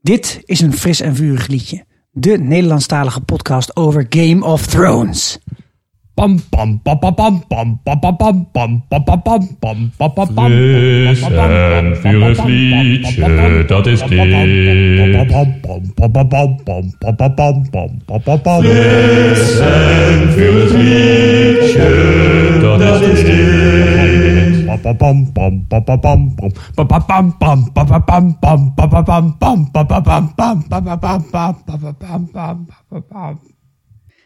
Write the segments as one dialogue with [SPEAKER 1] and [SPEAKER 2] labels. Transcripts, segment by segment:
[SPEAKER 1] Dit is een fris en vurig liedje. De Nederlandstalige podcast over Game of Thrones.
[SPEAKER 2] Pam pam pam pam pam pam pam pam pam pam pam pam pam pam pam pam pam
[SPEAKER 3] Fris en vurig liedje, dat uh, is dit. Fris en vurig liedje, dat is dit.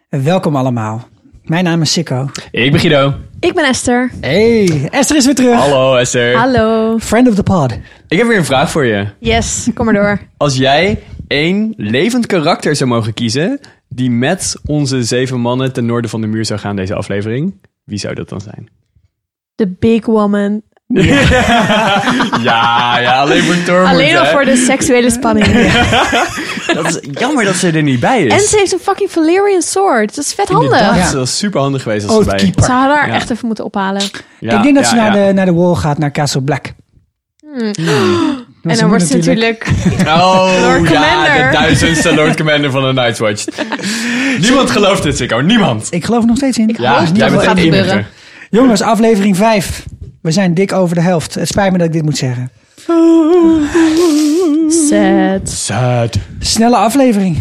[SPEAKER 1] Welkom allemaal. Mijn naam is Sikko.
[SPEAKER 4] Ik ben Guido.
[SPEAKER 5] Ik ben Esther.
[SPEAKER 1] Hey, Esther is weer terug.
[SPEAKER 4] Hallo Esther.
[SPEAKER 5] Hallo.
[SPEAKER 1] Friend of the pod.
[SPEAKER 4] Ik heb weer een vraag voor je.
[SPEAKER 5] Yes, kom maar door.
[SPEAKER 4] Als jij één levend karakter zou mogen kiezen die met onze zeven mannen ten noorden van de muur zou gaan deze aflevering, wie zou dat dan zijn?
[SPEAKER 5] The Big Woman.
[SPEAKER 4] Ja, ja, alleen voor Tormund.
[SPEAKER 5] Alleen al
[SPEAKER 4] hè.
[SPEAKER 5] voor de seksuele spanning.
[SPEAKER 4] Dat is jammer dat ze er niet bij
[SPEAKER 5] En
[SPEAKER 4] is.
[SPEAKER 5] ze heeft een fucking Valyrian sword. Dat is vet handig.
[SPEAKER 4] Inderdaad,
[SPEAKER 1] Ja.
[SPEAKER 4] dat was super handig geweest als ze erbij.
[SPEAKER 1] Oathkeeper.
[SPEAKER 5] Ze hadden haar
[SPEAKER 4] Ja.
[SPEAKER 5] echt even moeten ophalen.
[SPEAKER 4] Ja,
[SPEAKER 1] Ik denk dat
[SPEAKER 4] ja,
[SPEAKER 1] ze naar,
[SPEAKER 4] ja.
[SPEAKER 1] de, naar de wall gaat, naar Castle Black.
[SPEAKER 5] En dan wordt ze natuurlijk...
[SPEAKER 4] Oh,
[SPEAKER 5] Lord
[SPEAKER 4] ja, de
[SPEAKER 5] Commander.
[SPEAKER 4] duizendste Lord Commander van de Night's Watch. Niemand gelooft dit, Sikko. Niemand.
[SPEAKER 1] Ik geloof er nog steeds in.
[SPEAKER 4] Ja,
[SPEAKER 5] hoop
[SPEAKER 4] jij
[SPEAKER 5] dat
[SPEAKER 4] bent
[SPEAKER 5] het
[SPEAKER 4] de
[SPEAKER 5] gaat gebeuren.
[SPEAKER 4] enige.
[SPEAKER 1] Jongens, aflevering 5. We zijn dik over de helft. Het spijt me dat ik dit moet zeggen.
[SPEAKER 5] Sad.
[SPEAKER 4] Sad.
[SPEAKER 1] Snelle aflevering.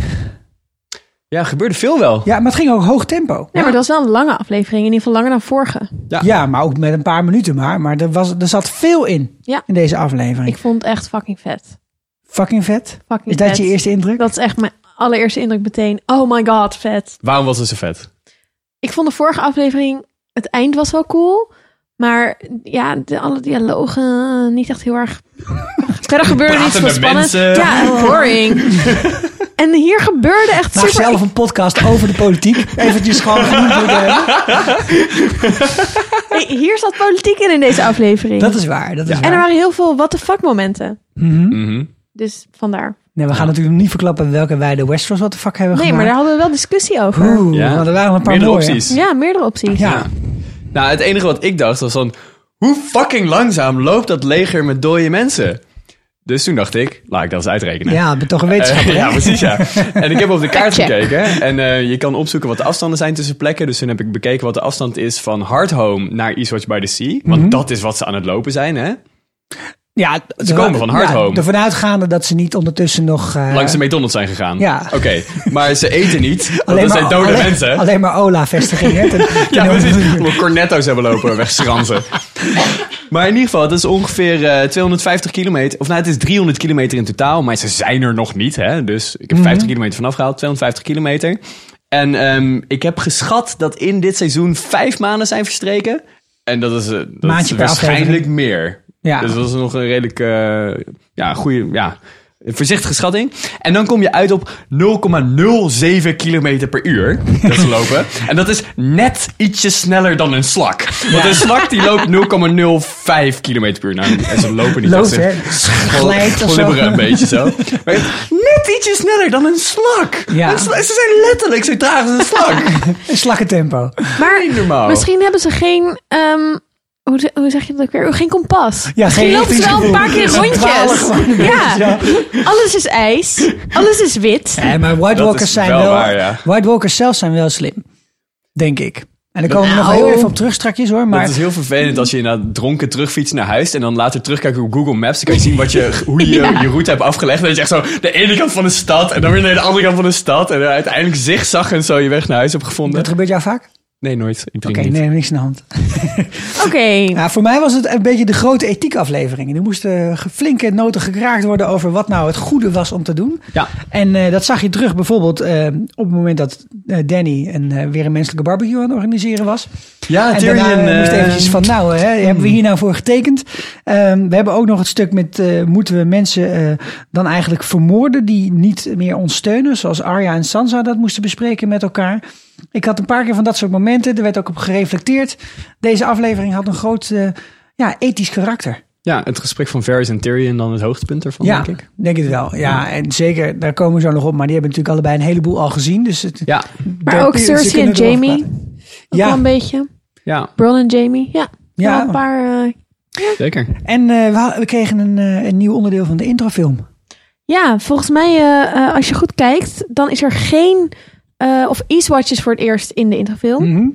[SPEAKER 4] Ja, gebeurde veel wel.
[SPEAKER 1] Ja, maar het ging ook hoog tempo.
[SPEAKER 5] Nee, maar dat was wel een lange aflevering. In ieder geval langer dan vorige.
[SPEAKER 4] Ja.
[SPEAKER 1] Ja, maar ook met een paar minuten maar. Maar er, was, er zat veel in,
[SPEAKER 5] Ja.
[SPEAKER 1] in deze aflevering.
[SPEAKER 5] Ik vond het echt fucking vet.
[SPEAKER 1] Fucking vet.
[SPEAKER 5] Fucking
[SPEAKER 1] Is dat
[SPEAKER 5] vet.
[SPEAKER 1] je eerste indruk?
[SPEAKER 5] Dat is echt mijn allereerste indruk meteen. Oh my god, vet.
[SPEAKER 4] Waarom was het zo vet?
[SPEAKER 5] Ik vond de vorige aflevering, het eind was wel cool. Maar ja, de, alle dialogen eh, niet echt heel erg... Verder gebeurde niet veel
[SPEAKER 4] Pratende
[SPEAKER 5] spannend.
[SPEAKER 4] mensen.
[SPEAKER 5] Ja, boring. en hier gebeurde echt
[SPEAKER 1] Maak
[SPEAKER 5] super...
[SPEAKER 1] zelf een podcast over de politiek. Eventjes gewoon genoemd moeten hebben.
[SPEAKER 5] Nee, hier zat politiek in in deze aflevering.
[SPEAKER 1] Dat is waar, dat is
[SPEAKER 5] En er
[SPEAKER 1] waar.
[SPEAKER 5] waren heel veel what the fuck momenten.
[SPEAKER 1] Mhm.
[SPEAKER 5] Dus vandaar.
[SPEAKER 1] Nee, we gaan natuurlijk niet verklappen welke wij de Westeros wat de fuck hebben
[SPEAKER 5] Nee, maar daar
[SPEAKER 1] gemaakt.
[SPEAKER 5] hadden we wel discussie over.
[SPEAKER 1] Oeh,
[SPEAKER 4] Ja.
[SPEAKER 1] want er waren een paar
[SPEAKER 4] Meerdere
[SPEAKER 1] mooie.
[SPEAKER 4] opties.
[SPEAKER 5] Ja, meerdere opties.
[SPEAKER 1] Ja.
[SPEAKER 4] Nou, het enige wat ik dacht was van... Hoe fucking langzaam loopt dat leger met dode mensen? Dus toen dacht ik, laat ik dat eens uitrekenen.
[SPEAKER 1] Ja, ik ben toch een wetenschapper.
[SPEAKER 4] Eh,
[SPEAKER 1] hè?
[SPEAKER 4] ja, precies ja. En ik heb op de kaart
[SPEAKER 5] Fact check.
[SPEAKER 4] gekeken. En eh, je kan opzoeken wat de afstanden zijn tussen plekken. Dus toen heb ik bekeken wat de afstand is van Hardhome naar Eastwatch by the Sea. Want
[SPEAKER 1] Mhm.
[SPEAKER 4] dat is wat ze aan het lopen zijn, hè?
[SPEAKER 1] Ja,
[SPEAKER 4] Ze komen van Hardhome.
[SPEAKER 1] Ja, ervan uitgaande dat ze niet ondertussen nog... eh,
[SPEAKER 4] Langs de McDonald's zijn gegaan.
[SPEAKER 1] ja.
[SPEAKER 4] Oké, maar ze eten niet. Want dat zijn dode
[SPEAKER 1] alleen,
[SPEAKER 4] mensen.
[SPEAKER 1] Alleen maar Ola-vestigingen. ten- ten
[SPEAKER 4] Ja,
[SPEAKER 1] over-
[SPEAKER 4] precies. Hoe we cornetto's hebben lopen wegschransen. Maar in ieder geval, het is ongeveer eh, 250 kilometer. Of nou, het is 300 kilometer in totaal. Maar ze zijn er nog niet, hè. Dus ik heb 50 kilometer vanaf gehaald. 250 kilometer. En ehm, ik heb geschat dat in dit seizoen vijf maanden zijn verstreken. En dat is, eh, dat is
[SPEAKER 1] Maandje per
[SPEAKER 4] waarschijnlijk
[SPEAKER 1] aflevering.
[SPEAKER 4] meer.
[SPEAKER 1] Ja.
[SPEAKER 4] Dus dat is nog een redelijk eh, ja, goede... Ja, een voorzichtige schatting. En dan kom je uit op 0,07 kilometer per uur. Dat ze lopen. En dat is net ietsje sneller dan een slak. Want een slak die loopt 0,05 kilometer per uur. Nou, en ze lopen niet.
[SPEAKER 1] Loopt,
[SPEAKER 4] ze
[SPEAKER 1] hè? Glijdt of zo.
[SPEAKER 4] glibberen een beetje zo. Maar net ietsje sneller dan een slak.
[SPEAKER 1] Ja.
[SPEAKER 4] Een sla- Ze zijn letterlijk zo traag als een slak.
[SPEAKER 1] Een slakkentempo.
[SPEAKER 5] Maar
[SPEAKER 4] Niet normaal.
[SPEAKER 5] misschien hebben ze geen... ehm, hoe, ze- hoe zeg je dat ook weer? Oh, Geen kompas.
[SPEAKER 1] Ja,
[SPEAKER 5] misschien
[SPEAKER 1] geen
[SPEAKER 5] lopen ze wel een paar keer
[SPEAKER 1] richtingsgevoel. Ze dwalen
[SPEAKER 5] rondjes.
[SPEAKER 1] gewoon een
[SPEAKER 5] Ja.
[SPEAKER 1] beetje, ja.
[SPEAKER 5] Alles is ijs. Alles is wit.
[SPEAKER 1] Nee, maar White
[SPEAKER 4] Dat
[SPEAKER 1] Walkers
[SPEAKER 4] is
[SPEAKER 1] zijn wel,
[SPEAKER 4] wel waar, ja.
[SPEAKER 1] White Walkers zelf zijn wel slim. Denk ik. En daar komen we nog
[SPEAKER 5] Nou.
[SPEAKER 1] heel even op terug strakjes hoor. Maar
[SPEAKER 4] Dat is heel vervelend als je inderdaad dronken terugfietst naar huis en dan later terugkijkt op Google Maps. Dan kan je zien wat je, hoe je je route hebt afgelegd. Dan is je echt zo de ene kant van de stad en dan weer naar de andere kant van de stad. En dan uiteindelijk zigzag en zo je weg naar huis hebt gevonden.
[SPEAKER 1] dat gebeurt jou vaak? Oké,
[SPEAKER 4] Nee, nooit. Ik drink niet.
[SPEAKER 1] nee, niks aan de hand.
[SPEAKER 5] Oké.
[SPEAKER 1] Nou, voor mij was het een beetje de grote ethiekaflevering. Er moesten ge- flinke noten gekraakt worden over wat nou het goede was om te doen.
[SPEAKER 4] Ja.
[SPEAKER 1] En eh, dat zag je terug bijvoorbeeld eh, op het moment dat eh, Danny een, eh, weer een menselijke barbecue aan het organiseren was.
[SPEAKER 4] Ja,
[SPEAKER 1] En daarna eh, moest eventjes van, nou, hè, hebben we hier nou voor getekend? Ehm, we hebben ook nog het stuk met, eh, moeten we mensen eh, dan eigenlijk vermoorden die niet meer ons steunen? Zoals Arya en Sansa dat moesten bespreken met elkaar. Ik had een paar keer van dat soort momenten, er werd ook op gereflecteerd. Deze aflevering had een groot eh, ja, ethisch karakter.
[SPEAKER 4] ja, het gesprek van Varys en Tyrion dan het hoogtepunt ervan,
[SPEAKER 1] ja,
[SPEAKER 4] denk ik.
[SPEAKER 1] denk het wel. Ja, en zeker, daar komen we zo nog op. Maar die hebben natuurlijk allebei een heleboel al gezien. Dus het,
[SPEAKER 4] Ja,
[SPEAKER 1] daar-
[SPEAKER 5] Maar ook
[SPEAKER 1] ze
[SPEAKER 5] Cersei en
[SPEAKER 1] kunnen erover
[SPEAKER 5] Jamie.
[SPEAKER 1] praten.
[SPEAKER 5] Ook
[SPEAKER 1] Ja.
[SPEAKER 5] wel een beetje.
[SPEAKER 4] ja,
[SPEAKER 5] Bron en Jamie. Ja.
[SPEAKER 1] Ja.
[SPEAKER 5] Wel een paar... eh,
[SPEAKER 4] zeker.
[SPEAKER 1] En eh, we, we kregen een, eh, een nieuw onderdeel van de introfilm.
[SPEAKER 5] Ja, volgens mij, eh, eh, als je goed kijkt, dan is er geen. eh, of Eastwatch is voor het eerst in de introfilm.
[SPEAKER 1] Mhm.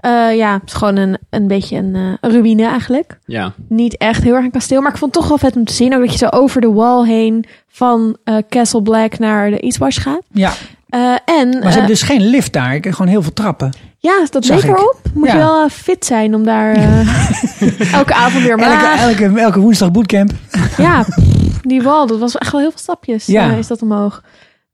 [SPEAKER 5] Eh, ja, het is gewoon een, een beetje een eh, ruïne eigenlijk.
[SPEAKER 4] Ja.
[SPEAKER 5] Niet echt heel erg een kasteel, maar ik vond het toch wel vet om te zien. Ook dat je zo over de wall heen van eh, Castle Black naar de Eastwatch gaat.
[SPEAKER 1] Ja,
[SPEAKER 5] Eh, en
[SPEAKER 1] maar ze
[SPEAKER 5] eh,
[SPEAKER 1] hebben dus geen lift daar. Ik heb gewoon heel veel trappen.
[SPEAKER 5] ja, dat
[SPEAKER 1] zag
[SPEAKER 5] leek
[SPEAKER 1] ik.
[SPEAKER 5] erop. Moet
[SPEAKER 1] Ja.
[SPEAKER 5] je wel eh, fit zijn om daar eh, elke avond weer. Maar
[SPEAKER 1] Elke, elke, elke woensdag bootcamp.
[SPEAKER 5] ja, pff, die wal, dat was echt wel heel veel stapjes.
[SPEAKER 1] Ja.
[SPEAKER 5] eh, is dat omhoog.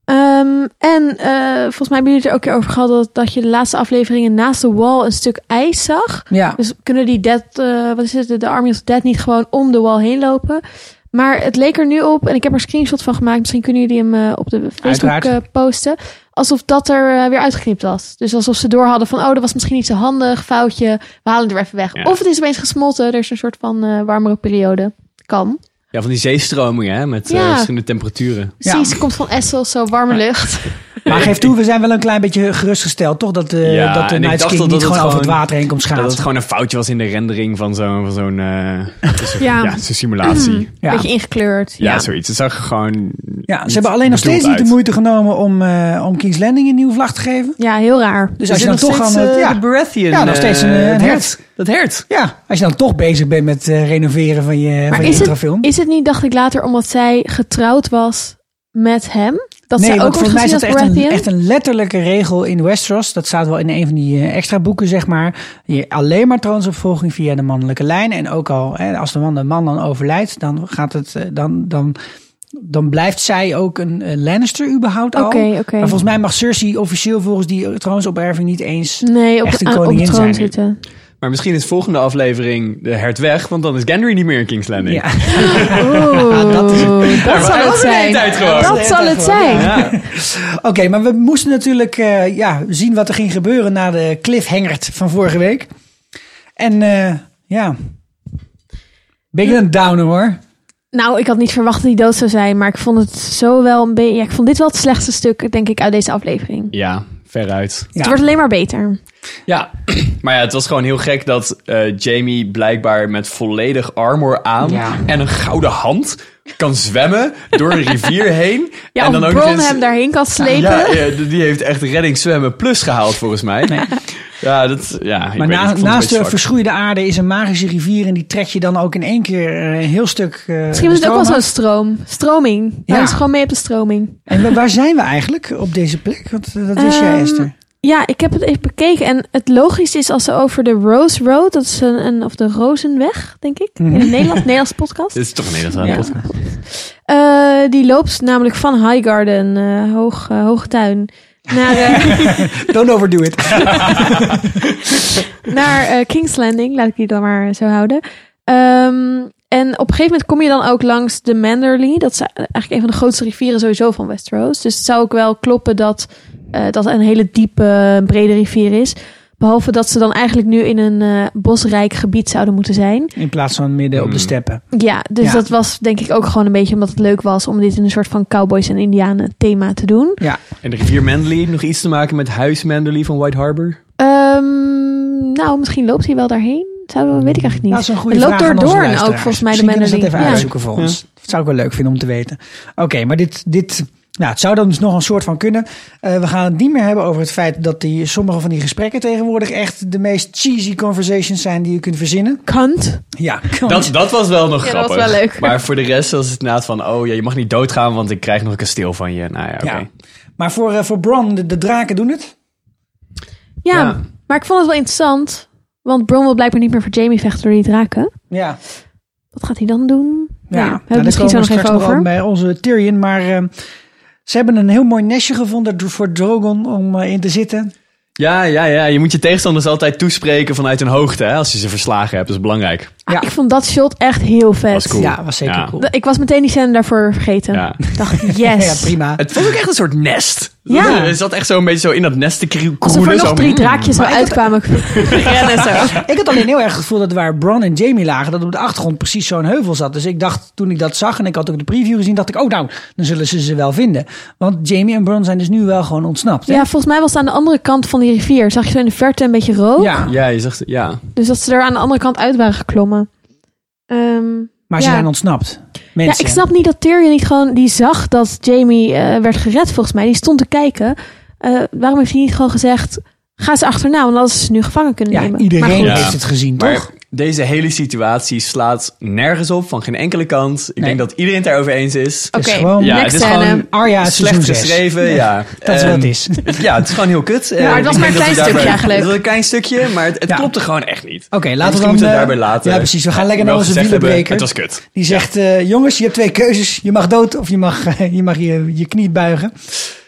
[SPEAKER 5] Ehm, en eh, volgens mij hebben jullie het er ook keer over gehad dat, dat je de laatste afleveringen naast de wal een stuk ijs zag.
[SPEAKER 1] Ja,
[SPEAKER 5] Dus kunnen die dead, eh, wat is het, de- de Army of Dead niet gewoon om de wal heen lopen. Maar het leek er nu op, en ik heb er een screenshot van gemaakt. Misschien kunnen jullie hem eh, op de Facebook
[SPEAKER 1] Uiteraard.
[SPEAKER 5] eh, posten. Alsof dat er eh, weer uitgeknipt was. Dus alsof ze door hadden van, oh, dat was misschien niet zo handig, foutje. We halen het er even weg.
[SPEAKER 4] Ja.
[SPEAKER 5] Of het is opeens gesmolten, er is een soort van eh, warmere periode. Kan.
[SPEAKER 4] ja, van die zeestromingen hè, met eh,
[SPEAKER 5] Ja.
[SPEAKER 4] verschillende temperaturen.
[SPEAKER 1] Ja.
[SPEAKER 5] Precies, komt van Essel, zo warme lucht.
[SPEAKER 1] maar geef toe, we zijn wel een klein beetje gerustgesteld, toch? Dat, eh,
[SPEAKER 4] Ja,
[SPEAKER 1] dat de
[SPEAKER 4] en ik
[SPEAKER 1] Night's
[SPEAKER 4] dacht
[SPEAKER 1] King
[SPEAKER 4] dat
[SPEAKER 1] niet
[SPEAKER 4] het
[SPEAKER 1] gewoon over het
[SPEAKER 4] gewoon-
[SPEAKER 1] water heen komt
[SPEAKER 4] Dat het
[SPEAKER 1] schaatsen.
[SPEAKER 4] gewoon een foutje was in de rendering van zo'n van zo'n eh,
[SPEAKER 5] Ja,
[SPEAKER 4] ja, zo'n simulatie.
[SPEAKER 1] Ja.
[SPEAKER 5] beetje ingekleurd.
[SPEAKER 4] Ja, zoiets. Het zag er gewoon.
[SPEAKER 1] Ja,
[SPEAKER 4] niet
[SPEAKER 1] ze hebben alleen nog steeds
[SPEAKER 4] bedoeld
[SPEAKER 1] niet de
[SPEAKER 4] uit.
[SPEAKER 1] moeite genomen om, eh, om King's Landing een nieuwe vlag te geven.
[SPEAKER 5] Ja, heel raar.
[SPEAKER 1] Dus als je dan toch aan het... ja.
[SPEAKER 4] Baratheon.
[SPEAKER 1] Ja, nog steeds een, eh, een
[SPEAKER 4] het
[SPEAKER 1] hert.
[SPEAKER 4] Dat hert.
[SPEAKER 1] ja, als je dan toch bezig bent met eh, renoveren van je,
[SPEAKER 5] Maar
[SPEAKER 1] van je
[SPEAKER 5] is het,
[SPEAKER 1] intrafilm.
[SPEAKER 5] is het niet, dacht ik later, omdat zij getrouwd was met hem? Dat
[SPEAKER 1] nee,
[SPEAKER 5] zij ook
[SPEAKER 1] want
[SPEAKER 5] wordt
[SPEAKER 1] volgens mij
[SPEAKER 5] gezien
[SPEAKER 1] zat
[SPEAKER 5] als
[SPEAKER 1] er echt een,
[SPEAKER 5] Baratheon?
[SPEAKER 1] echt een letterlijke regel in Westeros. Dat staat wel in een van die eh, extra boeken, zeg maar. Je, alleen maar troonsopvolging via de mannelijke lijn. En ook al, hè, als de man, de man dan overlijdt, dan, gaat het, eh, dan, dan, dan blijft zij ook een eh, Lannister überhaupt al.
[SPEAKER 5] Oké, oké.
[SPEAKER 1] Maar volgens mij mag Cersei officieel volgens die eh, troonsoperving niet eens...
[SPEAKER 5] Nee, op,
[SPEAKER 1] echt
[SPEAKER 5] de,
[SPEAKER 1] een
[SPEAKER 5] aan- op de
[SPEAKER 1] koningin
[SPEAKER 5] troon
[SPEAKER 1] zijn nu.
[SPEAKER 5] zitten.
[SPEAKER 4] Maar misschien is volgende aflevering de hert weg, want dan is Gendry niet meer in King's Landing.
[SPEAKER 1] Ja.
[SPEAKER 5] Oeh, dat,
[SPEAKER 4] maar
[SPEAKER 5] zal
[SPEAKER 4] hij
[SPEAKER 5] het
[SPEAKER 4] was er de hele
[SPEAKER 5] zijn.
[SPEAKER 4] tijd gewoon.
[SPEAKER 5] Dat zal het zijn.
[SPEAKER 1] Oké, maar we moesten natuurlijk eh, ja, zien wat er ging gebeuren na de cliffhangert van vorige week. En eh, ja, beetje een downer hoor.
[SPEAKER 5] Nou, ik had niet verwacht dat hij dood zou zijn, maar ik vond het zo wel een beetje... Ja, ik vond dit wel het slechtste stuk, denk ik, uit deze aflevering.
[SPEAKER 4] Ja, veruit.
[SPEAKER 1] Ja.
[SPEAKER 5] Het wordt alleen maar beter.
[SPEAKER 4] Ja, maar ja, het was gewoon heel gek dat eh, Jamie blijkbaar met volledig armor aan
[SPEAKER 1] Ja.
[SPEAKER 4] en een gouden hand kan zwemmen door een rivier heen.
[SPEAKER 5] Ja,
[SPEAKER 4] en
[SPEAKER 5] of
[SPEAKER 4] nog
[SPEAKER 5] Bron
[SPEAKER 4] eens-
[SPEAKER 5] hem daarheen kan slepen.
[SPEAKER 4] Ja, ja, die heeft echt redding zwemmen plus gehaald volgens mij. Ja, dat, ja, ik
[SPEAKER 1] Maar na-
[SPEAKER 4] weet niet, ik vond het een
[SPEAKER 1] naast
[SPEAKER 4] beetje
[SPEAKER 1] de
[SPEAKER 4] zwak.
[SPEAKER 1] verschroeide aarde is een magische rivier en die trek je dan ook in één keer eh, een heel stuk. eh,
[SPEAKER 5] Misschien was
[SPEAKER 1] de
[SPEAKER 5] het ook wel
[SPEAKER 1] stroom
[SPEAKER 5] zo'n stroom. Stroming.
[SPEAKER 1] Ja.
[SPEAKER 5] Hij is gewoon mee op de stroming.
[SPEAKER 1] af. En wa- waar zijn we eigenlijk op deze plek? Want eh, dat wist jij,
[SPEAKER 5] Ehm,
[SPEAKER 1] Esther.
[SPEAKER 5] Ja, ik heb het even bekeken. En het logisch is als ze over de Rose Road, dat is een, een- of de Rozenweg, denk ik, in het Nederland, Nederlands podcast.
[SPEAKER 4] Dit is toch een Nederlandse
[SPEAKER 5] Ja.
[SPEAKER 4] podcast.
[SPEAKER 5] Eh, die loopt namelijk van Highgarden, eh hoog, eh, Hoogtuin, naar, eh,
[SPEAKER 1] Don't overdo it.
[SPEAKER 5] naar eh, King's Landing. Laat ik die dan maar zo houden. Ehm, en op een gegeven moment kom je dan ook langs de Manderly. Dat is eigenlijk een van de grootste rivieren sowieso van Westeros. Dus het zou ook wel kloppen dat eh, dat een hele diepe, eh, brede rivier is. Behalve dat ze dan eigenlijk nu in een eh, bosrijk gebied zouden moeten zijn.
[SPEAKER 1] In plaats van midden op de
[SPEAKER 4] Hmm.
[SPEAKER 1] steppen.
[SPEAKER 5] Ja, dus
[SPEAKER 1] Ja.
[SPEAKER 5] dat was denk ik ook gewoon een beetje omdat het leuk was om dit in een soort van cowboys en indianen thema te doen.
[SPEAKER 1] Ja.
[SPEAKER 4] En de rivier Manderley, nog iets te maken met huis Manderley van White Harbor?
[SPEAKER 5] Ehm, nou, misschien loopt hij wel daarheen. Zou, weet ik eigenlijk niet.
[SPEAKER 1] Nou, Dat is een goede
[SPEAKER 5] het loopt
[SPEAKER 1] vraag aan
[SPEAKER 5] door
[SPEAKER 1] onze
[SPEAKER 5] Doorn ook,
[SPEAKER 1] luisteraars.
[SPEAKER 5] volgens mij, de
[SPEAKER 1] Misschien kunnen ze dat
[SPEAKER 5] Manderly.
[SPEAKER 1] even
[SPEAKER 5] Ja.
[SPEAKER 1] uitzoeken voor ons. Dat zou ik wel leuk vinden om te weten. Oké, maar dit, dit nou, het zou dan dus nog een soort van kunnen. Eh, we gaan het niet meer hebben over het feit dat die, sommige van die gesprekken tegenwoordig echt de meest cheesy conversations zijn die je kunt verzinnen.
[SPEAKER 5] Kant.
[SPEAKER 1] Ja,
[SPEAKER 4] Dat, dat was wel nog
[SPEAKER 5] Ja, dat was
[SPEAKER 4] grappig.
[SPEAKER 5] wel leuk.
[SPEAKER 4] Maar voor de rest was het inderdaad van, oh ja, je mag niet doodgaan, want ik krijg nog een kasteel van je. Nou ja, oké.
[SPEAKER 1] ja. Maar voor, eh, voor Bron, de, de draken doen het.
[SPEAKER 5] Ja,
[SPEAKER 4] Ja.
[SPEAKER 5] maar ik vond het wel interessant. Want Bron wil blijkbaar niet meer voor Jamie vechten door die draken.
[SPEAKER 1] Ja,
[SPEAKER 5] Wat gaat hij dan doen? Nou, we
[SPEAKER 1] Nou,
[SPEAKER 5] hebben het misschien zo
[SPEAKER 1] daar
[SPEAKER 5] nog
[SPEAKER 1] komen we straks
[SPEAKER 5] even over.
[SPEAKER 1] op bij onze Tyrion. Maar eh, ze hebben een heel mooi nestje gevonden voor Drogon om eh, in te zitten.
[SPEAKER 4] Ja, ja, ja. Je moet je tegenstanders altijd toespreken vanuit een hoogte, hè, als je ze verslagen hebt. Dat is belangrijk.
[SPEAKER 5] Ah,
[SPEAKER 1] Ja.
[SPEAKER 5] ik vond dat shot echt heel vet.
[SPEAKER 4] Was cool.
[SPEAKER 1] Ja, was zeker
[SPEAKER 4] Ja.
[SPEAKER 1] cool.
[SPEAKER 5] D- Ik was meteen die scène daarvoor vergeten.
[SPEAKER 4] Ja.
[SPEAKER 5] Ik dacht,
[SPEAKER 1] Ja,
[SPEAKER 5] yes.
[SPEAKER 1] prima.
[SPEAKER 4] Het was ook echt een soort nest.
[SPEAKER 5] Ja.
[SPEAKER 4] Er zat echt zo een beetje zo in dat nest te krie-
[SPEAKER 5] Als er voor
[SPEAKER 4] kroelen.
[SPEAKER 5] nog
[SPEAKER 4] Zo...
[SPEAKER 5] drie draakjes wel uitkwamen. rennen zo.
[SPEAKER 1] Ik had alleen heel erg het gevoel dat waar Bron en Jamie lagen, dat op de achtergrond precies zo'n heuvel zat. Dus ik dacht, toen ik dat zag en ik had ook de preview gezien, dacht ik, oh nou, dan zullen ze ze wel vinden. Want Jamie en Bron zijn dus nu wel gewoon ontsnapt. hè?
[SPEAKER 5] Ja, volgens mij was het aan de andere kant van die rivier. Zag je zo in de verte een beetje rook?
[SPEAKER 1] ja.
[SPEAKER 4] Ja, je zegt, ja.
[SPEAKER 5] Dus dat ze er aan de andere kant uit waren geklommen. Ehm,
[SPEAKER 1] Maar ze
[SPEAKER 5] Ja.
[SPEAKER 1] zijn ontsnapt.
[SPEAKER 5] Ja,
[SPEAKER 1] Mensen.
[SPEAKER 5] ik snap niet dat Tyrion niet gewoon... Die zag dat Jamie werd gered volgens mij. Die stond te kijken. Eh, waarom heeft hij niet gewoon gezegd... Ga ze achterna, want anders is ze nu gevangen kunnen
[SPEAKER 1] Ja,
[SPEAKER 5] nemen. Maar
[SPEAKER 1] iedereen
[SPEAKER 5] goed,
[SPEAKER 4] Ja.
[SPEAKER 1] heeft het gezien,
[SPEAKER 4] Maar
[SPEAKER 1] toch?
[SPEAKER 4] deze hele situatie slaat nergens op van geen enkele kant. Ik
[SPEAKER 1] Nee.
[SPEAKER 4] denk dat iedereen het daarover eens is.
[SPEAKER 5] Oké,
[SPEAKER 1] is gewoon-
[SPEAKER 4] Ja,
[SPEAKER 5] next
[SPEAKER 4] het is
[SPEAKER 5] scène.
[SPEAKER 4] gewoon-
[SPEAKER 1] Arya is
[SPEAKER 4] Slecht
[SPEAKER 1] seizoen zes.
[SPEAKER 4] geschreven, ja.
[SPEAKER 1] Dat is wat het
[SPEAKER 4] Ehm,
[SPEAKER 1] is. Oké,
[SPEAKER 4] Ja, het is gewoon heel kut. Eh,
[SPEAKER 5] maar het was
[SPEAKER 4] ik
[SPEAKER 5] maar een
[SPEAKER 4] denk
[SPEAKER 5] klein
[SPEAKER 4] dat we
[SPEAKER 5] stukje
[SPEAKER 4] daarbij-
[SPEAKER 5] eigenlijk.
[SPEAKER 4] Het was een klein stukje, maar het, het
[SPEAKER 1] Ja.
[SPEAKER 4] klopte gewoon echt niet. Dus
[SPEAKER 1] laten we dan...
[SPEAKER 4] moeten we het
[SPEAKER 1] eh,
[SPEAKER 4] daarbij laten.
[SPEAKER 1] Ja, precies. We gaan lekker naar
[SPEAKER 4] Wel
[SPEAKER 1] onze
[SPEAKER 4] gezegd hebben,
[SPEAKER 1] wielenbreker.
[SPEAKER 4] Het was kut.
[SPEAKER 1] Die zegt, eh, jongens, je hebt twee keuzes. Je mag dood of je mag eh, je, mag je, je knie buigen.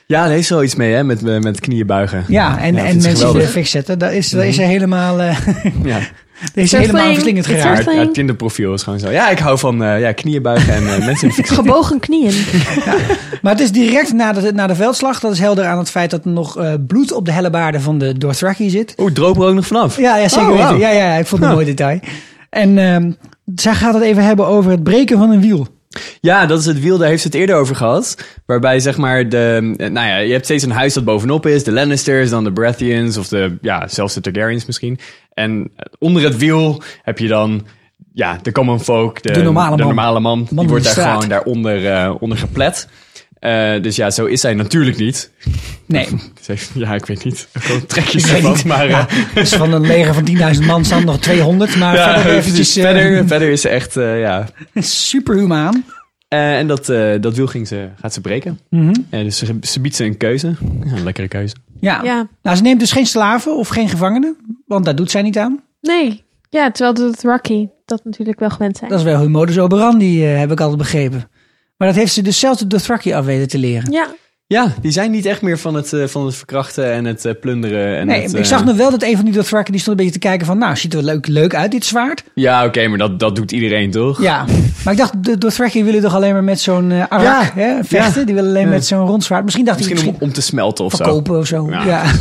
[SPEAKER 4] Ja, er is wel iets mee, hè, met, eh, met knieën buigen.
[SPEAKER 1] Ja, en,
[SPEAKER 4] Ja, dat
[SPEAKER 1] en
[SPEAKER 4] is
[SPEAKER 1] mensen in de
[SPEAKER 4] geweldig. Mhm.
[SPEAKER 1] fik zetten. Daar is, daar is er helemaal, eh
[SPEAKER 4] Ja.
[SPEAKER 1] er is
[SPEAKER 5] Surfing,
[SPEAKER 1] helemaal verslingend
[SPEAKER 5] it's
[SPEAKER 1] geraakt.
[SPEAKER 5] surfing.
[SPEAKER 4] Maar het, het Tinderprofiel is gewoon zo. Ja, ik hou van eh, ja, knieën buigen en eh, mensen in de fik zetten.
[SPEAKER 5] Gebogen knieën.
[SPEAKER 1] Maar het is direct na de, na de veldslag. Dat is helder aan het feit dat er nog eh, bloed op de hellebaarden van de Dothraki zit.
[SPEAKER 4] Oeh, droop er ook nog vanaf.
[SPEAKER 1] Ja, ja zeker
[SPEAKER 4] Oh, wauw.
[SPEAKER 1] weten. Ja, ja, ik vond het een mooi detail. En ehm, zij gaat het even hebben over het breken van een wiel.
[SPEAKER 4] Ja, dat is het wiel, daar heeft ze het eerder over gehad. Waarbij zeg maar, de, eh, nou ja, je hebt steeds een huis dat bovenop is. De Lannisters, dan de Baratheons of de, ja, zelfs de Targaryens misschien. En eh, onder het wiel heb je dan, ja, de common folk, de,
[SPEAKER 1] De normale man.
[SPEAKER 4] normale man.
[SPEAKER 1] van
[SPEAKER 4] die wordt
[SPEAKER 1] de
[SPEAKER 4] daar
[SPEAKER 1] straat.
[SPEAKER 4] gewoon daaronder eh, onder geplet. Eh, dus ja, zo is zij natuurlijk niet.
[SPEAKER 1] Nee,
[SPEAKER 4] Zij- Ja, ik weet niet. Gewoon trekjes
[SPEAKER 1] Ik weet
[SPEAKER 4] ervan,
[SPEAKER 1] niet.
[SPEAKER 4] maar... eh,
[SPEAKER 1] Ja, dus van een leger van 10.000 man staan nog 200. Maar
[SPEAKER 4] ja,
[SPEAKER 1] verder
[SPEAKER 4] precies.
[SPEAKER 1] eventjes eh,
[SPEAKER 4] verder, verder is ze echt, eh, ja,
[SPEAKER 1] superhumaan.
[SPEAKER 4] Eh, en dat, eh, dat wiel ging ze, gaat ze breken. Eh, dus ze, ze biedt ze een keuze. Ja, een lekkere keuze.
[SPEAKER 1] Ja.
[SPEAKER 5] Ja.
[SPEAKER 1] Nou, ze neemt dus geen slaven of geen gevangenen. Want daar doet zij niet aan.
[SPEAKER 5] Nee. Ja, terwijl het Rocky dat natuurlijk wel gewend zijn.
[SPEAKER 1] Dat is wel hun modus operandi, eh, heb ik altijd begrepen. Maar dat heeft ze dus zelfs de Dothraki af weten te leren.
[SPEAKER 5] Ja,
[SPEAKER 4] Ja, die zijn niet echt meer van het, eh, van het verkrachten en het eh, plunderen. En
[SPEAKER 1] Nee,
[SPEAKER 4] het,
[SPEAKER 1] ik
[SPEAKER 4] eh,
[SPEAKER 1] zag nog wel dat een van die Dothraki die stond een beetje te kijken van... Nou, ziet er leuk, leuk uit, dit zwaard.
[SPEAKER 4] Ja, oké, maar dat, dat doet iedereen toch?
[SPEAKER 1] Ja, maar ik dacht, de Dothraki willen toch alleen maar met zo'n eh arak
[SPEAKER 4] Ja.
[SPEAKER 1] hè, vechten? Die willen alleen
[SPEAKER 4] Ja.
[SPEAKER 1] met zo'n rond zwaard. Misschien dacht hij
[SPEAKER 4] Misschien om,
[SPEAKER 1] misschien
[SPEAKER 4] om te smelten of zo.
[SPEAKER 1] verkopen of zo. Ja,
[SPEAKER 4] Ja.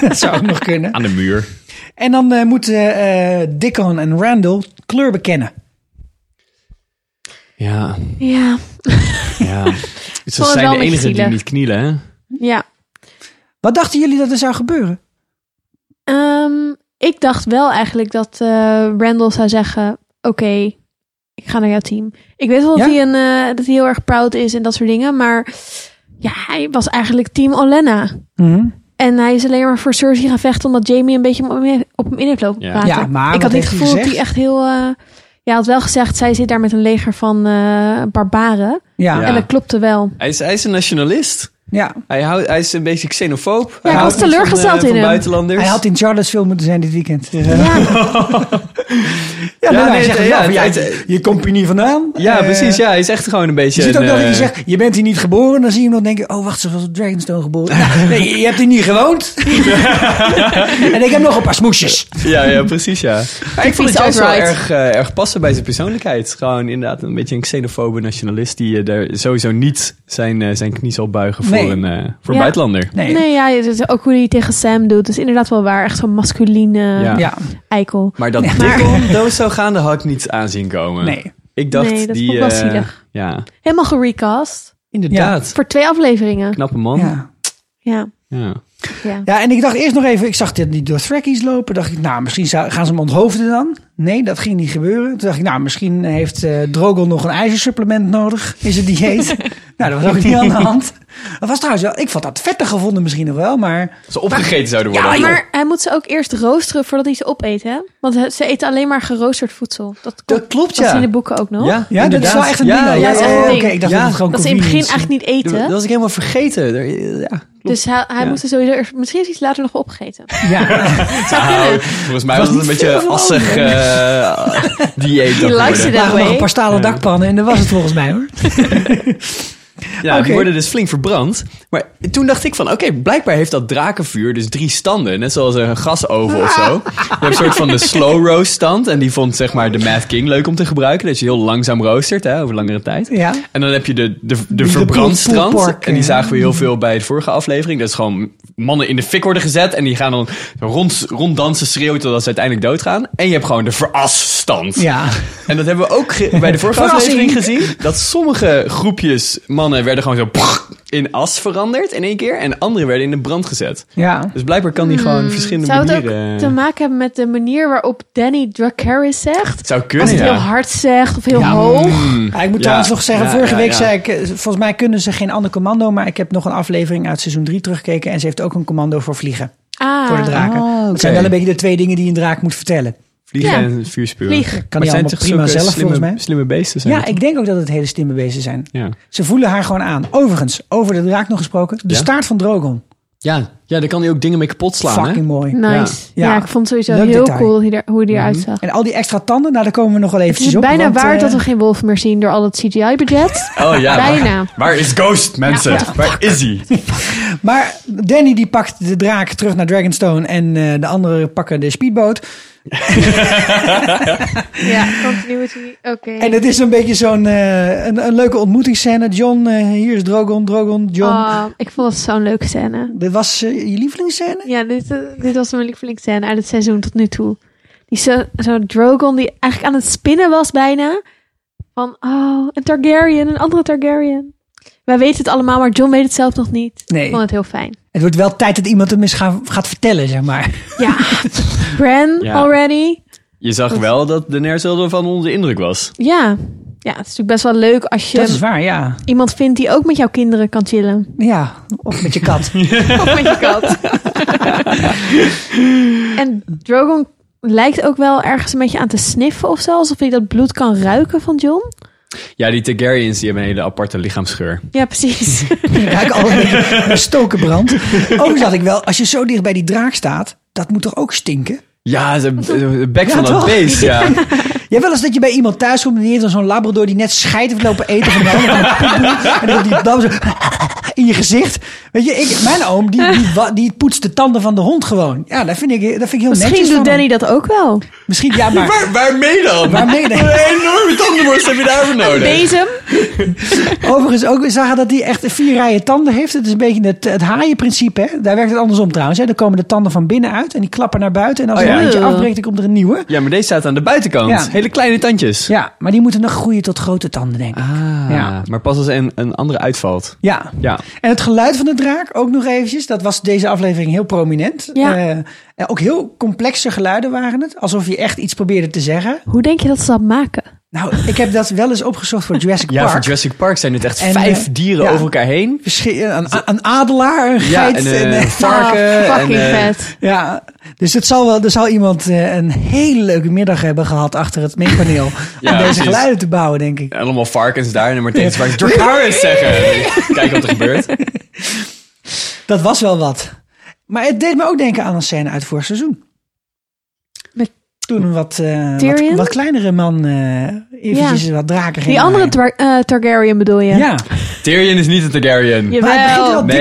[SPEAKER 1] dat zou ook nog kunnen.
[SPEAKER 4] Aan de muur.
[SPEAKER 1] En dan eh, moeten eh Dickon en Randall kleur bekennen.
[SPEAKER 4] Ja,
[SPEAKER 5] ja,
[SPEAKER 4] ja. Ze
[SPEAKER 5] wel
[SPEAKER 4] zijn
[SPEAKER 5] een
[SPEAKER 4] de
[SPEAKER 5] beetje
[SPEAKER 4] enigen die
[SPEAKER 5] zielig.
[SPEAKER 4] niet knielen, hè?
[SPEAKER 5] ja.
[SPEAKER 1] Wat dachten jullie dat er zou gebeuren?
[SPEAKER 5] Ehm, ik dacht wel eigenlijk dat eh Randall zou zeggen: Oké, ik ga naar jouw team. Ik weet wel
[SPEAKER 1] Ja?
[SPEAKER 5] dat, hij een, eh, dat hij heel erg proud is en dat soort dingen, maar ja, hij was eigenlijk team Olenna.
[SPEAKER 1] Mhm.
[SPEAKER 5] En hij is alleen maar voor Cersei gaan vechten omdat Jamie een beetje op hem in- op hem in heeft lopen
[SPEAKER 4] Ja.
[SPEAKER 5] praten.
[SPEAKER 1] Ja, maar
[SPEAKER 5] ik
[SPEAKER 1] wat
[SPEAKER 5] had niet
[SPEAKER 1] heeft
[SPEAKER 5] het
[SPEAKER 1] hij
[SPEAKER 5] gevoel dat hij
[SPEAKER 1] gezegd?
[SPEAKER 5] echt heel. eh, ja, had wel gezegd, zij zit daar met een leger van eh, barbaren.
[SPEAKER 1] Ja,
[SPEAKER 4] Ja.
[SPEAKER 1] ja.
[SPEAKER 5] En dat klopte wel.
[SPEAKER 4] Hij is, hij is een nationalist. Hij, houdt, hij is een beetje xenofoob.
[SPEAKER 5] ik
[SPEAKER 4] houdt
[SPEAKER 5] was
[SPEAKER 4] niet van,
[SPEAKER 5] teleurgesteld
[SPEAKER 4] eh,
[SPEAKER 5] in
[SPEAKER 4] van
[SPEAKER 5] hem.
[SPEAKER 4] buitenlanders.
[SPEAKER 1] Hij had in Charlottesville moeten zijn dit weekend. Ja,
[SPEAKER 5] Ja,
[SPEAKER 1] maar
[SPEAKER 4] nee,
[SPEAKER 1] hij
[SPEAKER 4] nee,
[SPEAKER 1] zegt
[SPEAKER 4] nee,
[SPEAKER 1] wel
[SPEAKER 4] ja,
[SPEAKER 1] van, ja,
[SPEAKER 4] het-
[SPEAKER 1] je, je komt hier niet vandaan.
[SPEAKER 4] Ja,
[SPEAKER 1] Eh,
[SPEAKER 4] precies. Ja, hij is echt gewoon een beetje...
[SPEAKER 1] Je ziet ook
[SPEAKER 4] een,
[SPEAKER 1] dat hij
[SPEAKER 4] eh,
[SPEAKER 1] zegt, je bent hier niet geboren. Dan zie je hem nog denken, oh wacht, ze was op Dragonstone geboren. Nou, nee, je hebt hier niet gewoond. en ik heb nog een paar smoesjes.
[SPEAKER 4] Ja, ja, precies, ja. Maar ik vond het
[SPEAKER 5] vies
[SPEAKER 4] juist wel
[SPEAKER 5] alt-right.
[SPEAKER 4] erg, eh, erg passen bij zijn persoonlijkheid. Gewoon inderdaad een beetje een xenofobe nationalist... die eh, daar sowieso niet zijn, eh, zijn knie zal buigen voor
[SPEAKER 1] Nee.
[SPEAKER 4] een, eh, voor een
[SPEAKER 5] Ja.
[SPEAKER 4] buitenlander.
[SPEAKER 1] Nee.
[SPEAKER 5] nee, ja, het is ook hoe hij het tegen Sam doet. is inderdaad wel waar. Echt zo'n masculine
[SPEAKER 4] Ja.
[SPEAKER 1] Ja,
[SPEAKER 5] eikel.
[SPEAKER 4] Maar dat Dickon dood zou gaan, daar had ik niet aan zien komen.
[SPEAKER 1] nee.
[SPEAKER 4] Ik dacht,
[SPEAKER 5] Nee, dat
[SPEAKER 4] die...
[SPEAKER 5] vond ik wel
[SPEAKER 4] eh,
[SPEAKER 5] zielig.
[SPEAKER 4] ja,
[SPEAKER 5] Helemaal gerecast.
[SPEAKER 4] inderdaad.
[SPEAKER 5] Voor twee afleveringen.
[SPEAKER 4] Knappe man. Ja.
[SPEAKER 1] Ja.
[SPEAKER 5] Ja. ja.
[SPEAKER 1] ja, en ik dacht eerst nog even, ik zag dit, die Dothrakis lopen. dacht ik, nou, misschien zou- gaan ze hem onthoofden dan. Nee, dat ging niet gebeuren. Toen dacht ik, nou, misschien heeft eh Drogel nog een ijzersupplement nodig in zijn dieet. nou, dat was ook niet aan de hand. Dat was trouwens wel, ik vond dat vetter gevonden misschien nog wel, maar...
[SPEAKER 4] Ze opgegeten zouden worden.
[SPEAKER 5] maar hij moet ze ook eerst roosteren voordat hij ze opeet, hè? Want he- ze eten alleen maar geroosterd voedsel. Dat,
[SPEAKER 4] Dat klopt,
[SPEAKER 5] Dat
[SPEAKER 4] ja.
[SPEAKER 5] in de boeken ook nog.
[SPEAKER 4] Ja,
[SPEAKER 1] Ja, dat is
[SPEAKER 4] inderdaad.
[SPEAKER 1] wel echt een
[SPEAKER 4] Ja,
[SPEAKER 1] ding. ook.
[SPEAKER 5] ja, dat is echt een
[SPEAKER 1] Oh,
[SPEAKER 5] ding.
[SPEAKER 1] oké, ik dacht
[SPEAKER 4] Ja.
[SPEAKER 1] dat het gewoon
[SPEAKER 5] Dat ze in het begin
[SPEAKER 1] convenience-
[SPEAKER 5] eigenlijk niet
[SPEAKER 4] Dat
[SPEAKER 5] eten.
[SPEAKER 4] was ik helemaal vergeten. Er- Ja.
[SPEAKER 5] Dus hij, hij
[SPEAKER 4] Ja.
[SPEAKER 5] moet ze sowieso eerst... Misschien heeft hij ze later nog wel opgegeten.
[SPEAKER 1] Ja.
[SPEAKER 5] Zou kunnen.
[SPEAKER 4] Nou, Volgens mij was het een beetje een assig eh, dieet. dat
[SPEAKER 5] He likes
[SPEAKER 4] geworden.
[SPEAKER 5] it
[SPEAKER 1] Er waren
[SPEAKER 5] that
[SPEAKER 1] nog een
[SPEAKER 5] way.
[SPEAKER 1] paar stalen dakpannen en dat was het volgens mij hoor.
[SPEAKER 4] Ja,
[SPEAKER 1] Oké.
[SPEAKER 4] die worden dus flink verbrand. Maar toen dacht ik van, oké, blijkbaar heeft dat drakenvuur dus drie standen. Net zoals een gasoven of zo. Je hebt een soort van de slow roast stand. En die vond zeg maar de Mad King leuk om te gebruiken. Dat je heel langzaam roostert, hè, over langere tijd.
[SPEAKER 1] Ja.
[SPEAKER 4] En dan heb je de, de, de
[SPEAKER 1] de poel-
[SPEAKER 4] verbrandstrand.
[SPEAKER 1] poelpark,
[SPEAKER 4] En die
[SPEAKER 1] eh.
[SPEAKER 4] zagen we heel veel bij de vorige aflevering. Dat is gewoon mannen in de fik worden gezet. En die gaan dan rond, ronddansen, schreeuwen totdat ze uiteindelijk doodgaan. En je hebt gewoon de verasstand.
[SPEAKER 1] Ja.
[SPEAKER 4] En dat hebben we ook ge- bij de vorige
[SPEAKER 1] Verrassing.
[SPEAKER 4] aflevering gezien. Dat sommige groepjes mannen werden gewoon zo... in as veranderd in één keer. En andere werden in de brand gezet.
[SPEAKER 1] Ja.
[SPEAKER 4] Dus blijkbaar kan die gewoon verschillende
[SPEAKER 5] Hmm. Zou het
[SPEAKER 4] manieren...
[SPEAKER 5] ook te maken hebben met de manier waarop Danny Dracarys zegt?
[SPEAKER 4] Het zou
[SPEAKER 5] Als
[SPEAKER 4] kunnen,
[SPEAKER 5] hij
[SPEAKER 4] ja.
[SPEAKER 5] heel hard zegt of heel
[SPEAKER 1] Ja, mm.
[SPEAKER 5] hoog.
[SPEAKER 1] Ja, ik moet
[SPEAKER 4] mm. Ja,
[SPEAKER 1] trouwens nog zeggen,
[SPEAKER 4] ja,
[SPEAKER 1] vorige
[SPEAKER 4] ja,
[SPEAKER 1] week
[SPEAKER 4] ja.
[SPEAKER 1] zei ik, eh, volgens mij kunnen ze geen ander commando, maar ik heb nog een aflevering uit seizoen 3 teruggekeken en ze heeft ook een commando voor vliegen, voor de
[SPEAKER 5] Ah,
[SPEAKER 1] draken.
[SPEAKER 4] Ah, oké.
[SPEAKER 1] Dat zijn wel een beetje de twee dingen die een draak moet vertellen.
[SPEAKER 4] Vliegen
[SPEAKER 5] Ja.
[SPEAKER 4] en vuurspuwen.
[SPEAKER 5] Vliegen.
[SPEAKER 4] Maar
[SPEAKER 1] Kan
[SPEAKER 4] het
[SPEAKER 1] die
[SPEAKER 4] zijn
[SPEAKER 1] allemaal
[SPEAKER 4] toch
[SPEAKER 1] prima
[SPEAKER 4] zulke
[SPEAKER 1] zelf
[SPEAKER 4] slimme,
[SPEAKER 1] volgens mij.
[SPEAKER 4] Slimme beesten zijn
[SPEAKER 1] Ja,
[SPEAKER 4] het
[SPEAKER 1] ik denk ook dat het hele slimme beesten zijn.
[SPEAKER 4] toch? ja.
[SPEAKER 1] Ze voelen haar gewoon aan. Overigens, over de draak nog gesproken, de
[SPEAKER 4] Ja?
[SPEAKER 1] staart van Drogon.
[SPEAKER 4] Ja, ja, daar kan hij ook dingen mee kapot slaan,
[SPEAKER 1] Fucking
[SPEAKER 4] hè?
[SPEAKER 1] mooi.
[SPEAKER 5] nice.
[SPEAKER 1] Ja.
[SPEAKER 5] Ja, ik vond het sowieso
[SPEAKER 1] Leuk
[SPEAKER 5] heel
[SPEAKER 1] detail.
[SPEAKER 5] cool hoe die er- hoe die eruit zag.
[SPEAKER 1] En al die extra tanden, nou daar komen we nog wel
[SPEAKER 5] Het
[SPEAKER 1] eventjes
[SPEAKER 5] is
[SPEAKER 1] op.
[SPEAKER 5] bijna
[SPEAKER 1] want,
[SPEAKER 5] waar
[SPEAKER 1] eh,
[SPEAKER 5] dat we geen wolf meer zien door al het CGI-budget.
[SPEAKER 4] Oh ja.
[SPEAKER 5] Bijna.
[SPEAKER 4] Waar is Ghost, mensen?
[SPEAKER 5] Ja, what
[SPEAKER 4] Waar is hij?
[SPEAKER 1] Maar Danny die pakt de draak terug naar Dragonstone en eh, de anderen pakken de speedboot.
[SPEAKER 5] Ja, continuity. Oké.
[SPEAKER 1] En het is een beetje zo'n eh, een, een leuke ontmoetingsscène. John, eh, hier is Drogon, Drogon, John.
[SPEAKER 5] Oh, ik vond het zo'n leuke scène.
[SPEAKER 1] Dit was eh, je lievelingsscène?
[SPEAKER 5] Ja, dit, eh, dit was mijn lievelingsscène uit het seizoen tot nu toe. Die zo, zo Drogon die eigenlijk aan het spinnen was bijna. Van, oh, een Targaryen, een andere Targaryen. Wij weten het allemaal, maar John weet het zelf nog niet.
[SPEAKER 1] Nee.
[SPEAKER 5] Ik vond het heel fijn.
[SPEAKER 1] Het wordt wel tijd dat iemand hem eens ga- gaat vertellen, zeg maar.
[SPEAKER 5] Ja, Bran
[SPEAKER 4] Ja.
[SPEAKER 5] already.
[SPEAKER 4] Je zag wel dat de Nerzel van onder de indruk was.
[SPEAKER 5] Ja. ja, het is natuurlijk best wel leuk als
[SPEAKER 1] Dat is
[SPEAKER 5] je
[SPEAKER 1] waar, ja. dus-
[SPEAKER 5] iemand vindt die ook met jouw kinderen kan chillen.
[SPEAKER 1] Ja, of met je kat.
[SPEAKER 5] Of met je kat. en Drogon lijkt ook wel ergens een beetje aan te sniffen of zo. Alsof hij dat bloed kan ruiken van John.
[SPEAKER 4] Ja, die Targaryens die hebben een hele aparte lichaamsgeur.
[SPEAKER 5] Ja, precies.
[SPEAKER 1] Ik Ruik al een beetje naar stokenbrand. Ook dacht ik wel, als je zo dicht bij die draak staat, dat moet toch ook stinken?
[SPEAKER 4] Ja, de, de bek
[SPEAKER 1] Ja,
[SPEAKER 4] van dat
[SPEAKER 1] toch?
[SPEAKER 4] beest. Ja.
[SPEAKER 1] Ja, wel eens dat je bij iemand thuis komt en die heeft dan zo'n labrador die net scheid heeft lopen eten van de andere kant poep doet. En dan die dam zo in je gezicht. Weet je, ik, mijn oom, die, die, wa- die poetst de tanden van de hond gewoon. Ja, dat vind ik, dat vind ik heel
[SPEAKER 5] Misschien
[SPEAKER 1] netjes
[SPEAKER 5] doet
[SPEAKER 1] van hem.
[SPEAKER 5] Danny dat ook wel.
[SPEAKER 1] Misschien, ja, maar
[SPEAKER 4] Waar, waarmee dan?
[SPEAKER 1] waarmee dan?
[SPEAKER 4] Een enorme tandenborst heb je daarvoor nodig.
[SPEAKER 5] Bezem.
[SPEAKER 1] Overigens ook, we zagen dat hij echt vier rijen tanden heeft. Het is een beetje het, het haaienprincipe. Hè? Daar werkt het andersom trouwens. Hè? Dan komen de tanden van binnen uit en die klappen naar buiten. En als
[SPEAKER 4] Oh,
[SPEAKER 1] er
[SPEAKER 4] ja.
[SPEAKER 1] een eentje
[SPEAKER 5] Eeuw.
[SPEAKER 1] afbreekt, dan komt er een nieuwe.
[SPEAKER 4] Ja, maar deze staat aan de buitenkant.
[SPEAKER 1] Ja.
[SPEAKER 4] Hele kleine tandjes.
[SPEAKER 1] Ja, maar die moeten nog groeien tot grote tanden, denk ik.
[SPEAKER 4] Ah,
[SPEAKER 1] Ja.
[SPEAKER 4] maar pas als een, een andere uitvalt.
[SPEAKER 1] Ja.
[SPEAKER 4] Ja.
[SPEAKER 1] En het geluid van de draak, ook nog eventjes. Dat was deze aflevering heel prominent.
[SPEAKER 5] Ja.
[SPEAKER 1] Eh, en ook heel complexe geluiden waren het. Alsof je echt iets probeerde te zeggen.
[SPEAKER 5] Hoe denk je dat ze dat maken?
[SPEAKER 1] Nou, ik heb dat wel eens opgezocht voor Jurassic
[SPEAKER 4] Ja,
[SPEAKER 1] Park.
[SPEAKER 4] voor Jurassic Park zijn het echt
[SPEAKER 1] En,
[SPEAKER 4] vijf
[SPEAKER 1] eh,
[SPEAKER 4] dieren
[SPEAKER 1] ja.
[SPEAKER 4] over elkaar heen.
[SPEAKER 1] Verschi- een, a- een adelaar, een
[SPEAKER 4] Ja,
[SPEAKER 1] geit.
[SPEAKER 4] en eh,
[SPEAKER 1] en, eh,
[SPEAKER 4] varken.
[SPEAKER 5] Ah,
[SPEAKER 4] en,
[SPEAKER 5] fucking
[SPEAKER 4] eh,
[SPEAKER 5] vet.
[SPEAKER 1] Ja, dus het zal wel, er zal iemand eh, een hele leuke middag hebben gehad achter het mengpaneel.
[SPEAKER 4] Ja,
[SPEAKER 1] om deze
[SPEAKER 4] precies.
[SPEAKER 1] geluiden te bouwen, denk ik.
[SPEAKER 4] Allemaal varkens daar en Martijn Zwaar. Dracarys zeggen. Kijk wat er gebeurt.
[SPEAKER 1] Dat was wel wat. Maar het deed me ook denken aan een scène uit vorig seizoen.
[SPEAKER 5] Met-
[SPEAKER 1] Toen een wat, eh, wat,
[SPEAKER 5] Tyrion?
[SPEAKER 1] wat kleinere man eh eventjes wat draken ging.
[SPEAKER 5] Die andere
[SPEAKER 1] draaien.
[SPEAKER 5] Tar- eh, Targaryen bedoel je?
[SPEAKER 1] Ja,
[SPEAKER 4] Tyrion is niet een Targaryen.
[SPEAKER 5] Jawel.
[SPEAKER 1] maar het begint wel dik-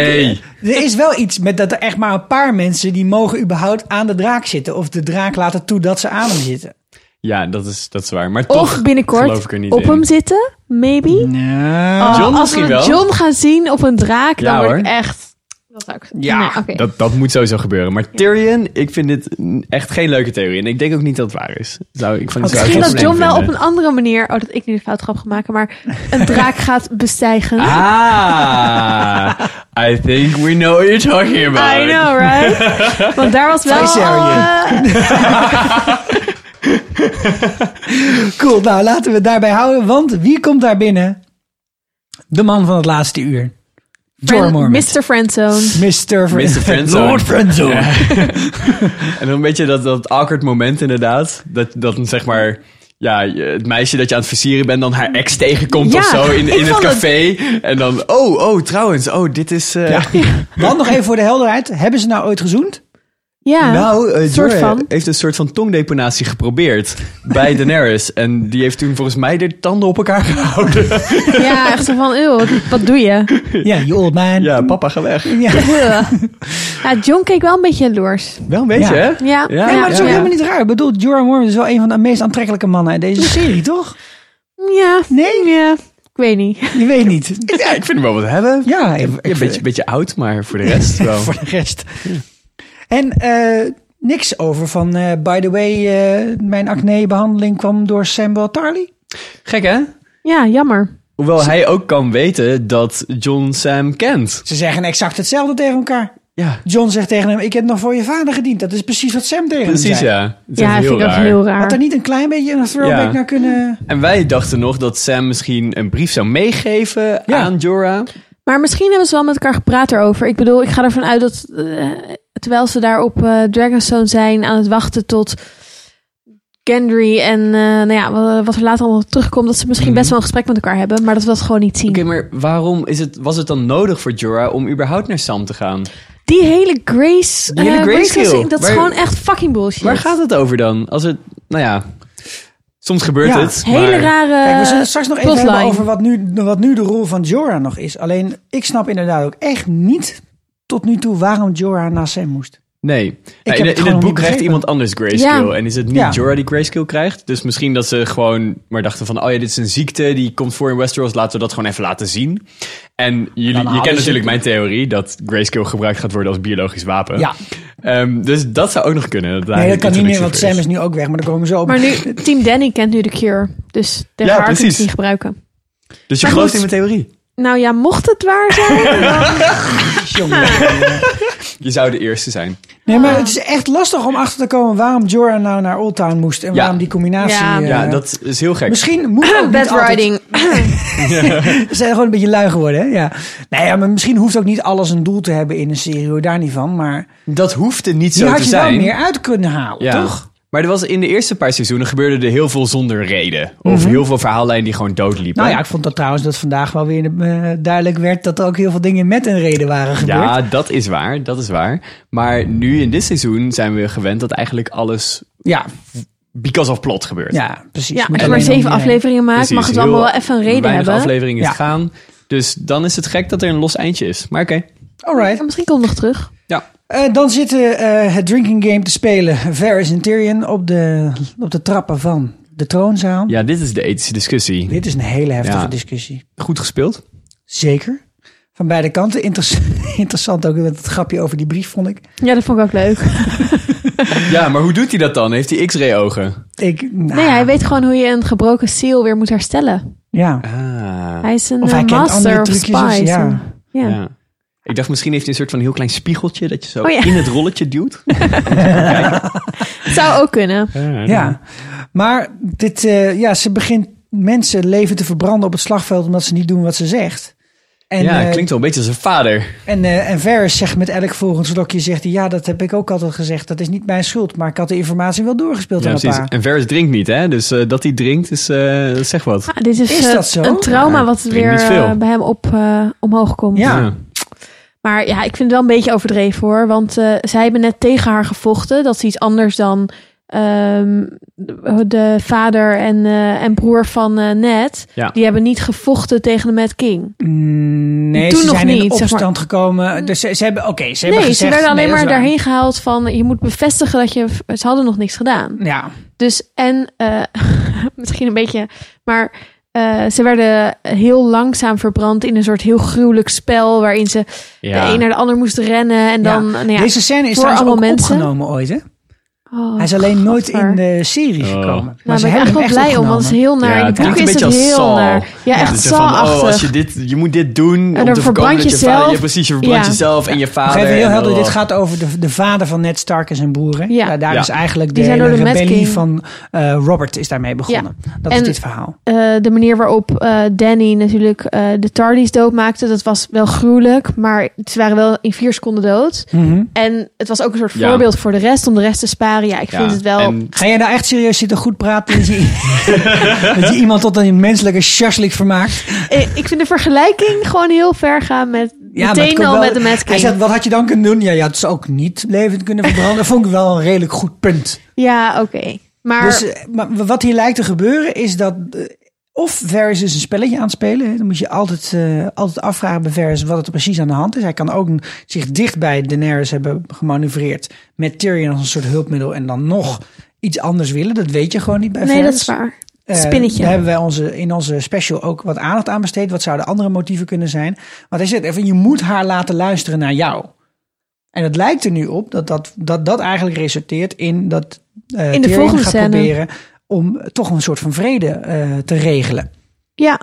[SPEAKER 4] Nee.
[SPEAKER 1] Er is wel iets met dat er echt maar een paar mensen die mogen überhaupt aan de draak zitten. Of de draak laten toe dat ze aan hem zitten.
[SPEAKER 4] Ja, dat is, dat is waar. Maar toch
[SPEAKER 5] Of
[SPEAKER 4] geloof ik
[SPEAKER 5] binnenkort
[SPEAKER 4] er niet
[SPEAKER 5] op
[SPEAKER 4] in.
[SPEAKER 5] hem zitten, maybe.
[SPEAKER 1] Nou,
[SPEAKER 5] Oh,
[SPEAKER 4] John
[SPEAKER 5] als we
[SPEAKER 4] misschien wel.
[SPEAKER 5] John gaan zien op een draak,
[SPEAKER 4] Ja,
[SPEAKER 5] dan word ik
[SPEAKER 4] hoor.
[SPEAKER 5] echt... Dat zou ik...
[SPEAKER 1] Ja,
[SPEAKER 5] Nee, oké.
[SPEAKER 4] Dat, dat moet sowieso gebeuren. Maar Tyrion, ik vind dit echt geen leuke theorie. En ik denk ook niet dat het waar is. Zou, ik vond het zou
[SPEAKER 1] Misschien
[SPEAKER 5] Misschien
[SPEAKER 4] ik
[SPEAKER 5] dat
[SPEAKER 4] heel
[SPEAKER 5] John
[SPEAKER 4] vreemd
[SPEAKER 5] wel op
[SPEAKER 4] vinden.
[SPEAKER 5] een andere manier... Oh, dat ik nu de foutgrap ga maken, maar een draak gaat bestijgen.
[SPEAKER 4] Ah, I think we know what you're talking about.
[SPEAKER 5] I know, right? Want daar was wel...
[SPEAKER 1] Viserion.
[SPEAKER 5] eh,
[SPEAKER 1] Cool, nou laten we het daarbij houden, want wie komt daar binnen? De man van het laatste uur.
[SPEAKER 5] friend-
[SPEAKER 1] Jormor.
[SPEAKER 5] Mr. Friendzone.
[SPEAKER 1] Mr. Fr-
[SPEAKER 4] Mr. Friendzone.
[SPEAKER 1] Lord Friendzone.
[SPEAKER 4] En dan een beetje dat, dat awkward moment inderdaad. Dat, dat een, zeg maar... Ja, je- het meisje dat je aan het versieren bent, dan haar ex tegenkomt
[SPEAKER 5] Ja,
[SPEAKER 4] of zo in,
[SPEAKER 5] ik
[SPEAKER 4] in het
[SPEAKER 5] vond het-
[SPEAKER 4] café. En dan, oh, oh, trouwens, oh, dit is... eh,
[SPEAKER 1] Ja. Want nog even voor de helderheid, hebben ze nou ooit gezoend?
[SPEAKER 5] Ja,
[SPEAKER 4] Nou, eh
[SPEAKER 5] soort
[SPEAKER 4] Jorah
[SPEAKER 5] van.
[SPEAKER 4] heeft een soort van tongdeponatie geprobeerd bij Daenerys. En die heeft toen volgens mij de tanden op elkaar gehouden.
[SPEAKER 5] Ja, echt zo van, eeuw, wat- wat doe je?
[SPEAKER 1] Ja, you old man.
[SPEAKER 4] Ja, papa, ga weg.
[SPEAKER 1] Ja.
[SPEAKER 5] Ja, John keek wel een beetje jaloers.
[SPEAKER 4] Wel een beetje,
[SPEAKER 1] Ja.
[SPEAKER 4] hè?
[SPEAKER 5] Ja,
[SPEAKER 4] Ja,
[SPEAKER 1] Nee, maar dat is ook
[SPEAKER 5] ja.
[SPEAKER 1] helemaal niet raar. Ik bedoel, Jorah Mormont is wel een van de meest aantrekkelijke mannen uit deze serie, toch?
[SPEAKER 5] Ja,
[SPEAKER 1] Nee?
[SPEAKER 5] ja, ik weet niet.
[SPEAKER 1] Je weet niet.
[SPEAKER 4] Ja, ik vind hem wel wat hebben. Ja,
[SPEAKER 1] Ja, ik, ik
[SPEAKER 4] een beetje, beetje oud, maar voor de rest wel.
[SPEAKER 1] voor de rest. En eh, niks over van, eh, by the way, eh, mijn acne-behandeling kwam door Samuel Tarly.
[SPEAKER 4] Gek, hè?
[SPEAKER 5] Ja, jammer.
[SPEAKER 4] Hoewel hij ook kan weten dat John Sam kent.
[SPEAKER 1] Ze zeggen exact hetzelfde tegen elkaar.
[SPEAKER 4] Ja,
[SPEAKER 1] John zegt tegen hem, ik heb nog voor je vader gediend. Dat is precies wat Sam tegen hem
[SPEAKER 4] precies
[SPEAKER 1] zei.
[SPEAKER 4] ja. Het is
[SPEAKER 5] Ja,
[SPEAKER 4] echt
[SPEAKER 5] vind ik ook heel raar.
[SPEAKER 1] Had er niet een klein beetje een throwback
[SPEAKER 4] Ja.
[SPEAKER 1] naar kunnen...
[SPEAKER 5] Eh,
[SPEAKER 4] En wij dachten nog dat Sam misschien een brief zou meegeven
[SPEAKER 1] Ja.
[SPEAKER 4] aan Jorah.
[SPEAKER 5] Maar misschien hebben ze wel met elkaar gepraat erover. Ik bedoel, ik ga ervan uit dat eh, terwijl ze daar op eh, Dragonstone zijn aan het wachten tot Gendry en eh, nou ja, wat, wat er later allemaal terugkomt, dat ze misschien best wel een gesprek met elkaar hebben, maar dat we dat gewoon niet zien.
[SPEAKER 4] Mhm. Oké, maar waarom is het, was het dan nodig voor Jorah om überhaupt naar Sam te gaan?
[SPEAKER 5] Die hele Grace,
[SPEAKER 4] Die hele
[SPEAKER 5] eh,
[SPEAKER 4] Grace
[SPEAKER 5] Grace
[SPEAKER 4] kill.
[SPEAKER 5] dat is
[SPEAKER 4] Waar-
[SPEAKER 5] gewoon echt fucking bullshit.
[SPEAKER 4] Waar gaat het over dan? Als het, nou ja, soms gebeurt
[SPEAKER 1] Ja,
[SPEAKER 4] het.
[SPEAKER 5] Hele
[SPEAKER 4] maar-
[SPEAKER 5] rare.
[SPEAKER 1] Kijk, we zullen het straks nog even
[SPEAKER 5] plotline.
[SPEAKER 1] hebben over wat nu, wat nu de rol van Jorah nog is. Alleen, ik snap inderdaad ook echt niet tot nu toe waarom Jorah naar Sam moest.
[SPEAKER 4] Nee. Nou,
[SPEAKER 1] heb
[SPEAKER 4] in
[SPEAKER 1] het
[SPEAKER 4] in
[SPEAKER 1] gewoon
[SPEAKER 4] het
[SPEAKER 1] niet
[SPEAKER 4] boek krijgt
[SPEAKER 1] begrepen.
[SPEAKER 4] iemand anders grayscale. En is het niet
[SPEAKER 1] Ja.
[SPEAKER 4] Jorah die grayscale krijgt? Dus misschien dat ze gewoon maar dachten van... oh ja, dit is een ziekte, die komt voor in Westeros. Laten we dat gewoon even laten zien. En jullie, je
[SPEAKER 1] hadden
[SPEAKER 4] kent
[SPEAKER 1] ze-
[SPEAKER 4] natuurlijk mijn theorie... dat grayscale gebruikt gaat worden als biologisch wapen.
[SPEAKER 1] Ja.
[SPEAKER 4] Ehm, dus dat zou ook nog kunnen. daar
[SPEAKER 1] Nee,
[SPEAKER 4] een
[SPEAKER 1] dat kan niet meer,
[SPEAKER 4] introductie
[SPEAKER 1] want
[SPEAKER 4] voor
[SPEAKER 1] Sam is nu ook weg. Maar daar komen we zo op.
[SPEAKER 5] Maar nu, Team Danny kent nu de cure, dus de
[SPEAKER 4] Ja,
[SPEAKER 5] haar kunnen ze
[SPEAKER 4] precies.
[SPEAKER 5] niet gebruiken.
[SPEAKER 4] Dus je
[SPEAKER 5] Maar
[SPEAKER 4] gelooft in
[SPEAKER 5] goed.
[SPEAKER 4] mijn theorie?
[SPEAKER 5] Nou ja, mocht het waar zijn, dan...
[SPEAKER 1] Jongen.
[SPEAKER 4] Je zou de eerste zijn.
[SPEAKER 1] Nee, maar het is echt lastig om achter te komen waarom Jorah nou naar Old Town moest. En
[SPEAKER 4] Ja.
[SPEAKER 1] waarom die combinatie...
[SPEAKER 5] Ja.
[SPEAKER 1] eh,
[SPEAKER 4] Ja, dat is heel gek.
[SPEAKER 1] Misschien moet ook niet
[SPEAKER 5] Bad
[SPEAKER 1] altijd-
[SPEAKER 5] riding.
[SPEAKER 1] Ze zijn gewoon een beetje lui geworden, hè? Ja. Nee, ja, maar misschien hoeft ook niet alles een doel te hebben in een serie. hoor, Daar niet van, maar...
[SPEAKER 4] Dat hoefde niet
[SPEAKER 1] Hier
[SPEAKER 4] zo
[SPEAKER 1] had
[SPEAKER 4] te
[SPEAKER 1] je
[SPEAKER 4] zijn.
[SPEAKER 1] wel meer uit kunnen halen,
[SPEAKER 4] Ja.
[SPEAKER 1] toch?
[SPEAKER 4] Maar er was in de eerste paar seizoenen gebeurde er heel veel zonder reden. Of heel veel verhaallijnen die gewoon doodliepen.
[SPEAKER 1] Nou ja, ik vond dat trouwens dat vandaag wel weer eh, duidelijk werd dat er ook heel veel dingen met een reden waren gebeurd.
[SPEAKER 4] Ja, dat is waar, dat is waar. Maar nu in dit seizoen zijn we gewend dat eigenlijk alles
[SPEAKER 1] ja,
[SPEAKER 4] because of plot gebeurt. Dus
[SPEAKER 1] ja, precies.
[SPEAKER 5] Ja,
[SPEAKER 1] Moet
[SPEAKER 5] als je maar
[SPEAKER 1] alleen
[SPEAKER 5] zeven
[SPEAKER 1] om je heen.
[SPEAKER 5] afleveringen maakt,
[SPEAKER 4] Precies,
[SPEAKER 5] mag het allemaal wel even een reden
[SPEAKER 4] weinig
[SPEAKER 5] hebben.
[SPEAKER 4] afleveringen
[SPEAKER 1] Ja.
[SPEAKER 4] te gaan. Dus dan is het gek dat er een los eindje is. Maar oké,
[SPEAKER 1] Alright.
[SPEAKER 5] Ja, misschien komt het nog terug.
[SPEAKER 4] ja.
[SPEAKER 1] Eh, dan zitten eh, het drinking game te spelen Varys en Tyrion op de, op de trappen van de troonzaal.
[SPEAKER 4] Ja, dit is de ethische discussie.
[SPEAKER 1] Dit is een hele heftige
[SPEAKER 4] Ja.
[SPEAKER 1] discussie.
[SPEAKER 4] Goed gespeeld.
[SPEAKER 1] Zeker. Van beide kanten. Interess- interessant ook met het grapje over die brief, vond ik.
[SPEAKER 5] Ja, dat vond ik ook leuk.
[SPEAKER 4] Ja, maar hoe doet hij dat dan? Heeft hij x-ray ogen?
[SPEAKER 1] ik nou,
[SPEAKER 5] Nee, hij weet gewoon hoe je een gebroken seal weer moet herstellen.
[SPEAKER 1] Ja.
[SPEAKER 4] Ah,
[SPEAKER 5] Hij is een
[SPEAKER 1] Of
[SPEAKER 5] eh,
[SPEAKER 1] hij kent
[SPEAKER 5] master
[SPEAKER 1] andere
[SPEAKER 5] of
[SPEAKER 1] trucjes of-
[SPEAKER 5] spies.
[SPEAKER 1] ja.
[SPEAKER 5] En- ja.
[SPEAKER 4] ja. Ik dacht misschien heeft hij een soort van heel klein spiegeltje dat je zo
[SPEAKER 5] Oh ja.
[SPEAKER 4] in het rolletje duwt. Ah,
[SPEAKER 5] Zou ook kunnen.
[SPEAKER 1] Ja, maar dit, eh, ja, ze begint mensen leven te verbranden op het slagveld omdat ze niet doen wat ze zegt. En,
[SPEAKER 4] ja,
[SPEAKER 1] eh,
[SPEAKER 4] klinkt wel een beetje als een vader.
[SPEAKER 1] en, eh, en Varys zegt met elk volgend slokje, zegt hij, ja, dat heb ik ook altijd gezegd. Dat is niet mijn schuld, maar ik had de informatie wel doorgespeeld
[SPEAKER 4] Ja,
[SPEAKER 1] aan
[SPEAKER 4] precies.
[SPEAKER 1] een paar.
[SPEAKER 4] En Vers drinkt niet, hè? Dus eh, dat hij drinkt, is, eh, dat zegt wat.
[SPEAKER 5] Ah, dit is,
[SPEAKER 1] Is
[SPEAKER 5] eh,
[SPEAKER 1] dat zo?
[SPEAKER 5] een trauma
[SPEAKER 4] Ja,
[SPEAKER 5] wat
[SPEAKER 4] Nou, ik denk
[SPEAKER 5] weer
[SPEAKER 4] niet veel.
[SPEAKER 5] eh, bij hem op, eh, omhoog komt.
[SPEAKER 1] Ja.
[SPEAKER 5] Maar ja, ik vind het wel een beetje overdreven hoor. Want eh, zij hebben net tegen haar gevochten. Dat is iets anders dan ehm, de- de vader en, eh, en broer van eh, Ned.
[SPEAKER 4] Ja.
[SPEAKER 5] Die hebben niet gevochten tegen de Mad King.
[SPEAKER 1] Mm, Nee,
[SPEAKER 5] Toen
[SPEAKER 1] ze
[SPEAKER 5] nog
[SPEAKER 1] zijn in
[SPEAKER 5] niet, zeg
[SPEAKER 1] opstand
[SPEAKER 5] maar.
[SPEAKER 1] gekomen. Dus ze, ze hebben, oké, ze hebben
[SPEAKER 5] nee,
[SPEAKER 1] gezegd...
[SPEAKER 5] ze werden alleen
[SPEAKER 1] nee, dat
[SPEAKER 5] maar
[SPEAKER 1] is waar.
[SPEAKER 5] daarheen gehaald van... je moet bevestigen dat je... Ze hadden nog niks gedaan.
[SPEAKER 1] Ja,
[SPEAKER 5] Dus en eh, misschien een beetje, maar eh, ze werden heel langzaam verbrand in een soort heel gruwelijk spel waarin ze de een naar de ander moesten rennen en dan. nou ja,
[SPEAKER 1] Deze scène is
[SPEAKER 5] voor
[SPEAKER 1] trouwens ook
[SPEAKER 5] allemaal mensen.
[SPEAKER 1] opgenomen ooit, hè?
[SPEAKER 5] oh,
[SPEAKER 1] Hij is alleen nooit
[SPEAKER 5] gadver.
[SPEAKER 1] in de serie
[SPEAKER 4] Oh.
[SPEAKER 1] gekomen. Maar
[SPEAKER 5] Nou,
[SPEAKER 1] ze
[SPEAKER 5] daar ben
[SPEAKER 1] hebben
[SPEAKER 5] ik echt
[SPEAKER 1] hem
[SPEAKER 5] wel
[SPEAKER 1] echt
[SPEAKER 5] blij om,
[SPEAKER 1] opgenomen.
[SPEAKER 5] want het is heel naar.
[SPEAKER 4] Ja,
[SPEAKER 5] in
[SPEAKER 4] het
[SPEAKER 5] de boek
[SPEAKER 4] klinkt een
[SPEAKER 5] is het
[SPEAKER 4] beetje als
[SPEAKER 5] heel
[SPEAKER 4] Saul.
[SPEAKER 5] naar. Ja,
[SPEAKER 4] Dat
[SPEAKER 5] echt
[SPEAKER 4] is van, oh, als
[SPEAKER 5] Saul-achtig.
[SPEAKER 4] je, dit, je moet dit doen om
[SPEAKER 5] dan
[SPEAKER 4] te voorkomen
[SPEAKER 5] verbrand
[SPEAKER 4] dat je
[SPEAKER 5] jezelf.
[SPEAKER 4] vader... Ja, precies, je verbrandt
[SPEAKER 5] Ja.
[SPEAKER 4] jezelf en je
[SPEAKER 1] Nog
[SPEAKER 4] vader.
[SPEAKER 1] even heel
[SPEAKER 4] en-
[SPEAKER 1] helder, dit
[SPEAKER 4] oh.
[SPEAKER 1] gaat over de, de vader van Ned Stark en zijn broeren.
[SPEAKER 5] Ja.
[SPEAKER 1] Ja. daar
[SPEAKER 4] Ja.
[SPEAKER 1] is eigenlijk de,
[SPEAKER 5] Die zijn
[SPEAKER 1] hele
[SPEAKER 5] door de Mad
[SPEAKER 1] rebellie
[SPEAKER 5] King.
[SPEAKER 1] van eh, Robert is daarmee begonnen. Dat
[SPEAKER 5] En-
[SPEAKER 1] is dit verhaal.
[SPEAKER 5] Eh, de manier waarop eh, Danny natuurlijk eh, de Tardis doodmaakte, dat was wel gruwelijk, maar ze waren wel in vier seconden dood.
[SPEAKER 1] Mhm.
[SPEAKER 5] En het was ook een soort
[SPEAKER 4] Ja.
[SPEAKER 5] voorbeeld voor de rest om de rest te sparen. Ja, ik
[SPEAKER 4] Ja,
[SPEAKER 5] vind het wel.
[SPEAKER 4] en-
[SPEAKER 1] Ga jij nou echt serieus zitten goed praten dat je, dat je iemand tot een menselijke sjaslik vermaakt?
[SPEAKER 5] Eh, Ik vind de vergelijking gewoon heel ver gaan met
[SPEAKER 1] maar het
[SPEAKER 5] meteen
[SPEAKER 1] komt
[SPEAKER 5] al
[SPEAKER 1] wel-
[SPEAKER 5] met de Mad
[SPEAKER 1] Hij
[SPEAKER 5] King.
[SPEAKER 1] zegt, wat had je dan kunnen doen? Ja, je had ze ook niet levend kunnen verbranden. Dat vond ik wel een redelijk goed punt.
[SPEAKER 5] Ja, oké. Maar
[SPEAKER 1] Dus, eh, maar wat hier lijkt te gebeuren is dat. eh, Of Varys is een spelletje aan het spelen. hè. Dan moet je altijd, eh, altijd afvragen bij Varys wat er precies aan de hand is. Hij kan ook een- zich dicht bij Daenerys hebben gemanoeuvreerd. Met Tyrion als een soort hulpmiddel. En dan nog iets anders willen. Dat weet je gewoon niet bij
[SPEAKER 5] nee,
[SPEAKER 1] Varys.
[SPEAKER 5] dat is waar.
[SPEAKER 1] Eh,
[SPEAKER 5] Spinnetje.
[SPEAKER 1] daar hebben wij onze, in onze special ook wat aandacht aan besteed. Wat zouden andere motieven kunnen zijn? Want hij zegt even, je moet haar laten luisteren naar jou. En het lijkt er nu op dat dat, dat, dat eigenlijk resulteert in dat eh
[SPEAKER 5] de
[SPEAKER 1] Tyrion
[SPEAKER 5] volgende
[SPEAKER 1] gaat
[SPEAKER 5] scène.
[SPEAKER 1] proberen om toch een soort van vrede eh, te regelen.
[SPEAKER 5] Ja.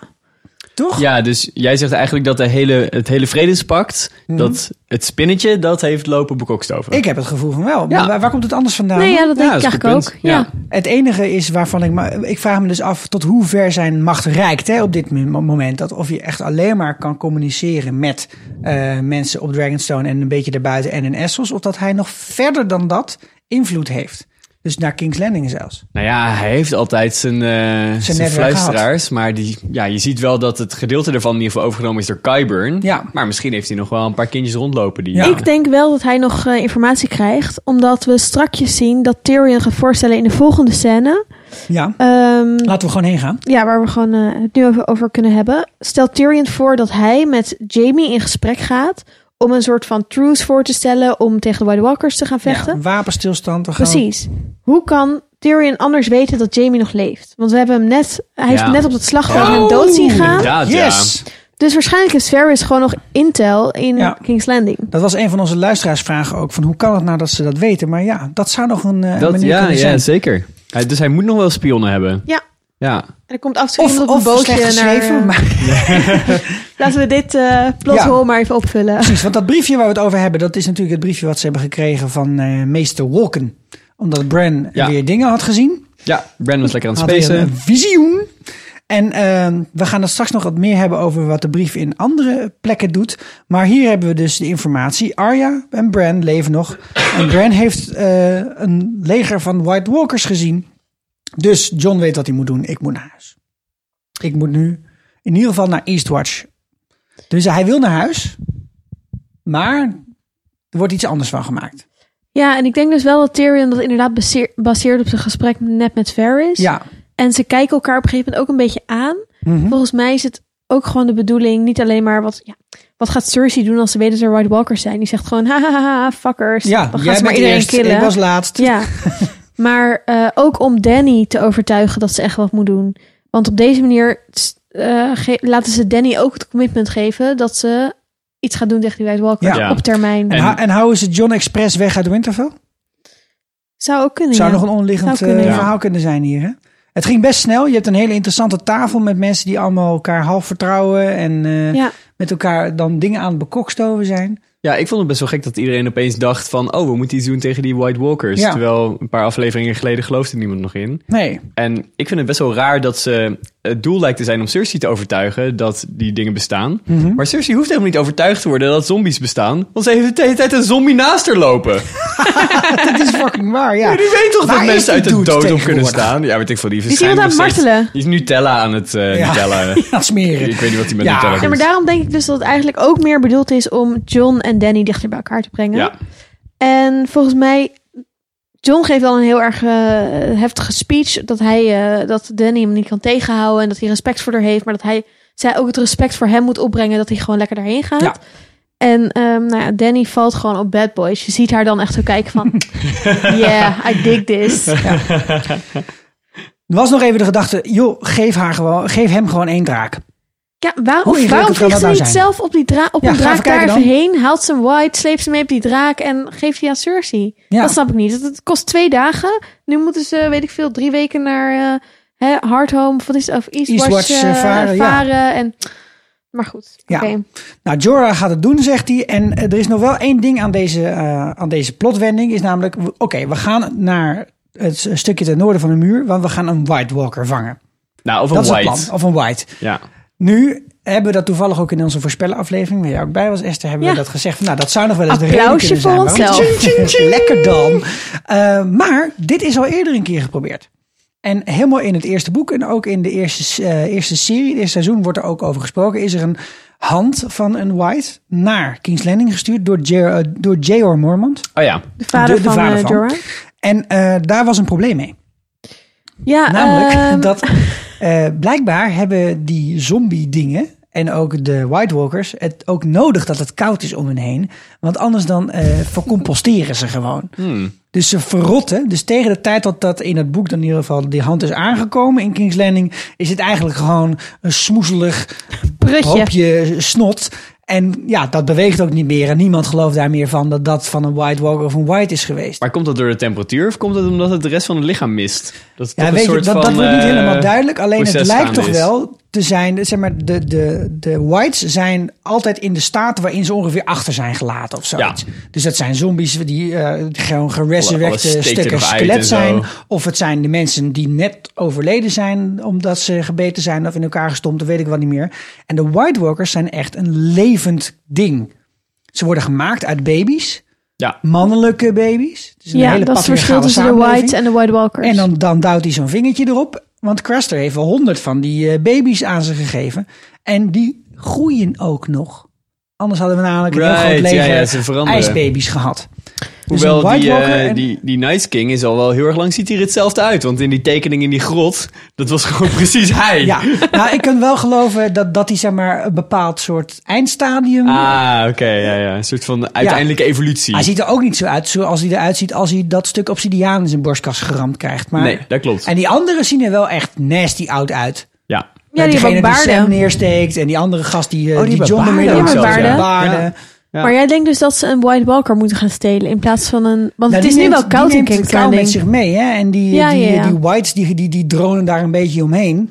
[SPEAKER 1] Toch?
[SPEAKER 4] Ja, dus jij zegt eigenlijk dat de hele, het hele vredespact,
[SPEAKER 5] Mhm.
[SPEAKER 4] dat het spinnetje, dat heeft lopen bekokstoven.
[SPEAKER 1] Ik heb het gevoel van wel.
[SPEAKER 4] Ja.
[SPEAKER 1] Maar waar, waar komt het anders vandaan?
[SPEAKER 5] nee, ja, dat denk
[SPEAKER 4] Ja,
[SPEAKER 5] ik
[SPEAKER 4] dat is een
[SPEAKER 5] eigenlijk
[SPEAKER 4] goed
[SPEAKER 5] ook.
[SPEAKER 4] punt.
[SPEAKER 5] Ja.
[SPEAKER 4] Ja.
[SPEAKER 1] Het enige is waarvan ik... me- Ik vraag me dus af tot hoe ver zijn macht reikt hè, op dit mo- moment. Dat of je echt alleen maar kan communiceren met eh, mensen op Dragonstone... en een beetje daarbuiten en in Essos. Of dat hij nog verder dan dat invloed heeft. Dus naar King's Landing zelfs.
[SPEAKER 4] Nou ja, hij heeft altijd zijn, eh, zijn,
[SPEAKER 1] netwerk
[SPEAKER 4] fluisteraars. Maar die, ja, je ziet wel dat het gedeelte ervan in ieder geval overgenomen is door Kyburn.
[SPEAKER 1] Ja.
[SPEAKER 4] Maar misschien heeft hij nog wel een paar kindjes rondlopen. Die,
[SPEAKER 1] Ja.
[SPEAKER 5] Ik denk wel dat hij nog eh, informatie krijgt. Omdat we strakjes zien dat Tyrion gaat voorstellen in de volgende scène.
[SPEAKER 1] Ja,
[SPEAKER 5] Ehm,
[SPEAKER 1] laten we gewoon heen gaan.
[SPEAKER 5] ja, waar we gewoon eh, het nu over, over kunnen hebben. Stelt Tyrion voor dat hij met Jamie in gesprek gaat. Om een soort van truce voor te stellen. Om tegen de White Walkers te gaan vechten.
[SPEAKER 1] Ja, een wapenstilstand. we gaan-
[SPEAKER 5] Precies. Hoe kan Tyrion anders weten dat Jamie nog leeft? Want we hebben hem net, hij heeft
[SPEAKER 4] Ja.
[SPEAKER 5] hem net op het slagveld
[SPEAKER 1] Oh.
[SPEAKER 5] hem dood zien gaan.
[SPEAKER 4] Inderdaad,
[SPEAKER 1] Yes!
[SPEAKER 5] Dus waarschijnlijk heeft Ferris gewoon nog intel in
[SPEAKER 1] Ja.
[SPEAKER 5] King's Landing.
[SPEAKER 1] Dat was een van onze luisteraarsvragen ook. Van hoe kan het nou dat ze dat weten? Maar ja, dat zou nog een eh
[SPEAKER 4] ja. Dat,
[SPEAKER 1] manier
[SPEAKER 4] ja,
[SPEAKER 1] kunnen
[SPEAKER 4] ja,
[SPEAKER 1] zijn.
[SPEAKER 4] zeker. Hij- dus hij moet nog wel spionnen hebben.
[SPEAKER 5] Ja.
[SPEAKER 4] Ja.
[SPEAKER 5] En er komt af en toe
[SPEAKER 1] Of,
[SPEAKER 5] iemand op een
[SPEAKER 1] of
[SPEAKER 5] bootje
[SPEAKER 1] slecht
[SPEAKER 5] naar... eh,
[SPEAKER 1] geschreven. maar-
[SPEAKER 5] Laten we dit eh plot
[SPEAKER 1] Ja.
[SPEAKER 5] hole maar even opvullen.
[SPEAKER 1] Precies, want dat briefje waar we het over hebben, dat is natuurlijk het briefje wat ze hebben gekregen van eh, meester Walken. Omdat Bran
[SPEAKER 4] Ja.
[SPEAKER 1] weer dingen had gezien.
[SPEAKER 4] Ja, Brandon was lekker aan het
[SPEAKER 1] Had weer een eh,
[SPEAKER 4] spacen.
[SPEAKER 1] visioen. En ehm, we gaan het straks nog wat meer hebben over wat de brief in andere plekken doet. Maar hier hebben we dus de informatie. Arya en Bran leven nog. En Bran heeft eh, een leger van White Walkers gezien. Dus John weet wat hij moet doen. Ik moet naar huis. Ik moet nu in ieder geval naar Eastwatch. Dus hij wil naar huis. Maar er wordt iets anders van gemaakt.
[SPEAKER 5] Ja, en ik denk dus wel dat Tyrion dat inderdaad baseer- baseert op zijn gesprek net met Ferris.
[SPEAKER 1] Ja,
[SPEAKER 5] En ze kijken elkaar op een gegeven moment ook een beetje aan.
[SPEAKER 1] Mhm.
[SPEAKER 5] Volgens mij is het ook gewoon de bedoeling, niet alleen maar wat, ja, wat gaat Cersei doen als ze weet dat er White Walkers zijn. Die zegt gewoon, ha ha, ha ha, fuckers.
[SPEAKER 1] ja
[SPEAKER 5] Dan gaan
[SPEAKER 1] jij
[SPEAKER 5] ze maar
[SPEAKER 1] bent
[SPEAKER 5] iedereen
[SPEAKER 1] eerst.
[SPEAKER 5] killen.
[SPEAKER 1] Ik was laatst.
[SPEAKER 5] Ja, maar eh, ook om Danny te overtuigen dat ze echt wat moet doen. Want op deze manier s- eh, ge- laten ze Danny ook het commitment geven dat ze iets gaat doen tegen die White Walkers
[SPEAKER 4] Ja.
[SPEAKER 5] op termijn.
[SPEAKER 1] En,
[SPEAKER 4] En-
[SPEAKER 1] hou- en houden ze John Express weg uit Winterfell?
[SPEAKER 5] Zou ook kunnen.
[SPEAKER 1] Zou
[SPEAKER 5] ja.
[SPEAKER 1] nog een onliggend
[SPEAKER 5] Zou kunnen,
[SPEAKER 1] eh,
[SPEAKER 5] ja.
[SPEAKER 1] verhaal kunnen zijn hier. Hè? Het ging best snel. Je hebt een hele interessante tafel met mensen die allemaal elkaar half vertrouwen. En eh,
[SPEAKER 5] Ja.
[SPEAKER 1] met elkaar dan dingen aan het bekokstoven zijn.
[SPEAKER 4] Ja, ik vond het best wel gek dat iedereen opeens dacht van... oh, we moeten iets doen tegen die White Walkers.
[SPEAKER 1] Ja.
[SPEAKER 4] Terwijl een paar afleveringen geleden geloofde niemand nog in.
[SPEAKER 1] Nee.
[SPEAKER 4] En ik vind het best wel raar dat ze het doel lijkt te zijn om Cersei te overtuigen dat die dingen bestaan.
[SPEAKER 1] Mhm.
[SPEAKER 4] Maar Cersei hoeft helemaal niet overtuigd te worden dat zombies bestaan. Want ze heeft de hele tijd een zombie naast haar lopen.
[SPEAKER 1] Dat is fucking waar, ja.
[SPEAKER 4] Die weet toch
[SPEAKER 1] Waar
[SPEAKER 4] dat
[SPEAKER 1] is
[SPEAKER 4] mensen uit
[SPEAKER 1] die
[SPEAKER 4] de
[SPEAKER 1] dude
[SPEAKER 4] dood op kunnen
[SPEAKER 1] tegenwoordig?
[SPEAKER 4] staan? Ja, weet ik veel. Die
[SPEAKER 5] Is iemand aan het martelen?
[SPEAKER 4] Die is Nutella aan het eh,
[SPEAKER 1] Ja.
[SPEAKER 4] Nutella.
[SPEAKER 1] Ja, smeren.
[SPEAKER 4] Ik weet niet wat hij met
[SPEAKER 1] Ja.
[SPEAKER 4] Nutella doet.
[SPEAKER 5] Ja, maar daarom denk ik dus dat het eigenlijk ook meer bedoeld is om John en Danny dichter bij elkaar te brengen.
[SPEAKER 4] Ja.
[SPEAKER 5] En volgens mij, John geeft dan een heel erg eh, heftige speech dat hij eh, dat Danny hem niet kan tegenhouden en dat hij respect voor haar heeft, maar dat hij zij ook het respect voor hem moet opbrengen dat hij gewoon lekker daarheen gaat.
[SPEAKER 1] Ja.
[SPEAKER 5] En ehm, nou ja, Danny valt gewoon op bad boys. Je ziet haar dan echt zo kijken van, yeah, I dig this.
[SPEAKER 1] Er was nog even de gedachte, joh, geef, haar gewoon, geef hem gewoon één draak.
[SPEAKER 5] Ja,
[SPEAKER 1] Hoe
[SPEAKER 5] waarom,
[SPEAKER 1] ingewikkeld kan
[SPEAKER 5] waarom vliegt
[SPEAKER 1] dat
[SPEAKER 5] ze
[SPEAKER 1] nou
[SPEAKER 5] niet
[SPEAKER 1] zijn?
[SPEAKER 5] zelf op die dra op
[SPEAKER 1] Ja,
[SPEAKER 5] een
[SPEAKER 1] ga
[SPEAKER 5] draak
[SPEAKER 1] even kijken
[SPEAKER 5] daar even
[SPEAKER 1] dan.
[SPEAKER 5] heen? Haalt ze hem white, sleept ze mee op die draak en geeft die aan Cersei.
[SPEAKER 1] Ja.
[SPEAKER 5] Dat snap ik niet. Het, het kost twee dagen. Nu moeten ze, weet ik veel, drie weken naar eh hè, Hardhome of, wat is het, of Eastwatch,
[SPEAKER 1] Eastwatch, eh,
[SPEAKER 5] eh,
[SPEAKER 1] varen, ja.
[SPEAKER 5] en, maar goed,
[SPEAKER 1] Ja.
[SPEAKER 5] oké.
[SPEAKER 1] Nou, Jorah gaat het doen, zegt hij. En eh, er is nog wel één ding aan deze, eh, aan deze plotwending. Is namelijk, w- oké, we gaan naar het s- stukje ten noorden van de muur. Want we gaan een White Walker vangen.
[SPEAKER 4] Nou, of
[SPEAKER 1] dat
[SPEAKER 4] een
[SPEAKER 1] is het
[SPEAKER 4] white.
[SPEAKER 1] plan. Of een White.
[SPEAKER 4] Ja.
[SPEAKER 1] Nu hebben we dat toevallig ook in onze voorspelaflevering, waar jij ook bij was, Esther, hebben we
[SPEAKER 5] Ja.
[SPEAKER 1] dat gezegd. Van, nou, dat zou nog wel eens de reden
[SPEAKER 5] Applausje
[SPEAKER 1] kunnen zijn.
[SPEAKER 5] voor
[SPEAKER 1] waarom-
[SPEAKER 5] onszelf.
[SPEAKER 1] Lekker dan. Eh, maar dit is al eerder een keer geprobeerd. En helemaal in het eerste boek en ook in de eerste, eh, eerste serie, het eerste seizoen, wordt er ook over gesproken. Is er een hand van een White naar King's Landing gestuurd door J- eh, door J.R. Mormont.
[SPEAKER 4] Oh ja.
[SPEAKER 5] De vader
[SPEAKER 1] De- de
[SPEAKER 5] van,
[SPEAKER 1] vader
[SPEAKER 5] eh,
[SPEAKER 1] van.
[SPEAKER 5] Jorah.
[SPEAKER 1] En eh, daar was een probleem mee.
[SPEAKER 5] Ja,
[SPEAKER 1] Namelijk
[SPEAKER 5] ehm,
[SPEAKER 1] dat eh, blijkbaar hebben die zombie-dingen en ook de White Walkers het ook nodig dat het koud is om hen heen. Want anders dan eh, vercomposteren ze gewoon. Dus ze verrotten. Dus tegen de tijd dat dat in het boek dan in ieder geval die hand is aangekomen in King's Landing, is het eigenlijk gewoon een smoezelig
[SPEAKER 5] Prutje.
[SPEAKER 1] hoopje snot. En ja, dat beweegt ook niet meer. En niemand gelooft daar meer van dat dat van een White Walker of een White is geweest.
[SPEAKER 4] Maar komt dat door de temperatuur of komt dat omdat het de rest van het lichaam mist? Dat is
[SPEAKER 1] Ja,
[SPEAKER 4] toch
[SPEAKER 1] weet
[SPEAKER 4] een
[SPEAKER 1] je,
[SPEAKER 4] soort
[SPEAKER 1] dat, dat
[SPEAKER 4] van,
[SPEAKER 1] wordt niet
[SPEAKER 4] eh,
[SPEAKER 1] helemaal duidelijk. Alleen het
[SPEAKER 4] proces
[SPEAKER 1] lijkt toch
[SPEAKER 4] gaande is.
[SPEAKER 1] wel te zijn. Zeg maar, de, de, de whites zijn altijd in de staat waarin ze ongeveer achter zijn gelaten of zoiets.
[SPEAKER 4] Ja.
[SPEAKER 1] Dus dat zijn zombies die eh, gewoon
[SPEAKER 4] Alles steekt
[SPEAKER 1] geresurrecte
[SPEAKER 4] er
[SPEAKER 1] stukken
[SPEAKER 4] nog uit en
[SPEAKER 1] skelet
[SPEAKER 4] zo.
[SPEAKER 1] zijn. Of het zijn de mensen die net overleden zijn omdat ze gebeten zijn of in elkaar gestompt, dat weet ik wel niet meer. En de White Walkers zijn echt een levend ding. Ze worden gemaakt uit baby's,
[SPEAKER 4] Ja.
[SPEAKER 1] mannelijke baby's. Het is een
[SPEAKER 5] ja,
[SPEAKER 1] hele
[SPEAKER 5] dat is het verschil
[SPEAKER 1] patriarchale
[SPEAKER 5] tussen de
[SPEAKER 1] samenleving.
[SPEAKER 5] Whites en de White Walkers.
[SPEAKER 1] En dan, dan duwt hij zo'n vingertje erop. Want Craster heeft wel honderd van die eh, baby's aan ze gegeven. En die groeien ook nog. Anders hadden we namelijk een heel groot
[SPEAKER 4] Right, ja,
[SPEAKER 1] leger
[SPEAKER 4] ja, ze veranderen.
[SPEAKER 1] ijsbaby's gehad. Dus
[SPEAKER 4] Hoewel
[SPEAKER 1] een White
[SPEAKER 4] die, eh,
[SPEAKER 1] Walker en-
[SPEAKER 4] die, die Night King is al wel heel erg lang, ziet hij er hetzelfde uit. Want in die tekening in die grot, dat was gewoon precies hij.
[SPEAKER 1] Ja, nou, ik kan wel geloven dat, dat hij zeg maar, een bepaald soort eindstadium...
[SPEAKER 4] Ah, oké, ja, ja. Een soort van uiteindelijke evolutie.
[SPEAKER 1] Hij ziet er ook niet zo uit zoals hij eruit ziet als hij dat stuk obsidiaan in zijn borstkas geramd krijgt. Maar,
[SPEAKER 4] Nee, dat klopt.
[SPEAKER 1] En die anderen zien er wel echt nasty oud uit.
[SPEAKER 4] Ja.
[SPEAKER 5] ja, die
[SPEAKER 1] Degene
[SPEAKER 5] hebben
[SPEAKER 1] die Sam
[SPEAKER 5] baarden.
[SPEAKER 1] neersteekt en die andere gast die, eh,
[SPEAKER 4] Oh, die
[SPEAKER 1] die
[SPEAKER 4] hebben
[SPEAKER 1] John de
[SPEAKER 4] baarden
[SPEAKER 1] Middel
[SPEAKER 5] ook zelfs, ja.
[SPEAKER 1] baarden.
[SPEAKER 4] Ja. Ja.
[SPEAKER 5] Maar jij denkt dus dat ze een White Walker moeten gaan stelen in plaats van een... Want
[SPEAKER 1] Nou,
[SPEAKER 5] het is
[SPEAKER 1] die
[SPEAKER 5] nu
[SPEAKER 1] neemt-
[SPEAKER 5] wel koud
[SPEAKER 1] die
[SPEAKER 5] in
[SPEAKER 1] neemt
[SPEAKER 5] King's
[SPEAKER 1] het kou met
[SPEAKER 5] Landing.
[SPEAKER 1] zich mee, hè? En die,
[SPEAKER 5] Ja,
[SPEAKER 1] die,
[SPEAKER 5] ja, ja.
[SPEAKER 1] die whites, die, die, die dronen daar een beetje omheen.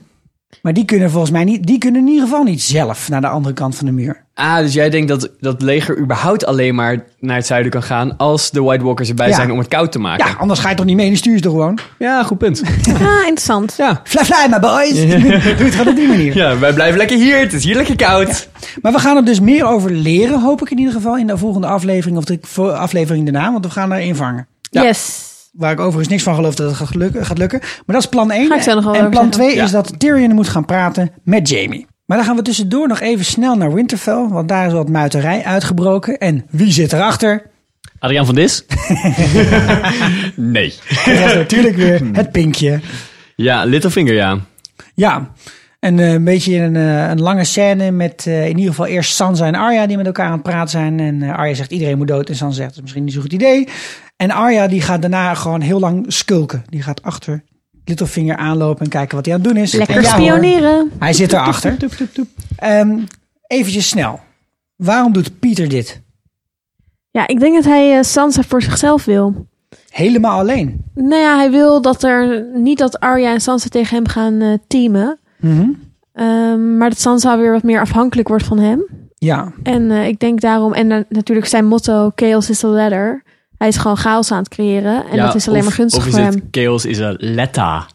[SPEAKER 1] Maar die kunnen volgens mij niet, die kunnen in ieder geval niet zelf naar de andere kant van de muur.
[SPEAKER 4] Ah, dus jij denkt dat dat leger überhaupt alleen maar naar het zuiden kan gaan als de White Walkers erbij
[SPEAKER 1] Ja.
[SPEAKER 4] zijn om het koud te maken?
[SPEAKER 1] Ja, anders ga je toch niet mee in de stuurstoel gewoon.
[SPEAKER 4] Ja, goed punt.
[SPEAKER 5] Ah, interessant.
[SPEAKER 4] Ja.
[SPEAKER 1] Fly, fly, my boys! Doe het gewoon op die manier.
[SPEAKER 4] ja, wij blijven lekker hier. Het is hier lekker koud.
[SPEAKER 1] Maar we gaan er dus meer over leren, hoop ik in ieder geval, in de volgende aflevering of de vo- aflevering daarna. Want we gaan er vangen.
[SPEAKER 4] Ja.
[SPEAKER 5] Yes.
[SPEAKER 1] Waar ik overigens niks van geloof dat het gaat lukken. Gaat lukken. Maar dat is plan 1.
[SPEAKER 5] Ga ik zo nog wel
[SPEAKER 1] en
[SPEAKER 5] over
[SPEAKER 1] plan
[SPEAKER 5] zeggen.
[SPEAKER 1] 2
[SPEAKER 4] Ja.
[SPEAKER 1] is dat Tyrion moet gaan praten met Jamie. Maar dan gaan we tussendoor nog even snel naar Winterfell. Want daar is wat muiterij uitgebroken. En wie zit erachter?
[SPEAKER 4] Adriaan van Dis? nee.
[SPEAKER 1] Dat is natuurlijk weer het pinkje.
[SPEAKER 4] Ja, Littlefinger, ja.
[SPEAKER 1] Ja, en eh, een beetje een, eh, een lange scène met eh, in ieder geval eerst Sansa en Arya die met elkaar aan het praten zijn. En eh, Arya zegt iedereen moet dood en Sansa zegt dat is misschien niet zo'n goed idee. En Arya die gaat daarna gewoon heel lang skulken. Die gaat achter Littlefinger aanlopen en kijken wat hij aan het doen is.
[SPEAKER 5] Lekker
[SPEAKER 1] En ja hoor,
[SPEAKER 5] spioneren.
[SPEAKER 1] hij zit erachter. Ehm eventjes snel. Waarom doet Pieter dit?
[SPEAKER 5] Ja, ik denk dat hij eh, Sansa voor zichzelf wil.
[SPEAKER 1] Helemaal alleen.
[SPEAKER 5] Nou ja, hij wil dat er niet dat Arya en Sansa tegen hem gaan eh, teamen.
[SPEAKER 4] Mhm.
[SPEAKER 5] Ehm, maar dat Sansa weer wat meer afhankelijk wordt van hem.
[SPEAKER 1] Ja,
[SPEAKER 5] En eh, ik denk daarom, en dan natuurlijk zijn motto: Chaos is the ladder. Hij is gewoon chaos aan het creëren. En
[SPEAKER 4] Ja,
[SPEAKER 5] dat is alleen
[SPEAKER 4] of-
[SPEAKER 5] maar gunstig
[SPEAKER 4] Of is
[SPEAKER 5] voor
[SPEAKER 4] het
[SPEAKER 5] hem.
[SPEAKER 4] chaos is een letta.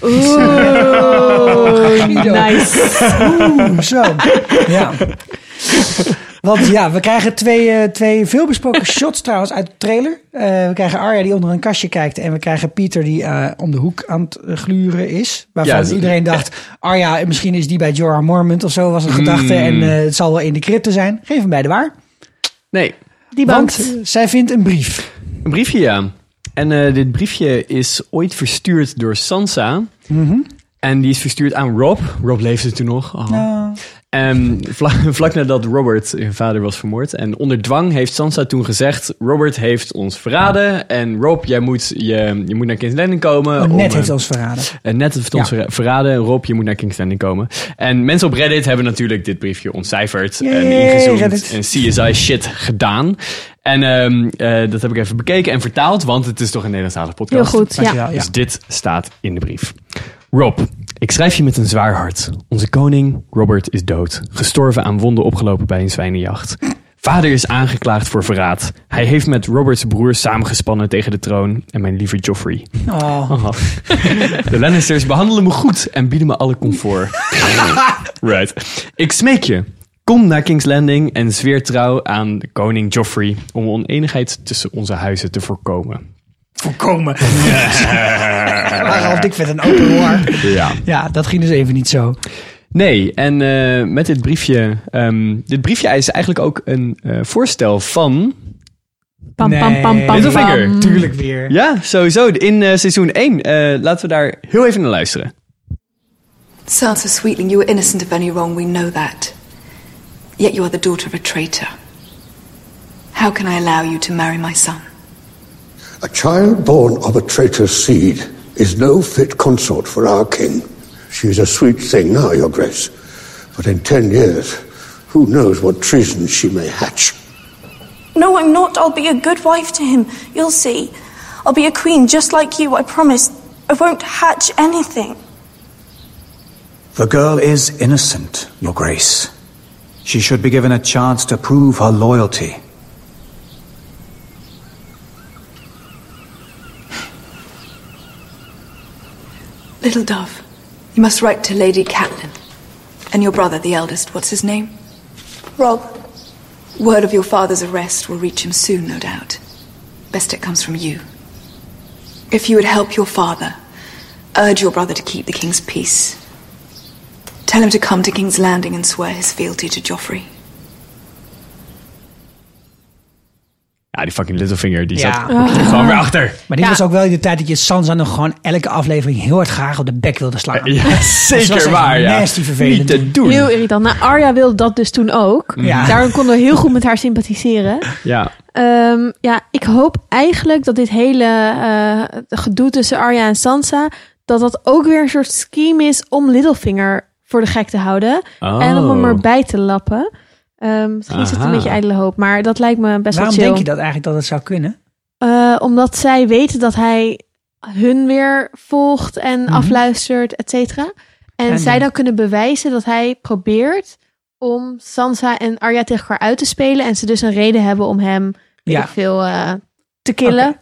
[SPEAKER 5] Oeh,
[SPEAKER 1] Guido.
[SPEAKER 5] nice.
[SPEAKER 1] Oeh, zo. Ja. Want ja, we krijgen twee, eh, twee veelbesproken shots trouwens uit de trailer. Eh, we krijgen Arya die onder een kastje kijkt. En we krijgen Pieter die eh, om de hoek aan het eh, gluren is. Waarvan
[SPEAKER 4] Ja, ze-
[SPEAKER 1] iedereen dacht, Arya, misschien is die bij Jorah Mormont of zo was een gedachte. En
[SPEAKER 4] Hmm.
[SPEAKER 1] eh, het zal wel in de crypte zijn. Geen van beide waar.
[SPEAKER 4] Nee,
[SPEAKER 5] Die
[SPEAKER 1] Want
[SPEAKER 5] bankt.
[SPEAKER 1] eh, zij vindt een brief.
[SPEAKER 4] een briefje, ja. En eh, dit briefje is ooit verstuurd door Sansa.
[SPEAKER 1] Mhm.
[SPEAKER 4] En die is verstuurd aan Rob. Rob leefde toen nog. Oh. En vla- vlak nadat Robert, hun vader, was vermoord. En onder dwang heeft Sansa toen gezegd... Robert heeft ons verraden. En Rob, jij moet, je, je moet naar King's Landing komen.
[SPEAKER 1] Oh,
[SPEAKER 4] om,
[SPEAKER 1] net
[SPEAKER 4] eh,
[SPEAKER 1] heeft ons verraden.
[SPEAKER 4] En net heeft ons ver- verraden. Rob, je moet naar King's Landing komen. En mensen op Reddit hebben natuurlijk dit briefje ontcijferd. en
[SPEAKER 1] Yay,
[SPEAKER 4] ingezoomd
[SPEAKER 1] Reddit.
[SPEAKER 4] en CSI shit gedaan. En ehm, eh, dat heb ik even bekeken en vertaald, want het is toch een Nederlandstalige
[SPEAKER 5] Heel
[SPEAKER 4] podcast.
[SPEAKER 5] goed, ja.
[SPEAKER 1] Dankjewel, ja.
[SPEAKER 4] Dus dit staat in de brief. Rob, ik schrijf je met een zwaar hart. Onze koning, Robert, is dood. Gestorven aan wonden opgelopen bij een zwijnenjacht. Vader is aangeklaagd voor verraad. Hij heeft met Roberts broer samengespannen tegen de troon en mijn lieve Joffrey.
[SPEAKER 1] Oh.
[SPEAKER 4] Oh. De Lannisters behandelen me goed en bieden me alle comfort. right. Ik smeek je. Kom naar King's Landing en zweer trouw aan de koning Joffrey om oneenigheid tussen onze huizen te voorkomen.
[SPEAKER 1] voorkomen. Waarom ik vet een open war.
[SPEAKER 4] Ja.
[SPEAKER 1] Ja, dat ging dus even niet zo.
[SPEAKER 4] Nee, en eh, met dit briefje. ehm, dit briefje is eigenlijk ook een eh, voorstel van.
[SPEAKER 5] Pam, pam, pam, pam,
[SPEAKER 4] Middelvinger.
[SPEAKER 5] pam.
[SPEAKER 1] Tuurlijk weer.
[SPEAKER 4] Ja, sowieso. In eh, seizoen 1. laten we daar heel even naar luisteren.
[SPEAKER 6] Sansa Sweetling, you were innocent of any wrong, we know that. Yet you are the daughter of a traitor. How can I allow you to marry my son?
[SPEAKER 7] A child born of a traitor's seed is no fit consort for our king. She is a sweet thing now, Your Grace, but in ten years, who knows what treason she may hatch.
[SPEAKER 8] No, I'm not. I'll be a good wife to him. You'll see. I'll be a queen just like you, I promise. I won't hatch anything.
[SPEAKER 9] The girl is innocent, Your Grace. She should be given a chance to prove her loyalty.
[SPEAKER 6] Little dove, you must write to Lady Catelyn. And your brother, the eldest, what's his name?
[SPEAKER 8] Rob,
[SPEAKER 6] Word of your father's arrest will reach him soon, no doubt. Best it comes from you. If you would help your father, urge your brother to keep the king's peace. Tell him to come to King's Landing and swear his fealty to Joffrey.
[SPEAKER 4] Ja, die fucking Littlefinger, die
[SPEAKER 1] Ja.
[SPEAKER 4] zat er gewoon weer achter.
[SPEAKER 1] Maar dit
[SPEAKER 5] Ja.
[SPEAKER 1] was ook wel in de tijd dat je Sansa nog gewoon elke aflevering heel hard graag op de bek wilde slaan.
[SPEAKER 4] Ja,
[SPEAKER 1] was
[SPEAKER 4] zeker
[SPEAKER 1] echt
[SPEAKER 4] waar, ja.
[SPEAKER 1] nasty vervelend.
[SPEAKER 4] Niet te doen.
[SPEAKER 5] Heel irritant. Nou, Arya wilde dat dus toen ook.
[SPEAKER 1] Ja.
[SPEAKER 5] Daarom konden we heel goed met haar sympathiseren.
[SPEAKER 4] Ja.
[SPEAKER 5] Ehm, ja, ik hoop eigenlijk dat dit hele eh, gedoe tussen Arya en Sansa... dat dat ook weer een soort scheme is om Littlefinger voor de gek te houden.
[SPEAKER 4] Oh.
[SPEAKER 5] En om hem erbij te lappen. Ehm, misschien is het een
[SPEAKER 4] Aha.
[SPEAKER 5] beetje ijdele hoop, maar dat lijkt me best
[SPEAKER 1] Waarom
[SPEAKER 5] wel chill.
[SPEAKER 1] denk je dat eigenlijk dat het zou kunnen?
[SPEAKER 5] Eh, omdat zij weten dat hij hun weer volgt en afluistert, et cetera. En
[SPEAKER 1] Mhm. Ja,
[SPEAKER 5] zij
[SPEAKER 1] ja.
[SPEAKER 5] dan kunnen bewijzen dat hij probeert om Sansa en Arya tegen elkaar uit te spelen. En ze dus een reden hebben om hem weet
[SPEAKER 1] Ja.
[SPEAKER 5] ik veel eh, te killen.
[SPEAKER 4] Oh,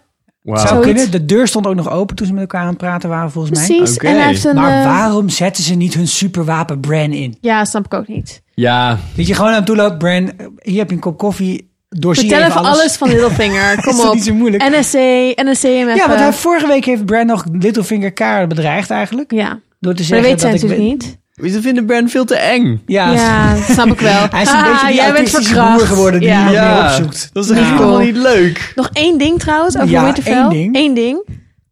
[SPEAKER 4] Wauw.
[SPEAKER 1] Zou
[SPEAKER 5] Zoiets.
[SPEAKER 1] kunnen. De deur stond ook nog open toen ze met elkaar aan het praten waren, volgens mij.
[SPEAKER 5] Precies.
[SPEAKER 4] Oké.
[SPEAKER 5] En hij heeft een...
[SPEAKER 1] Maar
[SPEAKER 5] eh,
[SPEAKER 1] waarom zetten ze niet hun superwapen Bran in?
[SPEAKER 5] Ja, snap ik ook niet.
[SPEAKER 4] Ja,
[SPEAKER 1] Dat je gewoon aan hem toe loopt, Bran, hier heb je een kop koffie, doorzie
[SPEAKER 5] Vertel even alles.
[SPEAKER 1] alles.
[SPEAKER 5] van Littlefinger. Kom
[SPEAKER 1] Is dat
[SPEAKER 5] op.
[SPEAKER 1] niet zo moeilijk?
[SPEAKER 5] NSC, NSCMF.
[SPEAKER 1] Ja, want hij, vorige week heeft Bran nog Littlefinger kaart bedreigd eigenlijk.
[SPEAKER 5] Ja, maar
[SPEAKER 1] Door te
[SPEAKER 5] dat
[SPEAKER 1] zeggen
[SPEAKER 5] weet zij
[SPEAKER 1] dat ik...
[SPEAKER 5] natuurlijk
[SPEAKER 1] we-
[SPEAKER 5] dus niet.
[SPEAKER 4] ze vinden Bran veel te eng.
[SPEAKER 1] Ja,
[SPEAKER 5] Ja, dat snap ik wel.
[SPEAKER 1] hij is een
[SPEAKER 5] Ah,
[SPEAKER 1] beetje die
[SPEAKER 5] jij bent
[SPEAKER 1] autistische
[SPEAKER 5] verkracht.
[SPEAKER 1] boer geworden die
[SPEAKER 5] Ja.
[SPEAKER 1] niemand meer
[SPEAKER 4] Ja.
[SPEAKER 1] opzoekt.
[SPEAKER 4] Dat is echt
[SPEAKER 5] Ja.
[SPEAKER 4] helemaal
[SPEAKER 5] Cool.
[SPEAKER 4] niet leuk.
[SPEAKER 5] Nog één ding trouwens over
[SPEAKER 1] Ja,
[SPEAKER 5] Winterfell.
[SPEAKER 1] één ding.
[SPEAKER 5] Eén ding.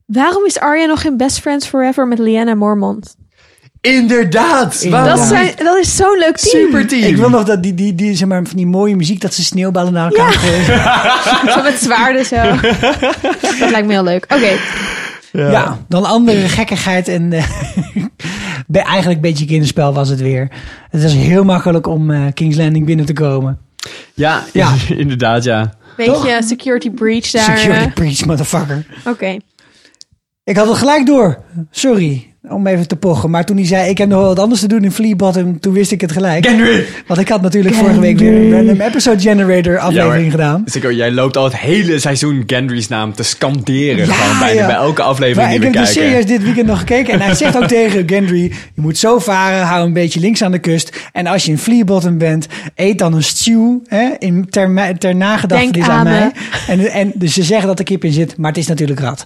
[SPEAKER 5] Waarom is Arya nog geen best friends forever met Lyanna Mormont?
[SPEAKER 4] Inderdaad.
[SPEAKER 1] Oh, Ja.
[SPEAKER 5] Dat,
[SPEAKER 4] Waarom?
[SPEAKER 5] zijn, dat is zo'n leuk team.
[SPEAKER 4] Super team.
[SPEAKER 1] Ik wil nog dat die, die, die, zeg maar, van die mooie muziek, dat ze sneeuwballen naar elkaar gooien.
[SPEAKER 5] Zo met zwaarden zo. dat lijkt me heel leuk. Oké.
[SPEAKER 1] Ja. dan andere gekkigheid en eh, be- eigenlijk een beetje kinderspel was het weer. Het is heel makkelijk om eh, King's Landing binnen te komen.
[SPEAKER 4] Ja,
[SPEAKER 1] Ja.
[SPEAKER 4] inderdaad, ja.
[SPEAKER 5] Beetje security breach daar.
[SPEAKER 1] Security
[SPEAKER 5] eh.
[SPEAKER 1] breach, motherfucker.
[SPEAKER 5] Oké. Nou,
[SPEAKER 1] Ik had het gelijk door. Sorry, om even te pochen. Maar toen hij zei, ik heb nog wel wat anders te doen in Flea Bottom, toen wist ik het gelijk. Want ik had natuurlijk vorige week weer een random episode generator aflevering
[SPEAKER 4] hoor.
[SPEAKER 1] gedaan.
[SPEAKER 4] Zeker, jij loopt al het hele seizoen Gendry's naam te scanderen.
[SPEAKER 1] Ja,
[SPEAKER 4] gewoon bijna
[SPEAKER 1] ja.
[SPEAKER 4] bij elke aflevering
[SPEAKER 1] Maar
[SPEAKER 4] die
[SPEAKER 1] ik
[SPEAKER 4] we
[SPEAKER 1] heb dus
[SPEAKER 4] kijken.
[SPEAKER 1] serieus dit weekend nog gekeken. En hij zegt ook tegen Gendry, je moet zo varen, hou een beetje links aan de kust. En als je in Fleabottom bent, eet dan een stew hè, in, ter, me- ter nagedachtenis
[SPEAKER 5] Denk
[SPEAKER 1] aan
[SPEAKER 5] aan
[SPEAKER 1] mij. En, en dus ze zeggen dat er kip in zit, maar het is natuurlijk rat.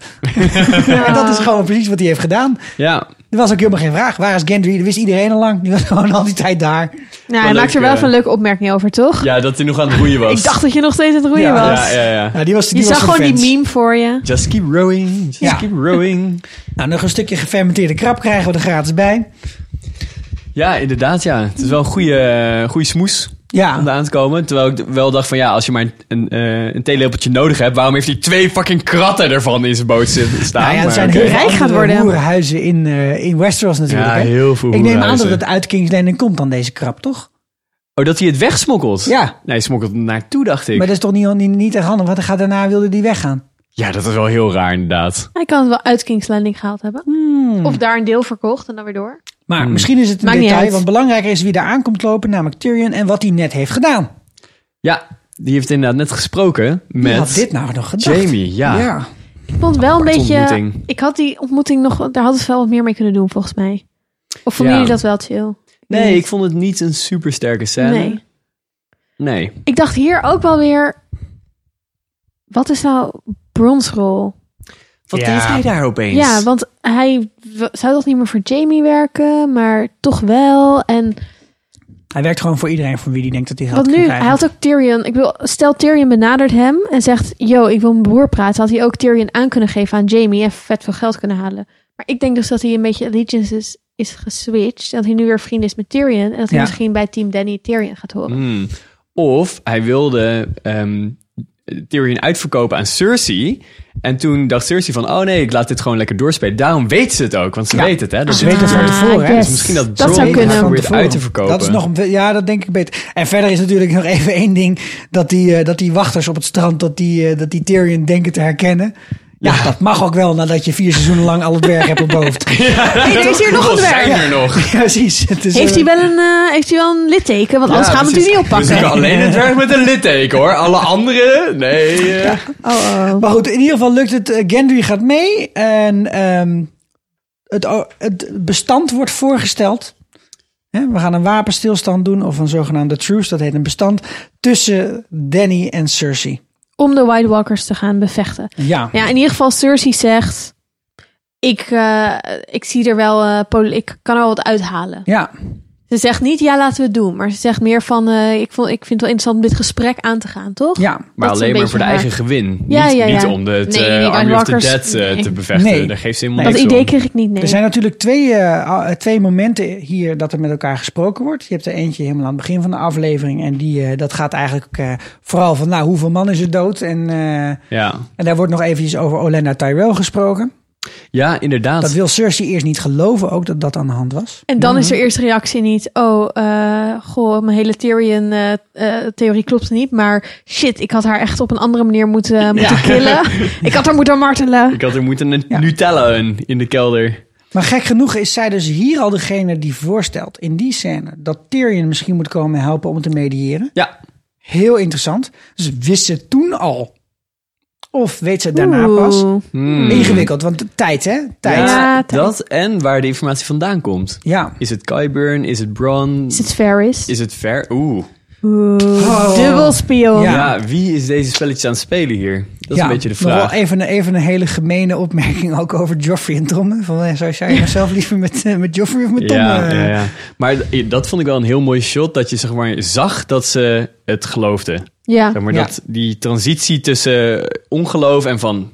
[SPEAKER 1] en dat is gewoon precies wat hij heeft gedaan.
[SPEAKER 4] Ja.
[SPEAKER 1] Er was ook helemaal geen vraag. Waar is Gendry? Dat wist iedereen al lang. Die was gewoon al die tijd daar.
[SPEAKER 5] Nou, hij
[SPEAKER 4] leuk,
[SPEAKER 5] maakt er wel
[SPEAKER 4] eh.
[SPEAKER 5] even een leuke opmerking over, toch?
[SPEAKER 4] ja, dat hij nog aan het roeien was.
[SPEAKER 5] Ik dacht dat je nog steeds aan het roeien
[SPEAKER 1] Ja.
[SPEAKER 5] was.
[SPEAKER 4] Ja, ja, ja.
[SPEAKER 1] Nou, die was, die
[SPEAKER 5] Je
[SPEAKER 1] was
[SPEAKER 5] zag gewoon
[SPEAKER 1] vervent.
[SPEAKER 5] die meme voor je.
[SPEAKER 4] Just keep rowing, just
[SPEAKER 1] Ja.
[SPEAKER 4] keep rowing.
[SPEAKER 1] Nou, nog een stukje gefermenteerde krab krijgen we er gratis bij.
[SPEAKER 4] Ja, inderdaad, ja. Het is wel een goede, eh, goede smoes
[SPEAKER 1] Ja.
[SPEAKER 4] om eraan te komen. Terwijl ik d- wel dacht van, ja, als je maar een, een, eh, een theelepeltje nodig hebt... waarom heeft hij twee fucking kratten ervan in zijn boot zitten staan?
[SPEAKER 1] Nou ja,
[SPEAKER 4] Maar
[SPEAKER 1] er zijn
[SPEAKER 4] oké.
[SPEAKER 1] heel
[SPEAKER 5] Rijk
[SPEAKER 1] veel
[SPEAKER 5] gaat
[SPEAKER 1] andere
[SPEAKER 5] worden.
[SPEAKER 1] hoerenhuizen in, eh, in Westeros natuurlijk.
[SPEAKER 4] Ja,
[SPEAKER 1] hè?
[SPEAKER 4] heel veel
[SPEAKER 1] Ik neem aan dat
[SPEAKER 4] hoerenhuizen.
[SPEAKER 1] het uit King's Landing komt dan deze krab, toch?
[SPEAKER 4] Oh, dat hij het wegsmokkelt?
[SPEAKER 1] Ja.
[SPEAKER 4] Nee, hij smokkelt hem naartoe, dacht ik.
[SPEAKER 1] Maar dat is toch niet, niet, niet echt handig, want dan gaat daarna wilde die weggaan.
[SPEAKER 4] Ja, dat is wel heel raar, inderdaad.
[SPEAKER 5] Hij kan het wel uit King's Landing gehaald hebben.
[SPEAKER 4] Hmm.
[SPEAKER 5] Of daar een deel verkocht en dan weer door.
[SPEAKER 1] Maar misschien is het een
[SPEAKER 5] Maakt niet
[SPEAKER 1] detail,
[SPEAKER 5] uit.
[SPEAKER 1] want belangrijker is wie daar aankomt lopen, namelijk Tyrion en wat hij net heeft gedaan.
[SPEAKER 4] Ja, die heeft inderdaad net gesproken
[SPEAKER 1] Wie had dit
[SPEAKER 4] met
[SPEAKER 1] nou nog gedacht?
[SPEAKER 4] Jamie. Ja.
[SPEAKER 1] Ja.
[SPEAKER 5] Ik vond wel een
[SPEAKER 4] Aparte
[SPEAKER 5] beetje.
[SPEAKER 4] ontmoeting.
[SPEAKER 5] Ik had die ontmoeting nog. Daar hadden ze wel wat meer mee kunnen doen, volgens mij. Of vonden
[SPEAKER 4] Ja.
[SPEAKER 5] jullie dat wel chill?
[SPEAKER 4] Nee, ik vond het niet een super sterke scène.
[SPEAKER 5] Nee.
[SPEAKER 4] Nee.
[SPEAKER 5] Ik dacht hier ook wel weer. Wat is nou Brons rol?
[SPEAKER 4] Wat deed hij daar opeens?
[SPEAKER 5] Ja, want hij w- zou toch niet meer voor Jamie werken, maar toch wel. En
[SPEAKER 1] Hij werkt gewoon voor iedereen van wie hij denkt dat hij
[SPEAKER 5] wat
[SPEAKER 1] geld kan
[SPEAKER 5] nu?
[SPEAKER 1] krijgen.
[SPEAKER 5] Hij had ook Tyrion. Ik wil, stel Tyrion benadert hem en zegt: Yo, ik wil mijn broer praten. Had hij ook Tyrion aan kunnen geven aan Jamie en vet veel geld kunnen halen. Maar ik denk dus dat hij een beetje allegiance is, is geswitcht. En dat hij nu weer vriend is met Tyrion. En dat hij
[SPEAKER 1] Ja.
[SPEAKER 5] misschien bij Team Danny Tyrion gaat horen.
[SPEAKER 4] Hmm. Of hij wilde ehm Tyrion uitverkopen aan Cersei. En toen dacht Cersei van, oh nee, ik laat dit gewoon lekker doorspelen. Daarom weet ze het ook, want ze
[SPEAKER 1] Ja.
[SPEAKER 4] weet het. Hè? Dat
[SPEAKER 1] Ze weet het van
[SPEAKER 5] Ah,
[SPEAKER 1] tevoren. hè?
[SPEAKER 5] yes.
[SPEAKER 1] Dus
[SPEAKER 4] misschien dat
[SPEAKER 5] Dat zou
[SPEAKER 4] Bron
[SPEAKER 5] kunnen.
[SPEAKER 4] probeert
[SPEAKER 1] Van
[SPEAKER 4] uit te
[SPEAKER 1] tevoren.
[SPEAKER 4] verkopen.
[SPEAKER 1] Dat is nog, een be- ja, dat denk ik beter. En verder is natuurlijk nog even één ding. Dat die, eh, dat die wachters op het strand, dat die, eh, dat die Tyrion denken te herkennen. Ja, dat mag ook wel nadat je vier seizoenen lang alle dwergen hebt onthoofd.
[SPEAKER 5] Hey, er is hier nog een
[SPEAKER 4] Hoeveel zijn
[SPEAKER 5] dwerg.
[SPEAKER 4] er nog?
[SPEAKER 1] Ja, precies. Het is,
[SPEAKER 5] Heeft
[SPEAKER 1] eh,
[SPEAKER 5] hij wel een, eh, heeft hij wel een litteken? Want anders
[SPEAKER 4] Ja,
[SPEAKER 5] gaan we het
[SPEAKER 4] precies.
[SPEAKER 5] natuurlijk niet
[SPEAKER 4] We zoeken
[SPEAKER 5] oppakken.
[SPEAKER 4] alleen een dwerg met een litteken hoor. Alle anderen? Nee. eh.
[SPEAKER 5] Oh, oh.
[SPEAKER 1] Maar goed, in ieder geval lukt het. Eh, Gendry gaat mee. En ehm, het, o- het bestand wordt voorgesteld. Hè, We gaan een wapenstilstand doen. Of een zogenaamde truce. Dat heet een bestand. Tussen Danny en Cersei.
[SPEAKER 5] Om de White Walkers te gaan bevechten.
[SPEAKER 1] Ja.
[SPEAKER 5] Ja, in ieder geval Cersei zegt... Ik, eh, ik zie er wel... eh, pol- ik kan er wel wat uithalen.
[SPEAKER 1] Ja.
[SPEAKER 5] Ze zegt niet, ja, laten we het doen. Maar ze zegt meer van... eh, ik, vond, ik vind het wel interessant om dit gesprek aan te gaan, toch?
[SPEAKER 1] ja.
[SPEAKER 4] Maar
[SPEAKER 5] Dat is
[SPEAKER 4] alleen
[SPEAKER 5] een
[SPEAKER 4] maar voor de
[SPEAKER 5] beetje
[SPEAKER 4] eigen gewin.
[SPEAKER 5] Ja,
[SPEAKER 4] niet,
[SPEAKER 5] ja, ja.
[SPEAKER 4] niet om de het,
[SPEAKER 5] Nee,
[SPEAKER 4] eh,
[SPEAKER 5] die
[SPEAKER 4] Army of the
[SPEAKER 5] White
[SPEAKER 4] Dead
[SPEAKER 5] Walkers,
[SPEAKER 4] eh,
[SPEAKER 5] nee.
[SPEAKER 4] te bevechten.
[SPEAKER 1] Nee.
[SPEAKER 4] Daar geeft ze helemaal
[SPEAKER 5] Dat
[SPEAKER 4] niks
[SPEAKER 5] idee
[SPEAKER 4] om.
[SPEAKER 5] kreeg ik niet, nee.
[SPEAKER 1] Er zijn natuurlijk twee, eh, a- twee momenten hier dat er met elkaar gesproken wordt. Je hebt er eentje helemaal aan het begin van de aflevering. En die, eh, dat gaat eigenlijk eh, vooral van, nou, hoeveel man is er dood? En, eh,
[SPEAKER 4] Ja.
[SPEAKER 1] en daar wordt nog eventjes over Olenna Tyrell gesproken.
[SPEAKER 4] ja, inderdaad.
[SPEAKER 1] Dat wil Cersei eerst niet geloven ook, dat dat aan de hand was.
[SPEAKER 5] En dan is haar eerste reactie niet, oh, eh, goh, mijn hele eh, Tyrion-theorie klopt niet. Maar shit, ik had haar echt op een andere manier moeten, eh, moeten killen. ik had haar moeten martelen.
[SPEAKER 4] Ik had er moeten een Nutella in, in de kelder.
[SPEAKER 1] Maar gek genoeg is zij dus hier al degene die voorstelt in die scène dat Tyrion misschien moet komen helpen om het te mediëren.
[SPEAKER 4] Ja.
[SPEAKER 1] Heel interessant. Dus wist ze toen al? Of weet ze het daarna pas?
[SPEAKER 5] Oeh.
[SPEAKER 1] Ingewikkeld, want tijd hè? Tijd. Ja.
[SPEAKER 5] Ja, tijd.
[SPEAKER 4] Hmm. dat en waar de informatie vandaan komt. Is het Qyburn? Is het Bron?
[SPEAKER 5] Is het Ferris?
[SPEAKER 4] Is het Ver? Oeh.
[SPEAKER 5] Oeh, Dubbel spion.
[SPEAKER 1] Ja.
[SPEAKER 4] Ja, wie is deze spelletjes aan het spelen hier? Dat is
[SPEAKER 1] Ja,
[SPEAKER 4] een beetje de
[SPEAKER 1] nog wel
[SPEAKER 4] vraag.
[SPEAKER 1] even, een- even een hele gemene opmerking ook over Joffrey en Tom. hè? Van, eh, zou jij nou zelf liever met, eh, met Joffrey of met Tom?
[SPEAKER 4] Ja,
[SPEAKER 1] eh?
[SPEAKER 4] ja, ja. Maar d- dat vond ik wel een heel mooi shot. Dat je zeg maar, zag dat ze het geloofde.
[SPEAKER 5] Ja.
[SPEAKER 4] Zeg maar,
[SPEAKER 1] Ja.
[SPEAKER 4] dat, die transitie tussen ongeloof en van...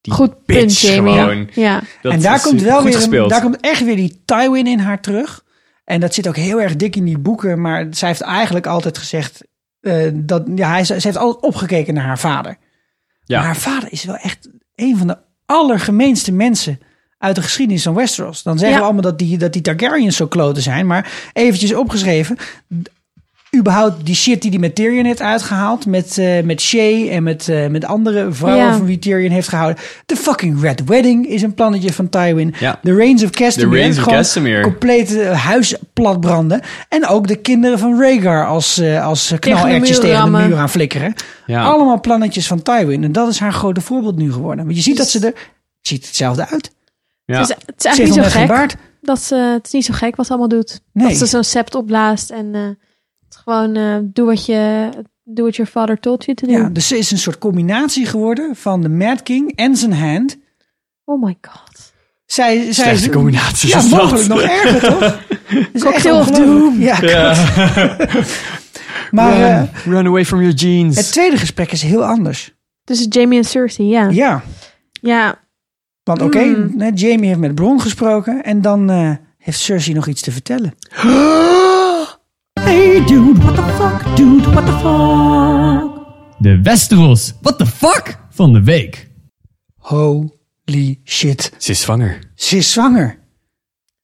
[SPEAKER 4] Die
[SPEAKER 5] Goed
[SPEAKER 4] bitch
[SPEAKER 5] punt, Jamie.
[SPEAKER 4] gewoon.
[SPEAKER 5] Ja. Ja.
[SPEAKER 4] Dat
[SPEAKER 1] en daar
[SPEAKER 4] is
[SPEAKER 1] komt wel
[SPEAKER 4] goed
[SPEAKER 1] weer een,
[SPEAKER 4] gespeeld.
[SPEAKER 1] daar komt echt weer die Tywin in haar terug. En dat zit ook heel erg dik in die boeken. Maar zij heeft eigenlijk altijd gezegd eh, dat ja, hij, ze heeft altijd opgekeken naar haar vader.
[SPEAKER 4] Ja.
[SPEAKER 1] Maar haar vader is wel echt een van de allergemeenste mensen uit de geschiedenis van Westeros. Dan zeggen
[SPEAKER 5] Ja.
[SPEAKER 1] we allemaal dat die, dat die Targaryens zo kloten zijn. Maar eventjes opgeschreven. d- Überhaupt die shit die die met Tyrion heeft uitgehaald. Met, eh, met Shay en met, eh, met andere vrouwen
[SPEAKER 5] Ja.
[SPEAKER 1] van wie Tyrion heeft gehouden. De fucking Red Wedding is een plannetje van Tywin.
[SPEAKER 4] Ja.
[SPEAKER 1] The Reigns of Castamere.
[SPEAKER 4] The Reigns of
[SPEAKER 1] Gewoon
[SPEAKER 4] Castamere.
[SPEAKER 1] Compleet eh, huis platbranden. En ook de kinderen van Rhaegar als, eh, als eh,
[SPEAKER 5] Tegen de
[SPEAKER 1] knalertjes
[SPEAKER 5] muur
[SPEAKER 1] tegen de
[SPEAKER 5] rammen.
[SPEAKER 1] muur aan flikkeren.
[SPEAKER 4] Ja.
[SPEAKER 1] Allemaal plannetjes van Tywin. En dat is haar grote voorbeeld nu geworden. Want je ziet dat ze er... het Ziet hetzelfde uit.
[SPEAKER 4] Ja.
[SPEAKER 5] Dus het is
[SPEAKER 1] Ze heeft
[SPEAKER 5] eigenlijk
[SPEAKER 1] nog
[SPEAKER 5] niet
[SPEAKER 1] net
[SPEAKER 5] zo
[SPEAKER 1] geen
[SPEAKER 5] gek.
[SPEAKER 1] baard.
[SPEAKER 5] Dat ze, het is niet zo gek wat ze allemaal doet.
[SPEAKER 1] Nee.
[SPEAKER 5] Dat ze zo'n sept opblaast en eh, het gewoon eh, doe wat je... doe what your father told you te doen.
[SPEAKER 1] Ja, dus ze is een soort combinatie geworden van de Mad King en zijn hand.
[SPEAKER 5] Oh my god.
[SPEAKER 1] Zij, zij
[SPEAKER 4] Slechte combinatie
[SPEAKER 1] Ja,
[SPEAKER 4] is dat.
[SPEAKER 1] mogelijk nog erger, toch? Dat is echt
[SPEAKER 5] Cocktail of
[SPEAKER 1] ongelooflijk.
[SPEAKER 5] doom.
[SPEAKER 1] Ja, klopt. maar eh,
[SPEAKER 4] Run away from your jeans.
[SPEAKER 1] het tweede gesprek is heel anders.
[SPEAKER 5] Dus Jamie en Cersei, ja. Ja,
[SPEAKER 1] Ja, want oké,
[SPEAKER 5] Hmm.
[SPEAKER 1] nee, Jamie heeft met Bron gesproken en dan eh, heeft Cersei nog iets te vertellen. Hey dude, what the fuck, dude, what the fuck?
[SPEAKER 2] De Westeros, what the fuck, van de week.
[SPEAKER 1] Holy shit,
[SPEAKER 4] Ze is zwanger.
[SPEAKER 1] ze is zwanger.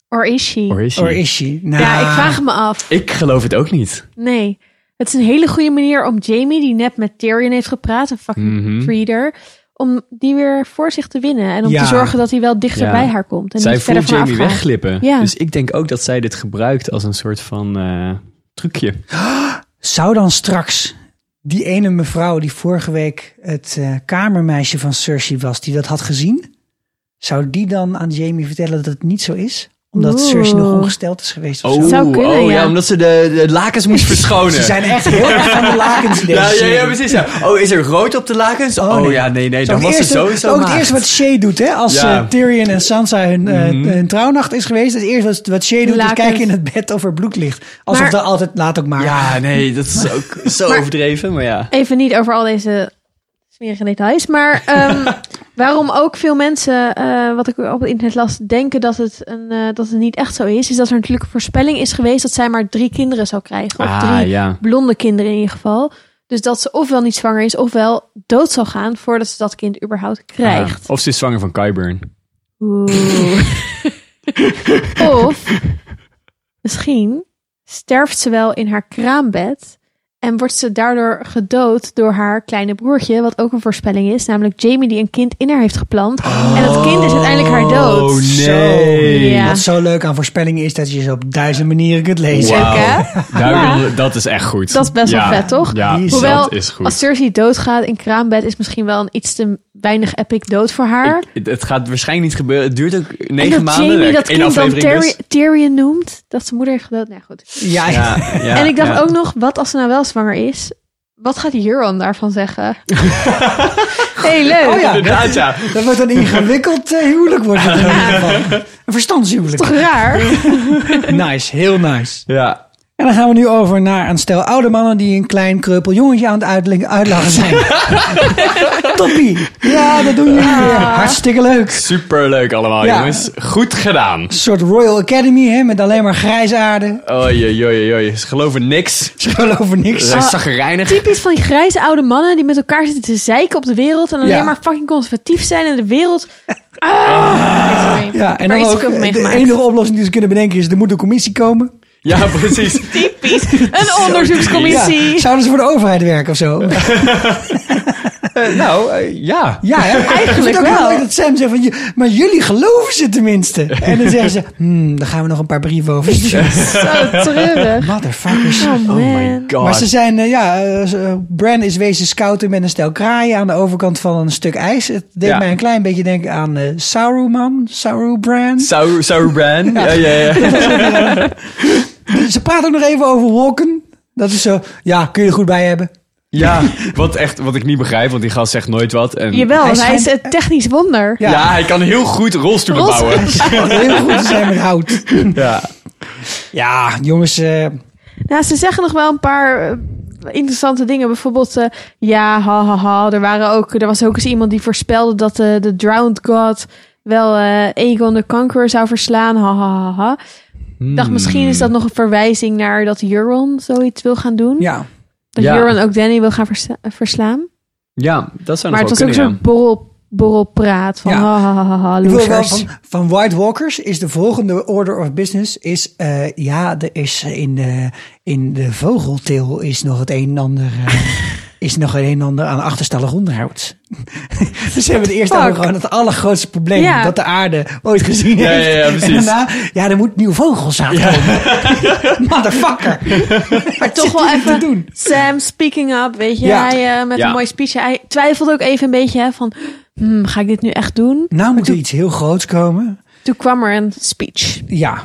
[SPEAKER 5] or is she?
[SPEAKER 4] Or is she?
[SPEAKER 1] Or is she? Nou,
[SPEAKER 5] Ja, ik vraag het me af.
[SPEAKER 4] Ik geloof het ook niet.
[SPEAKER 5] Nee. Het is een hele goede manier om Jamie, die net met Tyrion heeft gepraat, een fucking
[SPEAKER 4] Mhm.
[SPEAKER 5] reader, om die weer voor zich te winnen. En om
[SPEAKER 1] Ja.
[SPEAKER 5] te zorgen dat hij wel dichter
[SPEAKER 4] Ja.
[SPEAKER 5] bij haar komt. En
[SPEAKER 4] Zij
[SPEAKER 5] niet verder
[SPEAKER 4] voelt
[SPEAKER 5] van haar
[SPEAKER 4] Jamie
[SPEAKER 5] afgaat.
[SPEAKER 4] wegglippen.
[SPEAKER 5] Ja.
[SPEAKER 4] Dus ik denk ook dat zij dit gebruikt als een soort van eh, trucje.
[SPEAKER 1] Zou dan straks die ene mevrouw die vorige week het eh, kamermeisje van Cersei was, die dat had gezien, zou die dan aan Jamie vertellen dat het niet zo is? Omdat
[SPEAKER 5] Oeh.
[SPEAKER 1] Cersei nog ongesteld is geweest of zo?
[SPEAKER 5] zou kunnen,
[SPEAKER 4] oh
[SPEAKER 5] ja.
[SPEAKER 4] omdat ze de, de lakens moest verschonen.
[SPEAKER 1] Ze zijn echt heel erg van de lakens in deze
[SPEAKER 4] ja, ja, ja,
[SPEAKER 1] serie.
[SPEAKER 4] precies. Ja. Oh, is er rood op de lakens? Oh,
[SPEAKER 1] nee.
[SPEAKER 4] ja, nee, nee.
[SPEAKER 1] Dat
[SPEAKER 4] Dan
[SPEAKER 1] is ook
[SPEAKER 4] was
[SPEAKER 1] het
[SPEAKER 4] ze
[SPEAKER 1] eerste-
[SPEAKER 4] sowieso
[SPEAKER 1] ook het
[SPEAKER 4] maagd.
[SPEAKER 1] eerste wat Shay doet, hè? Als
[SPEAKER 4] Ja. Mhm.
[SPEAKER 1] eh, Tyrion en Sansa hun, eh, hun trouwnacht is geweest. Het eerste wat, wat Shay doet
[SPEAKER 5] Lakens.
[SPEAKER 1] is kijken in het bed of er bloed ligt. Alsof
[SPEAKER 5] Maar-
[SPEAKER 1] dat altijd laat ook maar.
[SPEAKER 4] Ja, nee, dat is ook zo overdreven, maar ja.
[SPEAKER 5] Even niet over al deze smerige details. Maar ehm, waarom ook veel mensen, eh, wat ik op het internet las, denken dat het, een, eh, dat het niet echt zo is. Is dat er natuurlijk een voorspelling is geweest dat zij maar drie kinderen zou krijgen. Of
[SPEAKER 4] Ah,
[SPEAKER 5] drie
[SPEAKER 4] ja.
[SPEAKER 5] blonde kinderen in ieder geval. Dus dat ze ofwel niet zwanger is, ofwel dood zal gaan voordat ze dat kind
[SPEAKER 4] Ah.
[SPEAKER 5] überhaupt krijgt.
[SPEAKER 4] Of ze is zwanger van Qyburn.
[SPEAKER 5] Of misschien sterft ze wel in haar kraambed. En wordt ze daardoor gedood door haar kleine broertje, wat ook een voorspelling is. Namelijk Jamie die een kind in haar heeft geplant. En dat kind is uiteindelijk haar dood.
[SPEAKER 4] Oh,
[SPEAKER 1] Zo.
[SPEAKER 5] Ja.
[SPEAKER 1] Wat zo leuk aan voorspellingen is dat je ze op duizend manieren kunt lezen.
[SPEAKER 5] Check,
[SPEAKER 4] Wauw.
[SPEAKER 5] hè?
[SPEAKER 4] Daar- Dat is echt goed.
[SPEAKER 5] Ah, Dat is best wel
[SPEAKER 4] Ja.
[SPEAKER 5] vet, toch?
[SPEAKER 4] Ja,
[SPEAKER 1] Die is-
[SPEAKER 5] Hoewel,
[SPEAKER 4] dat is goed.
[SPEAKER 5] als Cersei doodgaat in kraambed, is misschien wel een iets te weinig epic dood voor haar.
[SPEAKER 4] Ik- het gaat waarschijnlijk niet gebeuren. Het duurt ook
[SPEAKER 5] en
[SPEAKER 4] negen
[SPEAKER 5] dat
[SPEAKER 4] maanden.
[SPEAKER 5] Jamie dat
[SPEAKER 4] Eén
[SPEAKER 5] kind dan
[SPEAKER 4] aflevering
[SPEAKER 5] Tyri-
[SPEAKER 4] dus.
[SPEAKER 5] Tyrion noemt, dat zijn moeder heeft gedood. Nou ja, goed.
[SPEAKER 1] Ja,
[SPEAKER 4] Ja, ja,
[SPEAKER 5] en ik dacht
[SPEAKER 4] ja.
[SPEAKER 5] ook nog, wat als ze nou wel zwanger is? Wat gaat Euron daarvan zeggen? hey, leuk.
[SPEAKER 1] Oh ja,
[SPEAKER 4] Inderdaad, ja.
[SPEAKER 1] dat wordt een ingewikkeld eh, huwelijk. Wordt het in ieder geval. Een verstandshuwelijk.
[SPEAKER 5] Toch raar?
[SPEAKER 1] Nice, heel nice.
[SPEAKER 4] Ja.
[SPEAKER 1] En dan gaan we nu over naar een stel oude mannen die een klein kreupel jongetje aan het uitlin- uitlachen zijn. Toppie. Ja, dat doen jullie weer.
[SPEAKER 5] Ah.
[SPEAKER 1] Hartstikke leuk.
[SPEAKER 4] Superleuk allemaal,
[SPEAKER 1] Ja.
[SPEAKER 4] jongens. Goed gedaan.
[SPEAKER 1] Een soort Royal Academy hè, met alleen maar grijsaarden.
[SPEAKER 4] Oei, oei, oei, oei. Ze geloven niks.
[SPEAKER 1] Ze gaan over niks.
[SPEAKER 4] Ze
[SPEAKER 5] Ah.
[SPEAKER 4] zijn zagrijnig.
[SPEAKER 5] Typisch van die grijze oude mannen die met elkaar zitten te zeiken op de wereld. En alleen
[SPEAKER 1] Ja.
[SPEAKER 5] maar fucking conservatief zijn en de wereld. Ah, sorry.
[SPEAKER 1] Ja, en
[SPEAKER 5] Ik heb er
[SPEAKER 1] dan
[SPEAKER 5] iets
[SPEAKER 1] ook eh, de
[SPEAKER 5] over meegemaakt.
[SPEAKER 1] enige oplossing die ze kunnen bedenken is er moet een commissie komen.
[SPEAKER 4] Ja, precies.
[SPEAKER 5] Een onderzoekscommissie.
[SPEAKER 1] Ja, zouden ze voor de overheid werken of zo?
[SPEAKER 4] Eh, nou, eh, ja.
[SPEAKER 1] Ja, hè?
[SPEAKER 5] Eigenlijk
[SPEAKER 1] Ik vind het ook heel
[SPEAKER 5] wel.
[SPEAKER 1] leuk dat Sam zegt van, "J- maar jullie geloven ze tenminste. En dan zeggen ze, hmm, daar gaan we nog een paar brieven over sturen.
[SPEAKER 5] Zo treurig.
[SPEAKER 1] Motherfuckers.
[SPEAKER 5] Oh man.
[SPEAKER 4] God.
[SPEAKER 1] Maar ze zijn, eh, ja, eh, ze- eh, Bran is wezen scouten met een stel kraaien aan de overkant van een stuk ijs. Het deed
[SPEAKER 4] Ja.
[SPEAKER 1] mij een klein beetje denken aan eh Saruman, Sarubran.
[SPEAKER 4] Sau- Sauron. Ja, ja, ja.
[SPEAKER 1] Ze praten ook nog even over wolken. Dat is zo, ja, kun je er goed bij hebben.
[SPEAKER 4] Ja, wat, echt, wat ik niet begrijp, want die gast zegt nooit wat. En...
[SPEAKER 5] Jawel,
[SPEAKER 1] Hij
[SPEAKER 5] want hij is
[SPEAKER 1] schijnt-
[SPEAKER 5] een technisch wonder.
[SPEAKER 4] Ja. hij kan heel goed rolstoelen
[SPEAKER 5] Rolstoel-
[SPEAKER 4] bouwen.
[SPEAKER 1] Heel goed te zijn met hout.
[SPEAKER 4] Ja.
[SPEAKER 1] Ja, jongens, eh,
[SPEAKER 5] Nou, ze zeggen nog wel een paar eh, interessante dingen. Bijvoorbeeld, eh, ja, ha, ha, ha. Er, waren ook, er was ook eens iemand die voorspelde dat eh, de Drowned God wel eh Aegon the Conqueror zou verslaan. Ha, ha, ha, ha. Ik dacht, misschien is dat nog een verwijzing naar dat Euron zoiets wil gaan doen.
[SPEAKER 1] ja.
[SPEAKER 5] Dat
[SPEAKER 4] Hmm. Ja.
[SPEAKER 5] Euron ook Danny wil gaan versa- verslaan.
[SPEAKER 4] Ja, dat zou
[SPEAKER 5] Maar het
[SPEAKER 4] nog
[SPEAKER 5] was
[SPEAKER 4] wel
[SPEAKER 5] ook
[SPEAKER 4] kunnen,
[SPEAKER 5] zo'n borrel, borrelpraat van
[SPEAKER 1] Ja.
[SPEAKER 5] ha, ha, ha, ha, ha,
[SPEAKER 1] Ik wil wel
[SPEAKER 5] losers.
[SPEAKER 1] van, van White Walkers is de volgende order of business is, eh, ja, er is in de, in de vogelteel is nog het een en ander, eh, is nog het een en ander aan achterstallig onderhoud. dus ze hebben het eerst
[SPEAKER 5] Fuck.
[SPEAKER 1] over gewoon het allergrootste probleem
[SPEAKER 5] Ja.
[SPEAKER 1] dat de aarde ooit gezien
[SPEAKER 4] Ja,
[SPEAKER 1] heeft.
[SPEAKER 4] ja, ja,
[SPEAKER 1] en
[SPEAKER 4] precies.
[SPEAKER 1] daarna, ja, er moet nieuw vogelzaad komen. Motherfucker.
[SPEAKER 5] Maar toch wel
[SPEAKER 1] zit hij
[SPEAKER 5] even
[SPEAKER 1] te doen?
[SPEAKER 5] Sam speaking up, weet je.
[SPEAKER 1] Ja.
[SPEAKER 5] Hij eh, met
[SPEAKER 4] Ja.
[SPEAKER 5] een mooie speech. Hij twijfelde ook even een beetje hè, van, hmm, ga ik dit nu echt doen?
[SPEAKER 1] Nou moet er iets heel groots komen.
[SPEAKER 5] Toen kwam er een speech.
[SPEAKER 1] Ja.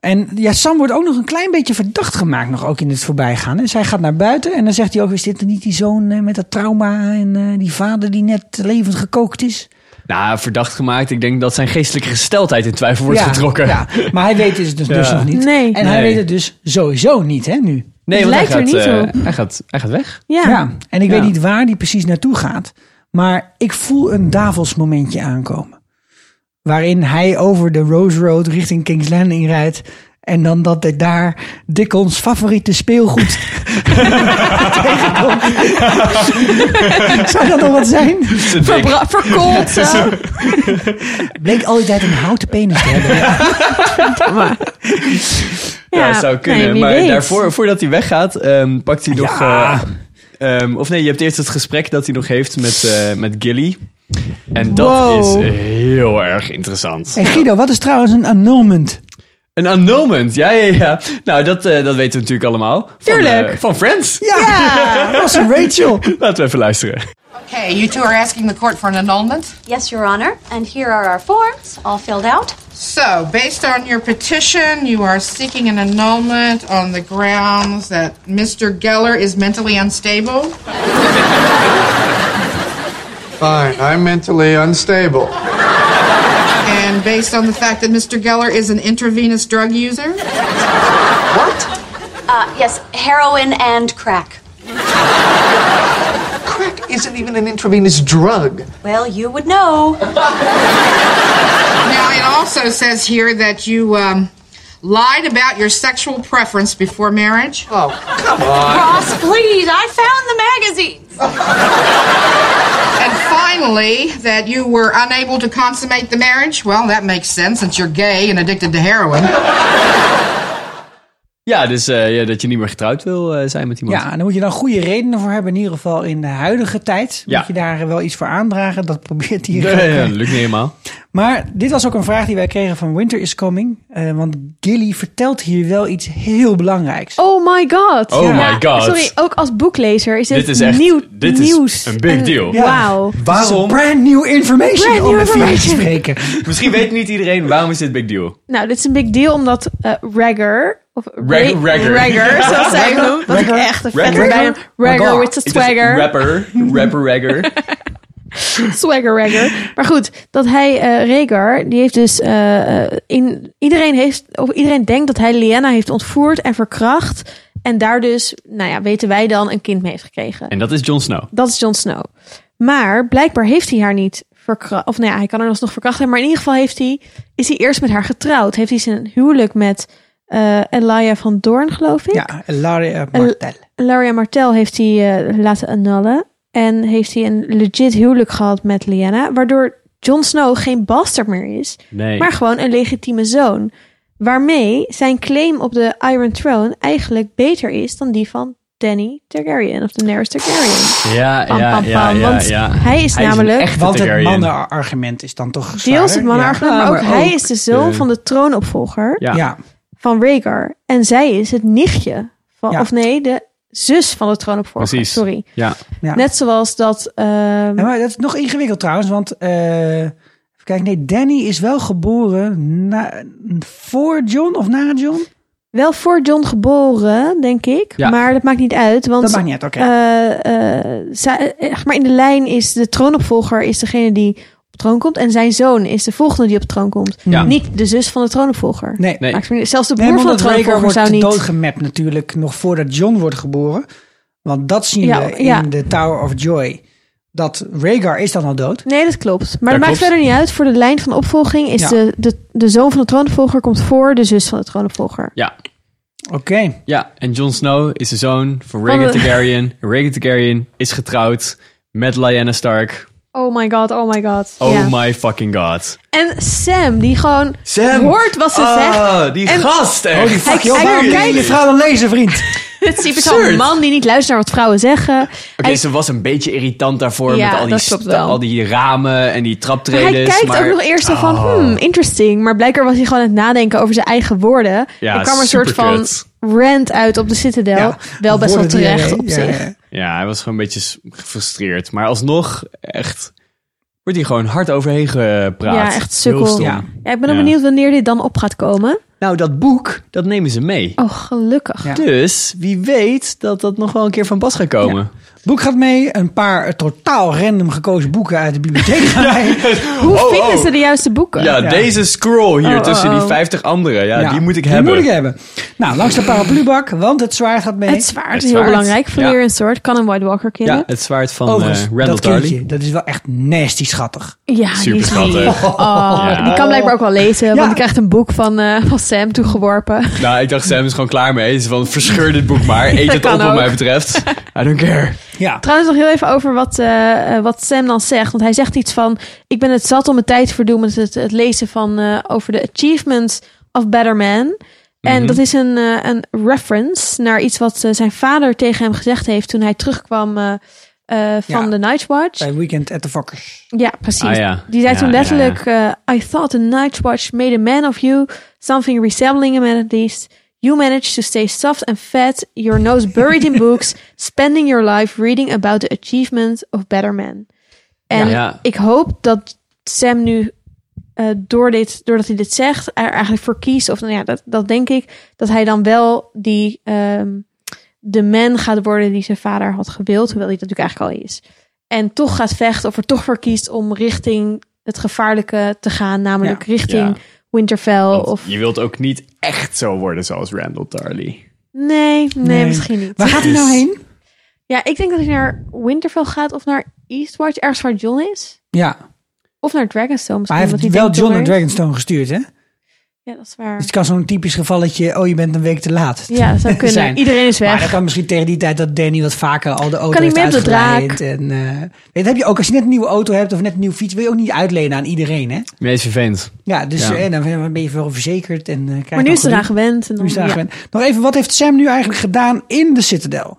[SPEAKER 1] En ja, Sam wordt ook nog een klein beetje verdacht gemaakt, nog ook in het voorbijgaan. Dus hij gaat naar buiten en dan zegt hij ook: Is dit niet die zoon eh, met dat trauma en eh, die vader die net levend gekookt is?
[SPEAKER 4] ja. Nou, verdacht gemaakt. Ik denk dat zijn geestelijke gesteldheid in twijfel wordt
[SPEAKER 1] ja,
[SPEAKER 4] getrokken.
[SPEAKER 1] Ja. Maar hij weet het dus, dus
[SPEAKER 4] Ja.
[SPEAKER 1] nog niet.
[SPEAKER 5] Nee.
[SPEAKER 1] En hij
[SPEAKER 4] Nee.
[SPEAKER 1] weet het dus sowieso niet, hè, nu.
[SPEAKER 4] Nee,
[SPEAKER 5] Het
[SPEAKER 4] want
[SPEAKER 5] lijkt
[SPEAKER 4] hij
[SPEAKER 5] er
[SPEAKER 4] gaat,
[SPEAKER 5] niet
[SPEAKER 4] eh,
[SPEAKER 5] op.
[SPEAKER 4] Hij gaat, hij gaat weg.
[SPEAKER 5] Ja.
[SPEAKER 1] Ja. En ik weet
[SPEAKER 4] Ja.
[SPEAKER 1] niet waar die precies naartoe gaat. Maar ik voel een Davos momentje aankomen. Waarin hij over de Rose Road richting King's Landing rijdt. En dan dat hij daar Dickons favoriete speelgoed tegenkomt. Zou dat nog wat zijn?
[SPEAKER 5] Verbra- verkoold. zo.
[SPEAKER 1] Bleek altijd een houten penis te hebben.
[SPEAKER 4] Ja, zou kunnen.
[SPEAKER 5] nee, wie
[SPEAKER 4] maar
[SPEAKER 5] weet.
[SPEAKER 4] daarvoor, voordat hij weggaat, ehm, pakt hij nog.
[SPEAKER 1] Ja.
[SPEAKER 4] eh, ehm, of nee, je hebt eerst het gesprek dat hij nog heeft met, eh, met Gilly. En dat
[SPEAKER 1] Wow.
[SPEAKER 4] is heel erg interessant.
[SPEAKER 1] Hey Guido, wat is trouwens een annulment?
[SPEAKER 4] Een annulment, ja, ja, ja. Nou, dat, eh, dat weten we natuurlijk allemaal. Van,
[SPEAKER 5] Tuurlijk.
[SPEAKER 4] eh, van Friends.
[SPEAKER 1] Ja, dat was een Rachel.
[SPEAKER 4] Laten we even luisteren.
[SPEAKER 10] Okay, you two are asking the court for an annulment.
[SPEAKER 11] Yes, Your Honor. And here are our forms, all filled out.
[SPEAKER 10] So, based on your petition, you are seeking an annulment on the grounds that Mr. Geller is mentally unstable.
[SPEAKER 12] Fine, I'm mentally unstable.
[SPEAKER 10] And based on the fact that Mr. Geller is an intravenous drug user.
[SPEAKER 11] Uh, yes, heroin and crack.
[SPEAKER 12] Crack isn't even an intravenous drug.
[SPEAKER 11] Well, you would know.
[SPEAKER 10] Now, it also says here that you um, lied about your sexual preference before marriage.
[SPEAKER 12] Oh, come on.
[SPEAKER 11] Ross, please, I found the magazines.
[SPEAKER 10] And finally, that you were unable to consummate the marriage. Well, that makes sense since you're gay and addicted to heroin.
[SPEAKER 4] Ja, dus eh, ja, dat je niet meer getrouwd wil eh, zijn met iemand.
[SPEAKER 1] Ja, en daar moet je dan goede redenen voor hebben. In ieder geval in de huidige tijd
[SPEAKER 4] Ja.
[SPEAKER 1] moet je daar wel iets voor aandragen. Dat probeert hij
[SPEAKER 4] Nee,
[SPEAKER 1] hier
[SPEAKER 4] ja,
[SPEAKER 1] ook.
[SPEAKER 4] dat lukt niet helemaal.
[SPEAKER 1] Maar dit was ook een vraag die wij kregen van Winter is Coming. Eh, want Gilly vertelt hier wel iets heel belangrijks.
[SPEAKER 5] Oh my god.
[SPEAKER 1] Oh my god.
[SPEAKER 5] Sorry, ook als boeklezer is dit,
[SPEAKER 1] Dit is echt-
[SPEAKER 5] nieuw
[SPEAKER 1] dit is
[SPEAKER 5] nieuws.
[SPEAKER 1] een big
[SPEAKER 5] En-
[SPEAKER 1] deal. Ja.
[SPEAKER 5] Wauw.
[SPEAKER 1] Waarom? Brand new information
[SPEAKER 5] Brand
[SPEAKER 1] om
[SPEAKER 5] new
[SPEAKER 1] met Felix te
[SPEAKER 5] information.
[SPEAKER 1] spreken.
[SPEAKER 4] Misschien weet niet iedereen waarom is dit big deal.
[SPEAKER 5] Nou, dit is een big deal omdat eh Ragger... Of
[SPEAKER 4] Rag-
[SPEAKER 5] Ra-
[SPEAKER 4] Ragger.
[SPEAKER 5] Ragger, zoals zij hem
[SPEAKER 4] Ragger?
[SPEAKER 5] noemt. Wat ik
[SPEAKER 4] Ragger?
[SPEAKER 5] echt een vette
[SPEAKER 4] Ragger?
[SPEAKER 1] Oh
[SPEAKER 5] bijnaam. Ragger
[SPEAKER 4] Ragger.
[SPEAKER 5] with the
[SPEAKER 4] Ik dacht
[SPEAKER 5] swagger.
[SPEAKER 4] Rapper, rapper ragger.
[SPEAKER 5] Swagger Ragger. Maar goed, dat hij eh Rhaegar, die heeft dus eh, eh, in iedereen heeft of iedereen denkt dat hij Lyanna heeft ontvoerd en verkracht en daar dus, nou ja, weten wij dan een kind mee heeft gekregen.
[SPEAKER 4] En dat is Jon Snow.
[SPEAKER 5] Dat is Jon Snow. Maar blijkbaar heeft hij haar niet verkracht. Of nou ja, hij kan haar alsnog verkracht hebben. Maar in ieder geval heeft hij, is hij eerst met haar getrouwd. Heeft hij zijn huwelijk met eh Elia van Doorn, geloof ik.
[SPEAKER 1] Ja, eh, Laria Martel.
[SPEAKER 5] Laria Martel heeft hij eh, laten annullen. En heeft hij een legit huwelijk gehad met Lyanna. Waardoor Jon Snow geen bastard meer is.
[SPEAKER 4] Nee.
[SPEAKER 5] Maar gewoon een legitieme zoon. Waarmee zijn claim op de Iron Throne eigenlijk beter is dan die van Danny Targaryen. Of de Daenerys Targaryen.
[SPEAKER 4] Ja,
[SPEAKER 5] Pam,
[SPEAKER 4] ja,
[SPEAKER 5] pam,
[SPEAKER 4] ja,
[SPEAKER 5] pam,
[SPEAKER 4] ja,
[SPEAKER 5] want
[SPEAKER 4] ja.
[SPEAKER 5] hij is
[SPEAKER 4] een
[SPEAKER 5] namelijk-
[SPEAKER 4] echte
[SPEAKER 1] Want het
[SPEAKER 4] Targaryen.
[SPEAKER 1] mannenargument is dan toch zwaarder?
[SPEAKER 5] Deels het mannenargument,
[SPEAKER 1] Ja.
[SPEAKER 5] maar ook hij is de zoon van de troonopvolger
[SPEAKER 1] Ja. Ja.
[SPEAKER 5] van Rhaegar. En zij is het nichtje van,
[SPEAKER 1] Ja.
[SPEAKER 5] of nee, de zus van de troonopvolger.
[SPEAKER 1] Precies.
[SPEAKER 5] Sorry.
[SPEAKER 4] Ja.
[SPEAKER 1] Ja.
[SPEAKER 5] Net zoals dat. ehm,
[SPEAKER 1] Ja, maar dat is nog ingewikkeld trouwens, want kijk, nee, Danny is wel geboren na, voor John of na John.
[SPEAKER 5] Wel voor John geboren, denk ik.
[SPEAKER 1] Ja.
[SPEAKER 5] Maar dat maakt niet uit. Want,
[SPEAKER 1] Dat maakt niet uit, oké.
[SPEAKER 5] eh, eh, zij- eh, zeg maar in de lijn is de troonopvolger is degene die op de troon komt. En zijn zoon is de volgende die op de troon komt.
[SPEAKER 1] Ja.
[SPEAKER 5] Niet de zus van de troonopvolger.
[SPEAKER 1] Nee. Nee.
[SPEAKER 5] Maakt me niet- zelfs de broer
[SPEAKER 1] Nee, maar
[SPEAKER 5] van de
[SPEAKER 1] omdat Rhaegar
[SPEAKER 5] troonopvolger
[SPEAKER 1] wordt
[SPEAKER 5] zou niet...
[SPEAKER 1] doodgemapt natuurlijk nog voordat John wordt geboren. Want dat zien
[SPEAKER 5] Ja,
[SPEAKER 1] we in
[SPEAKER 5] ja.
[SPEAKER 1] de Tower of Joy. Dat Rhaegar is dan al dood.
[SPEAKER 5] Nee, dat klopt.
[SPEAKER 1] Dat
[SPEAKER 5] Maar dat maakt
[SPEAKER 1] klopt.
[SPEAKER 5] verder niet uit. Voor de lijn van opvolging is
[SPEAKER 1] Ja.
[SPEAKER 5] de, de, de zoon van de troonopvolger komt voor de zus van de troonopvolger.
[SPEAKER 4] Ja.
[SPEAKER 1] Oké.
[SPEAKER 4] Ja, en Jon Snow is de zoon van
[SPEAKER 5] Van
[SPEAKER 4] Rhaegar
[SPEAKER 5] de-
[SPEAKER 4] Targaryen. Rhaegar Targaryen is getrouwd met Lyanna Stark.
[SPEAKER 5] Oh my god, oh my god.
[SPEAKER 4] Oh
[SPEAKER 5] Ja.
[SPEAKER 4] my fucking god.
[SPEAKER 5] En Sam, die gewoon
[SPEAKER 4] Sam!
[SPEAKER 5] hoort wat ze
[SPEAKER 4] Ah,
[SPEAKER 5] zegt.
[SPEAKER 4] Oh, die
[SPEAKER 5] en
[SPEAKER 4] gast, echt.
[SPEAKER 5] Holy fuck, Hij- joh, hij waarom kijkt-
[SPEAKER 1] Je vrouw dan lezen, vriend.
[SPEAKER 5] Het is typisch
[SPEAKER 4] Absurd.
[SPEAKER 5] zo'n man die niet luistert naar wat vrouwen zeggen.
[SPEAKER 4] Oké,
[SPEAKER 5] hij,
[SPEAKER 4] ze was een beetje irritant daarvoor
[SPEAKER 5] Ja,
[SPEAKER 4] met al die,
[SPEAKER 5] dat klopt
[SPEAKER 4] st-
[SPEAKER 5] wel.
[SPEAKER 4] al die ramen en die
[SPEAKER 5] maar
[SPEAKER 4] traptredens.
[SPEAKER 5] hij kijkt
[SPEAKER 4] maar-
[SPEAKER 5] ook nog eerst zo van,
[SPEAKER 4] Oh.
[SPEAKER 5] hmm, interesting. Maar blijkbaar was hij gewoon aan het nadenken over zijn eigen woorden.
[SPEAKER 4] Ja,
[SPEAKER 5] er kwam een soort van
[SPEAKER 4] superkut.
[SPEAKER 5] rant uit op de Citadel. wel best wel
[SPEAKER 1] woorden die
[SPEAKER 5] terecht
[SPEAKER 1] hij-
[SPEAKER 5] op
[SPEAKER 1] ja,
[SPEAKER 5] zich.
[SPEAKER 1] ja.
[SPEAKER 4] Ja, hij was gewoon een beetje s- gefrustreerd. Maar alsnog, echt, wordt hij gewoon hard overheen gepraat.
[SPEAKER 5] Ja, echt
[SPEAKER 4] Heel
[SPEAKER 5] sukkel.
[SPEAKER 4] stom.
[SPEAKER 5] Ja. ik ben ook
[SPEAKER 4] Ja.
[SPEAKER 5] benieuwd wanneer dit dan op gaat komen.
[SPEAKER 4] Nou, dat boek, dat nemen ze mee.
[SPEAKER 5] Oh, gelukkig.
[SPEAKER 4] Dus wie weet dat dat nog wel een keer van pas gaat komen.
[SPEAKER 1] Boek gaat mee, een paar eh, totaal random gekozen boeken uit de bibliotheek gaan mee.
[SPEAKER 5] Hoe
[SPEAKER 4] Oh,
[SPEAKER 5] vinden
[SPEAKER 4] oh.
[SPEAKER 5] ze de juiste boeken?
[SPEAKER 4] Ja, deze scroll hier
[SPEAKER 1] Oh, oh,
[SPEAKER 4] tussen
[SPEAKER 1] oh.
[SPEAKER 4] die 50 anderen, ja,
[SPEAKER 1] Ja,
[SPEAKER 4] die moet ik
[SPEAKER 1] die
[SPEAKER 4] hebben.
[SPEAKER 1] moet ik hebben. Nou, langs de paraplubak, want het zwaard gaat mee.
[SPEAKER 5] Het zwaard is heel belangrijk. Verleer een soort kan een White Walker killen.
[SPEAKER 4] Ja, het zwaard van
[SPEAKER 5] Oh,
[SPEAKER 4] eh
[SPEAKER 1] Overigens,
[SPEAKER 4] Randall
[SPEAKER 1] dat
[SPEAKER 4] Tarly.
[SPEAKER 1] kindje, dat is wel echt nasty schattig.
[SPEAKER 5] Ja, die is
[SPEAKER 4] Superschattig.
[SPEAKER 5] lief. Oh,
[SPEAKER 4] Ja.
[SPEAKER 5] Die kan blijkbaar ook wel lezen, want die krijgt een boek van, eh, van Sam toegeworpen.
[SPEAKER 4] Nou, ik dacht, Sam is gewoon klaar mee. Ze van, verscheur dit boek maar. Eet
[SPEAKER 5] Ja,
[SPEAKER 4] het op
[SPEAKER 5] kan
[SPEAKER 4] wat
[SPEAKER 5] ook.
[SPEAKER 4] mij betreft. I don't care.
[SPEAKER 1] Ja.
[SPEAKER 5] Trouwens nog heel even over wat, eh, eh, wat Sam dan zegt. Want hij zegt iets van... Ik ben het zat om mijn tijd te verdoen met het, het lezen van... eh, over de achievements of Better Man. En
[SPEAKER 11] Mhm.
[SPEAKER 5] dat is een, eh, een reference naar iets wat eh, zijn vader tegen hem gezegd heeft... toen hij terugkwam eh, eh, van
[SPEAKER 1] Ja.
[SPEAKER 5] de Night's Watch.
[SPEAKER 1] Bij Weekend at the Fokkers.
[SPEAKER 5] Ja, precies.
[SPEAKER 1] Ah, ja.
[SPEAKER 5] Die zei
[SPEAKER 1] Ja,
[SPEAKER 5] toen
[SPEAKER 1] ja,
[SPEAKER 5] letterlijk... eh, I thought the Night's Watch made a man of you. Something resembling a man at least. You managed to stay soft and fat, your nose buried in books, spending your life reading about the achievements of better men. En
[SPEAKER 11] Ja. Ja.
[SPEAKER 5] ik hoop dat Sam nu, eh, door dit, doordat hij dit zegt, er eigenlijk voor kiest, of nou ja, dat, dat denk ik, dat hij dan wel die, ehm, de man gaat worden die zijn vader had gewild, hoewel hij dat natuurlijk eigenlijk al is. En toch gaat vechten, of er toch voor kiest om richting het gevaarlijke te gaan, namelijk
[SPEAKER 4] Ja.
[SPEAKER 5] richting
[SPEAKER 4] Ja.
[SPEAKER 5] Winterfell. of,
[SPEAKER 4] Je wilt ook niet echt zo worden zoals Randall Tarly.
[SPEAKER 5] nee, nee,
[SPEAKER 4] Nee.
[SPEAKER 5] misschien niet.
[SPEAKER 4] Waar gaat hij nou
[SPEAKER 1] heen?
[SPEAKER 5] Ja, ik denk dat hij naar Winterfell gaat of naar Eastwatch, ergens waar John is.
[SPEAKER 1] Ja,
[SPEAKER 5] Of naar Dragonstone
[SPEAKER 1] maar
[SPEAKER 5] misschien.
[SPEAKER 1] hij
[SPEAKER 5] want
[SPEAKER 1] heeft
[SPEAKER 5] die
[SPEAKER 1] wel
[SPEAKER 5] denkt
[SPEAKER 1] John
[SPEAKER 5] door-
[SPEAKER 1] naar Dragonstone gestuurd, hè?
[SPEAKER 5] Ja, dat is waar.
[SPEAKER 1] Het kan zo'n typisch gevalletje, oh je bent een week te laat.
[SPEAKER 5] Ja, dat zou kunnen.
[SPEAKER 1] zijn.
[SPEAKER 5] Iedereen is weg.
[SPEAKER 1] Maar dat kan misschien tegen die tijd dat Danny wat vaker al de auto
[SPEAKER 5] Kan
[SPEAKER 1] heeft
[SPEAKER 5] niet meer op de draak.
[SPEAKER 1] uitgeleid. En, eh, dat heb je ook als je net een nieuwe auto hebt of net een nieuwe fiets, wil je ook niet uitlenen aan iedereen. Hè?
[SPEAKER 4] Meest vervelend.
[SPEAKER 1] Ja, dus
[SPEAKER 4] Ja.
[SPEAKER 1] eh, dan ben je wel verzekerd. En, eh, krijg
[SPEAKER 5] Maar nu
[SPEAKER 1] dan
[SPEAKER 5] is het
[SPEAKER 1] geluk.
[SPEAKER 5] eraan gewend. En dan,
[SPEAKER 1] Nu is het eraan
[SPEAKER 5] ja.
[SPEAKER 1] gewend. Nog even, wat heeft Sam nu eigenlijk gedaan in de Citadel?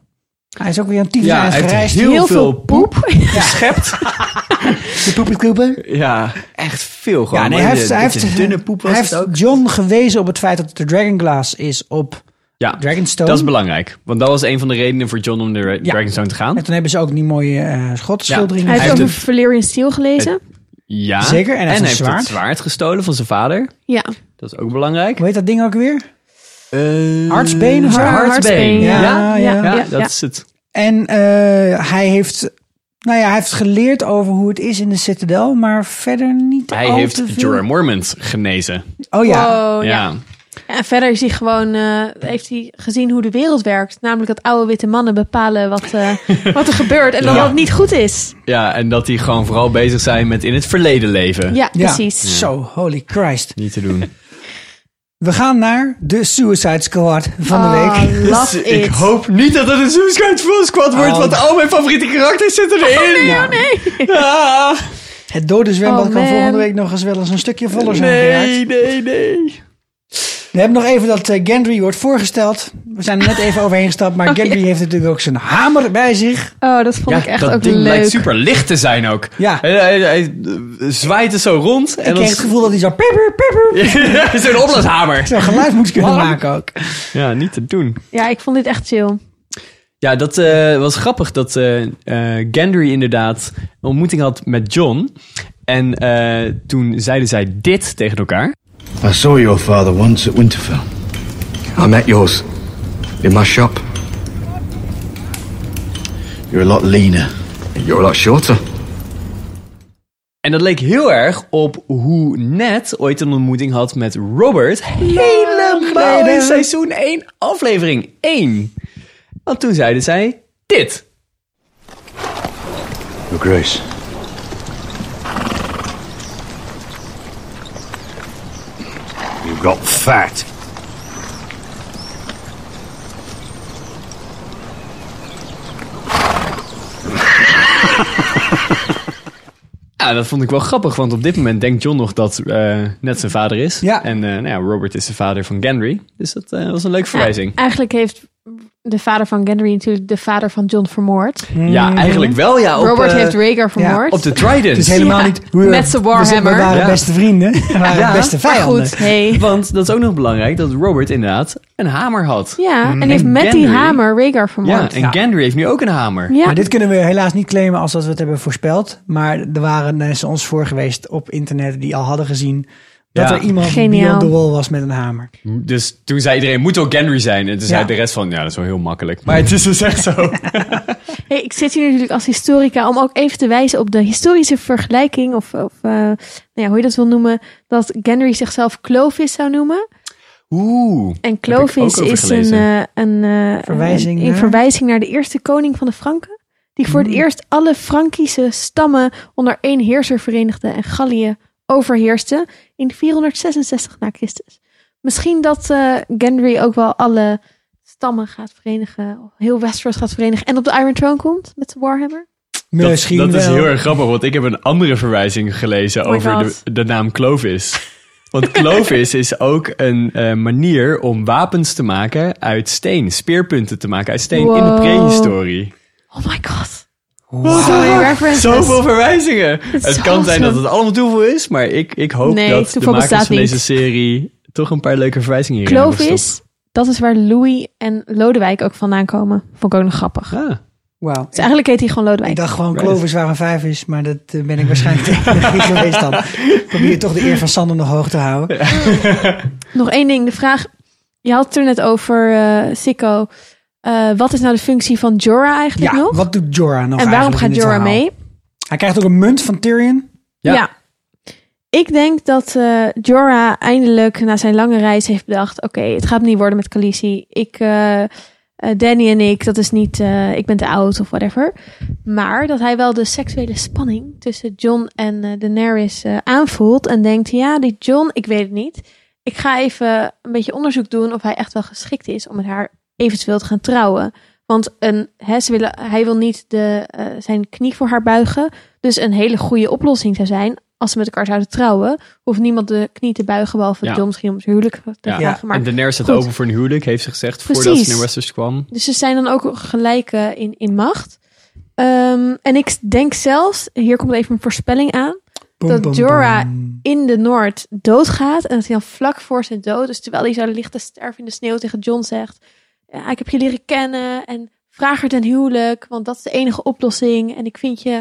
[SPEAKER 1] Hij is ook weer een tyfus
[SPEAKER 4] Ja,
[SPEAKER 1] aan het
[SPEAKER 4] hij heeft
[SPEAKER 1] gereisd.
[SPEAKER 4] heel Heel veel veel
[SPEAKER 5] poep.
[SPEAKER 4] Geschept.
[SPEAKER 1] De poepietkooper.
[SPEAKER 4] Ja, echt veel gewoon.
[SPEAKER 1] Ja, nee,
[SPEAKER 4] Maar
[SPEAKER 1] hij
[SPEAKER 4] de-
[SPEAKER 1] heeft, hij
[SPEAKER 4] dit
[SPEAKER 1] heeft,
[SPEAKER 4] is dunne poep was
[SPEAKER 1] hij
[SPEAKER 4] het
[SPEAKER 1] heeft John gewezen op het feit dat het de Dragon Glass is op
[SPEAKER 4] Ja,
[SPEAKER 1] Dragonstone.
[SPEAKER 4] dat is belangrijk. Want dat was een van de redenen voor John om naar Ra-
[SPEAKER 1] Ja.
[SPEAKER 4] Dragonstone te gaan.
[SPEAKER 1] En toen hebben ze ook die mooie eh schotschilderingen.
[SPEAKER 5] Hij heeft
[SPEAKER 4] Hij
[SPEAKER 5] over
[SPEAKER 4] heeft
[SPEAKER 5] Valerian Steel gelezen.
[SPEAKER 4] Ja.
[SPEAKER 1] Zeker, en hij heeft een
[SPEAKER 4] heeft
[SPEAKER 1] zwaard.
[SPEAKER 4] het zwaard gestolen van zijn vader.
[SPEAKER 5] Ja.
[SPEAKER 4] Dat is ook belangrijk.
[SPEAKER 1] Hoe heet dat ding ook weer?
[SPEAKER 4] Eh,
[SPEAKER 1] Hartsbeen of zo?
[SPEAKER 4] Har- Hartsbeen.
[SPEAKER 1] Ja,
[SPEAKER 4] Ja,
[SPEAKER 1] ja, ja.
[SPEAKER 4] Ja,
[SPEAKER 5] ja,
[SPEAKER 4] dat
[SPEAKER 5] ja.
[SPEAKER 4] is het.
[SPEAKER 1] En eh, hij heeft... Nou ja, hij heeft geleerd over hoe het is in de Citadel, maar verder niet
[SPEAKER 4] Hij
[SPEAKER 1] al
[SPEAKER 4] heeft
[SPEAKER 1] te veel.
[SPEAKER 4] Jorah Mormont genezen.
[SPEAKER 1] Oh ja,
[SPEAKER 5] Wow, ja.
[SPEAKER 4] ja.
[SPEAKER 5] En verder is hij gewoon, eh, heeft hij gezien hoe de wereld werkt. Namelijk dat oude witte mannen bepalen wat, eh, wat er gebeurt. En dat
[SPEAKER 4] Ja.
[SPEAKER 5] dat niet goed is.
[SPEAKER 4] Ja, en dat die gewoon vooral bezig zijn met in het verleden leven.
[SPEAKER 5] Ja,
[SPEAKER 1] Ja.
[SPEAKER 5] precies.
[SPEAKER 1] Zo, holy Christ.
[SPEAKER 4] Niet te doen.
[SPEAKER 1] We gaan naar de Suicide Squad van de week.
[SPEAKER 5] Ah, love it.
[SPEAKER 4] Ik hoop niet dat het een Suicide Squad wordt,
[SPEAKER 1] Oh.
[SPEAKER 4] want al mijn favoriete karakters zitten erin.
[SPEAKER 1] Ja.
[SPEAKER 5] Oh, Nee.
[SPEAKER 4] Ah,
[SPEAKER 1] Het dode zwembad
[SPEAKER 5] Oh,
[SPEAKER 1] kan
[SPEAKER 5] man.
[SPEAKER 1] volgende week nog eens wel eens een stukje voller zijn geraakt.
[SPEAKER 4] nee, nee, nee.
[SPEAKER 1] We hebben nog even dat eh, Gendry wordt voorgesteld. We zijn er net even overheen gestapt,
[SPEAKER 4] Oh,
[SPEAKER 1] maar Gendry heeft natuurlijk ook zijn hamer bij zich.
[SPEAKER 5] Oh, dat vond ik echt
[SPEAKER 4] dat
[SPEAKER 5] ook
[SPEAKER 4] ding
[SPEAKER 5] leuk.
[SPEAKER 4] lijkt super licht te zijn ook.
[SPEAKER 1] Ja.
[SPEAKER 4] Hij, hij, hij, eh, zwaait het zo rond.
[SPEAKER 1] Ik
[SPEAKER 4] En
[SPEAKER 1] kreeg het gevoel dat hij zo pepper, pepper
[SPEAKER 4] dan... Zo'n oplashamer.
[SPEAKER 1] zo'n geluid moet kunnen maken ook.
[SPEAKER 4] Ja, niet te doen.
[SPEAKER 5] Ja, ik vond dit echt chill.
[SPEAKER 4] Ja, dat eh, was grappig dat eh eh, Gendry inderdaad een ontmoeting had met John. En eh, toen zeiden zij dit tegen elkaar.
[SPEAKER 13] I saw your father once at Winterfell. I met yours. In my shop. You're a lot leaner. and You're a lot shorter.
[SPEAKER 4] En dat leek heel erg op hoe Ned ooit een ontmoeting had met Robert. Helemaal in seizoen 1, aflevering 1. Want toen zeiden zij dit.
[SPEAKER 13] Your Grace. You got fat.
[SPEAKER 4] Ja, dat vond ik wel grappig, want op dit moment denkt John nog dat eh Ned zijn vader is.
[SPEAKER 1] Ja.
[SPEAKER 4] En eh, nou ja, Robert is de vader van Gendry. Dus dat eh, was een leuke verwijzing.
[SPEAKER 5] Ja, eigenlijk heeft de vader van Gendry natuurlijk de vader van John vermoord.
[SPEAKER 4] Ja, eigenlijk wel. Ja, op,
[SPEAKER 5] Mhm. Robert
[SPEAKER 4] eh,
[SPEAKER 5] heeft Rhaegar vermoord.
[SPEAKER 4] Op de Trident.
[SPEAKER 1] Het is helemaal
[SPEAKER 5] Ja,
[SPEAKER 1] niet...
[SPEAKER 5] met zijn
[SPEAKER 1] we zijn- We
[SPEAKER 5] Warhammer.
[SPEAKER 1] waren
[SPEAKER 4] Ja.
[SPEAKER 1] beste vrienden, we waren
[SPEAKER 4] Ja,
[SPEAKER 1] beste
[SPEAKER 5] Maar
[SPEAKER 1] vijanden.
[SPEAKER 5] goed, hey.
[SPEAKER 4] Want dat is ook nog belangrijk dat Robert inderdaad een hamer had.
[SPEAKER 5] Ja, en die heeft met die
[SPEAKER 4] Mm, Gendry.
[SPEAKER 5] hamer
[SPEAKER 4] Ja,
[SPEAKER 5] Rhaegar vermoord.
[SPEAKER 4] en
[SPEAKER 5] Ja,
[SPEAKER 4] Gendry heeft nu ook een hamer.
[SPEAKER 5] ja.
[SPEAKER 1] Maar dit kunnen we helaas niet claimen als dat we het hebben voorspeld. Maar er waren mensen ons voor geweest op internet die al hadden gezien... dat
[SPEAKER 4] Ja.
[SPEAKER 1] er iemand
[SPEAKER 5] Geniaal.
[SPEAKER 1] beyond the wall was met een hamer.
[SPEAKER 4] Dus toen zei iedereen, moet ook Gendry zijn. En toen zei
[SPEAKER 1] Ja.
[SPEAKER 4] de rest van, ja, dat is wel heel makkelijk. Maar het is dus echt zo.
[SPEAKER 5] Hey, ik zit hier natuurlijk als historica om ook even te wijzen op de historische vergelijking, of, of eh, nou ja, hoe je dat wil noemen, dat Gendry zichzelf Clovis zou noemen.
[SPEAKER 4] Oeh.
[SPEAKER 5] En
[SPEAKER 4] ik ook
[SPEAKER 5] Clovis
[SPEAKER 4] over
[SPEAKER 5] is een,
[SPEAKER 4] gelezen.
[SPEAKER 5] eh, een, eh,
[SPEAKER 1] Verwijzing
[SPEAKER 5] een,
[SPEAKER 1] naar? Hmm.
[SPEAKER 5] een verwijzing naar de eerste koning van de Franken, die voor het eerst alle Frankische stammen onder één heerser verenigde en Gallië overheerste in 466 na Christus. Misschien dat eh, Gendry ook wel alle stammen gaat verenigen, heel Westeros gaat verenigen en op de Iron Throne komt met de Warhammer.
[SPEAKER 1] Misschien
[SPEAKER 4] dat, dat is
[SPEAKER 1] wel.
[SPEAKER 4] heel erg grappig, want ik heb een andere verwijzing gelezen
[SPEAKER 5] Oh my
[SPEAKER 4] over
[SPEAKER 5] God.
[SPEAKER 4] de, de naam Clovis. Want Clovis is ook een eh, manier om wapens te maken uit steen. Speerpunten te maken uit steen in de
[SPEAKER 5] Wow.
[SPEAKER 4] prehistorie.
[SPEAKER 5] Oh my god. Sorry, references.
[SPEAKER 4] Zoveel verwijzingen.
[SPEAKER 5] is
[SPEAKER 4] Het
[SPEAKER 5] zo
[SPEAKER 4] kan zijn dat
[SPEAKER 5] awesome.
[SPEAKER 4] het allemaal toeval is, maar ik, ik hoop
[SPEAKER 5] Nee,
[SPEAKER 4] dat de
[SPEAKER 5] toeval
[SPEAKER 4] makers
[SPEAKER 5] bestaat
[SPEAKER 4] van
[SPEAKER 5] niet.
[SPEAKER 4] deze serie toch een paar leuke verwijzingen hierin hebben
[SPEAKER 5] Clovis, dat is waar Louis en Lodewijk ook vandaan komen. Vond ik ook nog grappig.
[SPEAKER 4] gestopt. Ah.
[SPEAKER 1] Wauw.
[SPEAKER 5] Dus eigenlijk heet hij gewoon
[SPEAKER 1] Ik
[SPEAKER 5] Lodewijk.
[SPEAKER 1] dacht gewoon Clovis waar een vijf is, maar dat eh, ben ik waarschijnlijk tegen de Griek geweest dan. Ik probeer toch de eer van Sander nog hoog te houden.
[SPEAKER 5] Nog één ding, de vraag. Je had het er net over, eh Sikko. Eh, wat is nou de functie van Jorah eigenlijk
[SPEAKER 1] Ja,
[SPEAKER 5] nog?
[SPEAKER 1] wat doet Jorah nog
[SPEAKER 5] en waarom
[SPEAKER 1] eigenlijk in
[SPEAKER 5] gaat
[SPEAKER 1] dit
[SPEAKER 5] Jorah
[SPEAKER 1] verhaal?
[SPEAKER 5] mee?
[SPEAKER 1] Hij krijgt ook een munt van Tyrion.
[SPEAKER 5] Ja.
[SPEAKER 4] Ja.
[SPEAKER 5] Ik denk dat eh, Jorah eindelijk na zijn lange reis heeft bedacht... oké, het gaat hem niet worden met Khaleesi. Ik, eh, eh, Danny en ik, dat is niet... eh, ik ben te oud of whatever. Maar dat hij wel de seksuele spanning tussen John en eh, Daenerys eh, aanvoelt... en denkt, ja, die John, ik weet het niet... ik ga even een beetje onderzoek doen of hij echt wel geschikt is om met haar eventueel te gaan trouwen. Want een, hè, ze willen, hij wil niet de, eh, zijn knie voor haar buigen. Dus een hele goede oplossing zou zijn als ze met elkaar zouden trouwen. Hoeft niemand de knie te buigen, behalve
[SPEAKER 4] Ja.
[SPEAKER 5] John misschien om het huwelijk te
[SPEAKER 4] Ja.
[SPEAKER 5] vragen. Maar
[SPEAKER 4] en Daenerys staat
[SPEAKER 5] goed.
[SPEAKER 4] open voor een huwelijk, heeft ze gezegd, voordat
[SPEAKER 5] Precies.
[SPEAKER 4] ze naar Westeros kwam.
[SPEAKER 5] Dus ze zijn dan ook gelijk eh, in, in macht. Ehm, en ik denk zelfs, hier komt even een voorspelling aan,
[SPEAKER 1] Boem,
[SPEAKER 5] dat
[SPEAKER 1] boem,
[SPEAKER 5] Jorah in de Noord doodgaat en dat hij dan vlak voor zijn dood, dus terwijl hij zou ligt te sterven in de sneeuw tegen John zegt, ja, ik heb je leren kennen en vraag haar ten huwelijk, want dat is de enige oplossing en ik vind je,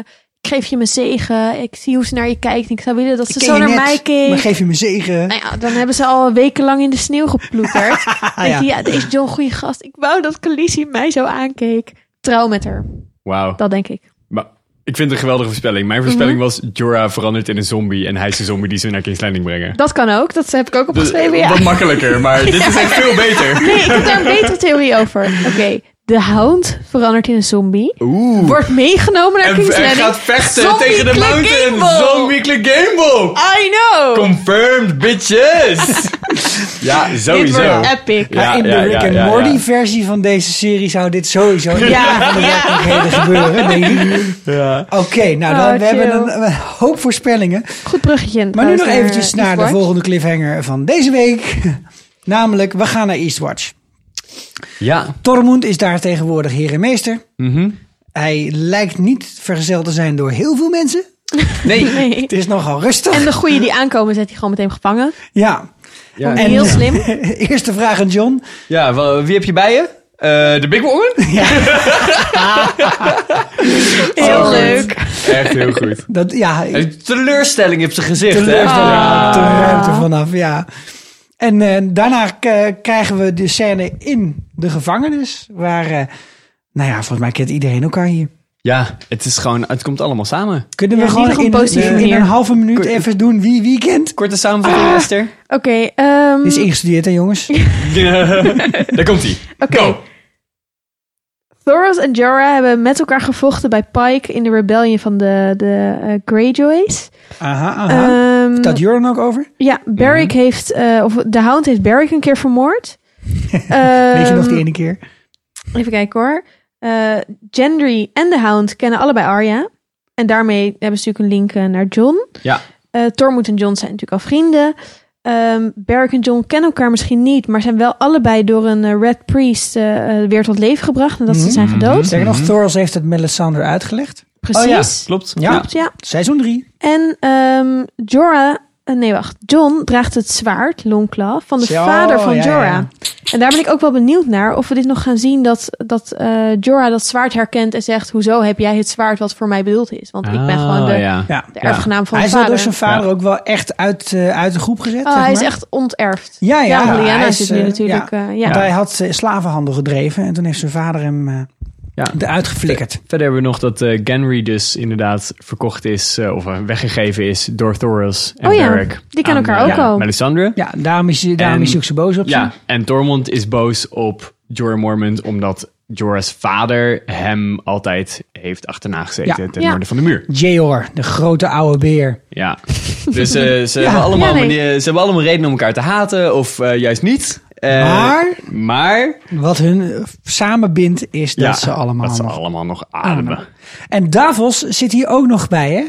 [SPEAKER 5] ik geef je mijn zegen, ik zie hoe ze naar je kijkt en ik zou willen dat ze
[SPEAKER 1] ken
[SPEAKER 5] zo
[SPEAKER 1] je
[SPEAKER 5] naar
[SPEAKER 1] net,
[SPEAKER 5] mij keek.
[SPEAKER 1] Maar geef je me zegen.
[SPEAKER 5] Nou ja, dan hebben ze al wekenlang in de sneeuw geploeterd. ja. Denk je,
[SPEAKER 1] Ja.
[SPEAKER 5] ja, deze John goede gast. Ik wou dat Khaleesi mij zo aankeek. Trouw met haar.
[SPEAKER 4] Wauw.
[SPEAKER 5] Dat Mhm. denk ik.
[SPEAKER 4] Maar ik vind het een geweldige voorspelling. Mijn voorspelling was Jorah verandert in een zombie en hij is de zombie die ze naar King's Landing brengen.
[SPEAKER 5] Dat kan ook. Dat heb ik ook
[SPEAKER 4] Dus,
[SPEAKER 5] opgeschreven, ja.
[SPEAKER 4] Wat makkelijker, maar dit is echt veel beter.
[SPEAKER 5] Nee, ik heb daar een betere theorie over. Oké, de hound verandert in een zombie. Wordt meegenomen naar
[SPEAKER 4] En-
[SPEAKER 5] King's
[SPEAKER 4] en
[SPEAKER 5] Landing.
[SPEAKER 4] gaat vechten
[SPEAKER 5] Zombie
[SPEAKER 4] tegen de
[SPEAKER 5] Clark
[SPEAKER 4] mountain.
[SPEAKER 5] Gable.
[SPEAKER 4] Zombie Clark Gable.
[SPEAKER 5] I know.
[SPEAKER 4] Confirmed, bitches! ja, sowieso.
[SPEAKER 1] Dit wordt
[SPEAKER 5] epic.
[SPEAKER 1] Ja, Ah, in de Rick and Morty versie van deze serie zou dit sowieso in
[SPEAKER 5] Ja.
[SPEAKER 1] een van de werkelijkheden gebeuren, denk ik. Oké, nou dan,
[SPEAKER 5] Oh,
[SPEAKER 1] we
[SPEAKER 5] chill.
[SPEAKER 1] hebben een, een hoop voorspellingen.
[SPEAKER 5] Goed bruggetje.
[SPEAKER 1] Maar nu nog
[SPEAKER 5] trouwens,
[SPEAKER 1] eventjes
[SPEAKER 5] naar
[SPEAKER 1] naar de
[SPEAKER 5] Eastwatch.
[SPEAKER 1] volgende cliffhanger van deze week. Namelijk, we gaan naar Eastwatch.
[SPEAKER 4] Ja.
[SPEAKER 1] Tormund is daar tegenwoordig heer en meester. Hij lijkt niet vergezeld te zijn door heel veel mensen.
[SPEAKER 4] Nee.
[SPEAKER 1] Het is nogal rustig.
[SPEAKER 5] En de goeie die aankomen zet hij gewoon meteen gevangen.
[SPEAKER 1] Ja.
[SPEAKER 4] Ja.
[SPEAKER 5] En heel slim.
[SPEAKER 1] Eerste vraag aan John.
[SPEAKER 4] Ja, wel, wie heb je bij je? Eh, de Big Woman?
[SPEAKER 5] Heel leuk.
[SPEAKER 4] Echt heel goed.
[SPEAKER 1] Dat, ja,
[SPEAKER 4] Een teleurstelling op zijn gezicht,
[SPEAKER 1] teleurstelling
[SPEAKER 4] hè?
[SPEAKER 1] de ruimte vanaf, ja. En eh, daarna k- krijgen we de scène in de gevangenis. Waar, eh, nou ja, volgens mij kent iedereen elkaar hier.
[SPEAKER 4] Ja, het is gewoon, het komt allemaal samen.
[SPEAKER 1] Kunnen we
[SPEAKER 5] Ja,
[SPEAKER 1] gewoon
[SPEAKER 5] niet op een
[SPEAKER 1] in,
[SPEAKER 5] positieve
[SPEAKER 1] in, in
[SPEAKER 5] manier.
[SPEAKER 1] een halve minuut even doen wie wie kent?
[SPEAKER 4] Korte
[SPEAKER 5] Ah.
[SPEAKER 4] samenvatting, Esther.
[SPEAKER 5] Oké, ehm,
[SPEAKER 1] Dit is ingestudeerd hè jongens?
[SPEAKER 4] Daar komt hij.
[SPEAKER 5] Oké. Thoros en Jorah hebben met elkaar gevochten bij Pike in de rebellion van de, de eh, Greyjoys.
[SPEAKER 1] Aha, aha. Mhm.
[SPEAKER 5] Ehm,
[SPEAKER 1] Heeft dat Joran ook over?
[SPEAKER 5] ja, Barrick heeft, eh, of de Hound heeft Barrick een keer vermoord.
[SPEAKER 1] Weet je nog
[SPEAKER 5] Ehm,
[SPEAKER 1] die ene keer?
[SPEAKER 5] Even kijken hoor. Eh Gendry en de Hound kennen allebei Arya. En daarmee hebben ze natuurlijk een link eh, naar John.
[SPEAKER 4] Ja.
[SPEAKER 5] Eh Tormund en John zijn natuurlijk al vrienden. Ehm Beric en John kennen elkaar misschien niet, maar zijn wel allebei door een eh, Red Priest eh, eh, weer tot leven gebracht nadat
[SPEAKER 1] Mhm.
[SPEAKER 5] ze zijn gedood.
[SPEAKER 1] Zeg nog, Thoros heeft het Melisandre uitgelegd.
[SPEAKER 5] Precies.
[SPEAKER 4] Oh ja, klopt.
[SPEAKER 1] Ja.
[SPEAKER 5] Klopt, ja.
[SPEAKER 1] Seizoen 3.
[SPEAKER 5] En ehm Jorah, eh, nee wacht, John draagt het zwaard, Longclaw, van de
[SPEAKER 1] Zo,
[SPEAKER 5] vader van
[SPEAKER 1] ja, ja.
[SPEAKER 5] Jorah. En daar ben ik ook wel benieuwd naar of we dit nog gaan zien dat, dat eh, Jorah dat zwaard herkent en zegt, hoezo heb jij het zwaard wat voor mij bedoeld is? Want ik ben
[SPEAKER 3] Ah,
[SPEAKER 5] gewoon de,
[SPEAKER 4] Ah, ja.
[SPEAKER 1] Ja.
[SPEAKER 5] de erfgenaam van
[SPEAKER 1] Hij
[SPEAKER 5] mijn
[SPEAKER 1] is wel
[SPEAKER 5] vader.
[SPEAKER 1] door zijn vader ook wel echt uit, eh, uit de groep gezet.
[SPEAKER 5] Oh,
[SPEAKER 1] zeg
[SPEAKER 5] hij is
[SPEAKER 1] maar.
[SPEAKER 5] echt onterfd.
[SPEAKER 1] Ja, ja.
[SPEAKER 5] want Lyanna
[SPEAKER 1] hij
[SPEAKER 5] zit nu
[SPEAKER 1] eh,
[SPEAKER 5] natuurlijk,
[SPEAKER 1] ja.
[SPEAKER 5] eh, ja.
[SPEAKER 1] Want hij had eh, slavenhandel gedreven en toen heeft zijn vader hem eh
[SPEAKER 4] Ja.
[SPEAKER 1] eruit geflikkerd.
[SPEAKER 4] Verder hebben we nog dat eh Genry dus inderdaad verkocht is, eh, of eh, weggegeven is door Thoros en
[SPEAKER 5] Oh ja,
[SPEAKER 4] Beric.
[SPEAKER 5] die kennen
[SPEAKER 4] aan,
[SPEAKER 5] elkaar ook
[SPEAKER 4] eh,
[SPEAKER 5] al.
[SPEAKER 4] Melisandre.
[SPEAKER 1] Ja, daarom is, daarom
[SPEAKER 4] En-
[SPEAKER 1] is hij ook zo boos op
[SPEAKER 4] Ja,
[SPEAKER 1] ze.
[SPEAKER 4] en Tormund is boos op Jorah Mormont omdat Jorah's vader hem altijd heeft achterna gezeten
[SPEAKER 1] Ja.
[SPEAKER 4] ten
[SPEAKER 5] Ja.
[SPEAKER 4] noorden van de muur.
[SPEAKER 1] Jor, de grote oude beer.
[SPEAKER 4] Ja. Dus eh, ze, hebben allemaal,
[SPEAKER 5] Ja, nee.
[SPEAKER 4] manier- ze hebben allemaal redenen om elkaar te haten of eh, juist niet. Eh,
[SPEAKER 1] Maar?
[SPEAKER 4] Maar...
[SPEAKER 1] Wat hun eh, samenbindt is dat
[SPEAKER 4] ja,
[SPEAKER 1] ze allemaal Ah, nou.
[SPEAKER 4] dat ze
[SPEAKER 1] nog-
[SPEAKER 4] allemaal nog ademen.
[SPEAKER 1] En Davos zit hier ook nog bij, hè?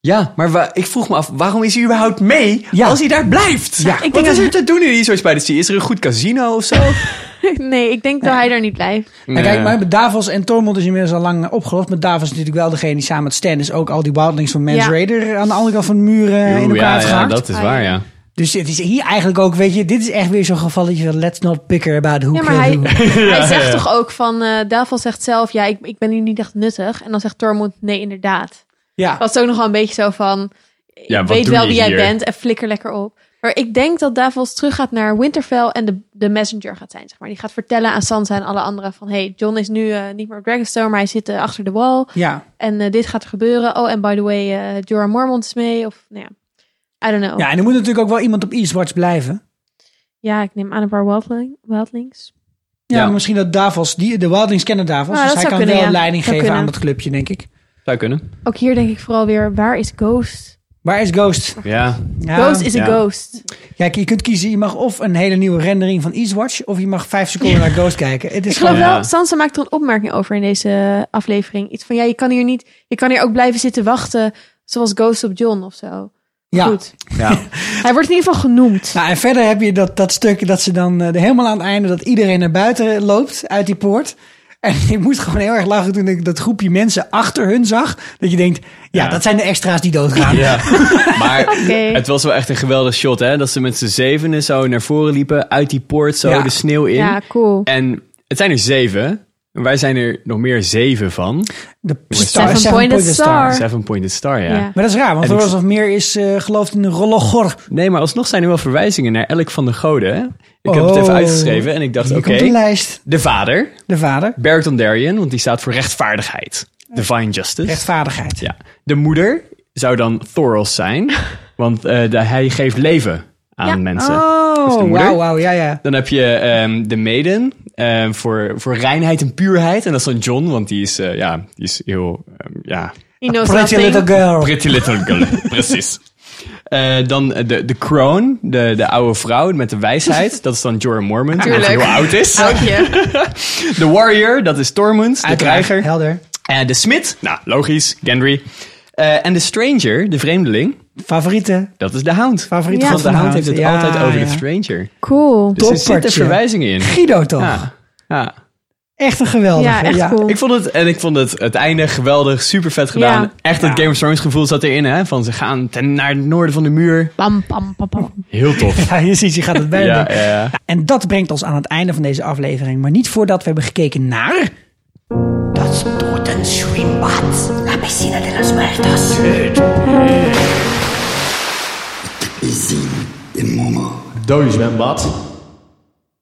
[SPEAKER 4] Ja, maar wa- ik vroeg me af, waarom is hij überhaupt mee
[SPEAKER 1] Ja.
[SPEAKER 4] als hij daar blijft?
[SPEAKER 1] Ja.
[SPEAKER 4] Wat is er te doen in Eastwatch bij de Sea? Is er een goed casino of zo?
[SPEAKER 5] nee, ik denk dat hij daar niet blijft.
[SPEAKER 1] En
[SPEAKER 4] Nee.
[SPEAKER 1] kijk, maar met Davos en Tormund is inmiddels al lang eh, opgelost. Maar Davos is natuurlijk wel degene die samen met Stan is ook al die wildlings van Mans
[SPEAKER 5] Ja.
[SPEAKER 1] Raider aan de andere kant van de muren in elkaar
[SPEAKER 4] Oeh, ja,
[SPEAKER 1] heeft
[SPEAKER 4] ja,
[SPEAKER 1] gehakt.
[SPEAKER 4] dat is
[SPEAKER 5] Ah,
[SPEAKER 4] waar, ja.
[SPEAKER 1] Dus het is hier eigenlijk ook, weet je, dit is echt weer zo'n gevalletje van let's not bicker about who
[SPEAKER 5] Ja, maar
[SPEAKER 1] killed
[SPEAKER 5] hij,
[SPEAKER 1] who.
[SPEAKER 5] hij zegt toch ook van, eh Davos zegt zelf, ja, ik, ik ben hier niet echt nuttig. En dan zegt Tormund, nee, inderdaad.
[SPEAKER 1] Ja.
[SPEAKER 5] was ook nog wel een beetje zo van. Ik
[SPEAKER 4] Ja, wat
[SPEAKER 5] weet
[SPEAKER 4] doe
[SPEAKER 5] wel
[SPEAKER 4] je
[SPEAKER 5] wie jij
[SPEAKER 4] hier?
[SPEAKER 5] bent en flikker lekker op. Maar ik denk dat Davos terug gaat naar Winterfell en de, de messenger gaat zijn. Zeg maar. Die gaat vertellen aan Sansa en alle anderen van... hey, John is nu eh, niet meer op Dragonstone, maar hij zit eh, achter de wall.
[SPEAKER 1] Ja.
[SPEAKER 5] En eh, dit gaat er gebeuren. Oh, en by the way, eh Jorah Mormont is mee. Of, nou ja, I don't know. Ja,
[SPEAKER 1] ja, en er moet natuurlijk ook wel iemand op Eastwatch blijven.
[SPEAKER 5] ik neem aan een paar wildling, wildlings.
[SPEAKER 1] Ja,
[SPEAKER 4] Ja.
[SPEAKER 1] maar misschien dat Davos, die, de Wildlings kennen Davos.
[SPEAKER 5] Nou,
[SPEAKER 1] dus hij
[SPEAKER 5] dat zou
[SPEAKER 1] kan
[SPEAKER 5] kunnen,
[SPEAKER 1] wel
[SPEAKER 5] ja.
[SPEAKER 1] leiding
[SPEAKER 5] Zou
[SPEAKER 1] geven aan
[SPEAKER 5] kunnen.
[SPEAKER 1] dat clubje, denk ik.
[SPEAKER 4] Zou kunnen.
[SPEAKER 5] Ook hier denk ik vooral weer, waar is Ghost?
[SPEAKER 1] Waar is Ghost?
[SPEAKER 3] Ja.
[SPEAKER 1] Ghost
[SPEAKER 5] is a ghost.
[SPEAKER 1] Ja, je kunt kiezen. Je mag of een hele nieuwe rendering van Eastwatch... of je mag vijf seconden naar Ghost kijken. Het is
[SPEAKER 5] Ik geloof
[SPEAKER 1] gewoon-
[SPEAKER 5] wel, Sansa maakt er een opmerking over in deze aflevering. Iets van, ja, je kan hier niet, je kan hier ook blijven zitten wachten, zoals Ghost op John of zo.
[SPEAKER 1] Ja.
[SPEAKER 5] Goed.
[SPEAKER 3] Ja.
[SPEAKER 5] Hij wordt in ieder geval genoemd.
[SPEAKER 1] Nou, en verder heb je dat, dat stukje dat ze dan eh, helemaal aan het einde... dat iedereen naar buiten loopt uit die poort. En ik moest gewoon heel erg lachen toen ik dat groepje mensen achter hun zag. Dat je denkt, ja, dat zijn de extra's die doodgaan.
[SPEAKER 3] Ja. Maar
[SPEAKER 5] Oké.
[SPEAKER 3] het was wel echt een geweldig shot, hè? Dat ze met z'n zevenen zo naar voren liepen, uit die poort zo
[SPEAKER 5] Ja.
[SPEAKER 3] de sneeuw in.
[SPEAKER 5] Ja, cool.
[SPEAKER 3] En het zijn er zeven. En wij zijn er nog meer zeven van.
[SPEAKER 1] De
[SPEAKER 5] star- Seven Seven Pointed Pointed Star. Star.
[SPEAKER 3] Seven Pointed Star, ja.
[SPEAKER 5] Ja.
[SPEAKER 1] Maar dat is raar, want
[SPEAKER 3] En ik-
[SPEAKER 1] er was of meer is eh, geloofd in de Rologor.
[SPEAKER 3] Nee, maar alsnog zijn er wel verwijzingen naar elk van de goden, hè? Ik heb het
[SPEAKER 1] Oh.
[SPEAKER 3] even uitgeschreven en ik dacht,
[SPEAKER 1] Hier
[SPEAKER 3] oké.
[SPEAKER 1] komt die lijst.
[SPEAKER 3] De vader,
[SPEAKER 1] De vader.
[SPEAKER 3] Beric Dondarrion, want die staat voor rechtvaardigheid. Divine Justice.
[SPEAKER 1] Rechtvaardigheid.
[SPEAKER 3] Ja. De moeder zou dan Thoros zijn, want eh, de- hij geeft leven aan
[SPEAKER 1] Ja.
[SPEAKER 3] mensen. Dat is de
[SPEAKER 1] Oh,
[SPEAKER 3] moeder.
[SPEAKER 1] wauw, wauw, ja, ja.
[SPEAKER 3] Dan heb je ehm, de maiden ehm, voor, voor reinheid en puurheid. En dat is dan John, want die is, eh, ja, die is heel... ehm, ja.
[SPEAKER 5] He knows
[SPEAKER 1] Pretty
[SPEAKER 5] nothing.
[SPEAKER 1] little girl.
[SPEAKER 3] Pretty little girl, precies. Eh, dan eh, de, de kroon, de, de oude vrouw met de wijsheid. Dat is dan Jorah Mormont, die
[SPEAKER 5] Tuurlijk.
[SPEAKER 3] heel oud is.
[SPEAKER 5] Oudje.
[SPEAKER 3] De warrior, dat is Tormund, de
[SPEAKER 1] Uiteraard,
[SPEAKER 3] krijger.
[SPEAKER 1] Helder.
[SPEAKER 3] Eh, de smid, nou logisch, Gendry. Eh, en de stranger, de vreemdeling,
[SPEAKER 1] Favoriete.
[SPEAKER 3] dat is de hound.
[SPEAKER 1] Favoriete
[SPEAKER 5] Ja.
[SPEAKER 3] Want de
[SPEAKER 1] van de
[SPEAKER 3] hound heeft het
[SPEAKER 1] hound. Ja,
[SPEAKER 3] altijd over
[SPEAKER 1] ja.
[SPEAKER 3] de stranger.
[SPEAKER 5] Cool.
[SPEAKER 3] Dus er zitten
[SPEAKER 1] Toppertje.
[SPEAKER 3] verwijzingen in.
[SPEAKER 1] Guido toch?
[SPEAKER 3] Ja. ja.
[SPEAKER 1] Echt een geweldige.
[SPEAKER 5] Ja, echt cool.
[SPEAKER 3] Ik vond het, en ik vond het, het einde geweldig, super vet gedaan.
[SPEAKER 5] Ja.
[SPEAKER 3] Echt het Game of Thrones gevoel zat erin, hè? Van ze gaan ten, naar het noorden van de muur.
[SPEAKER 5] Pam, pam, pam, pam.
[SPEAKER 3] Heel tof.
[SPEAKER 1] Ja, je ziet, je gaat het bijna
[SPEAKER 3] ja,
[SPEAKER 1] doen.
[SPEAKER 3] ja.
[SPEAKER 1] En dat brengt ons aan het einde van deze aflevering. Maar niet voordat we hebben gekeken naar...
[SPEAKER 14] Das Totenschwimmbads, la piscina de los muertos.
[SPEAKER 7] Dode zwembad.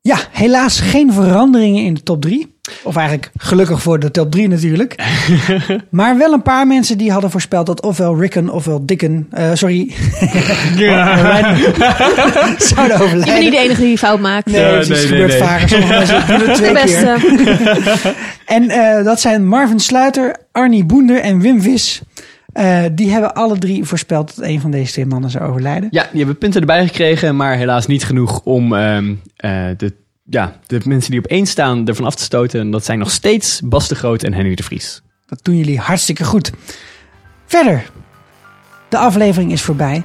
[SPEAKER 1] Ja, helaas geen veranderingen in de top 3. Of eigenlijk gelukkig voor de top 3 natuurlijk. maar wel een paar mensen die hadden voorspeld dat ofwel Rickon ofwel Dickon... eh, sorry. Zouden
[SPEAKER 5] Ik ben
[SPEAKER 1] overlijden.
[SPEAKER 5] niet de enige die fout maakt.
[SPEAKER 1] Nee, het is gebeurt vaker. Sommige mensen doen het twee
[SPEAKER 5] De
[SPEAKER 1] keer.
[SPEAKER 5] beste.
[SPEAKER 1] En eh, dat zijn Marvin Sluiter, Arnie Boender en Wim Vis. Eh, die hebben alle drie voorspeld dat een van deze twee mannen zou overlijden.
[SPEAKER 3] ja, die hebben punten erbij gekregen, maar helaas niet genoeg om ehm, eh, de, ja, de mensen die op één staan ervan af te stoten. En dat zijn nog steeds Bas de Groot en Henry de Vries.
[SPEAKER 1] Dat doen jullie hartstikke goed. Verder, de aflevering is voorbij.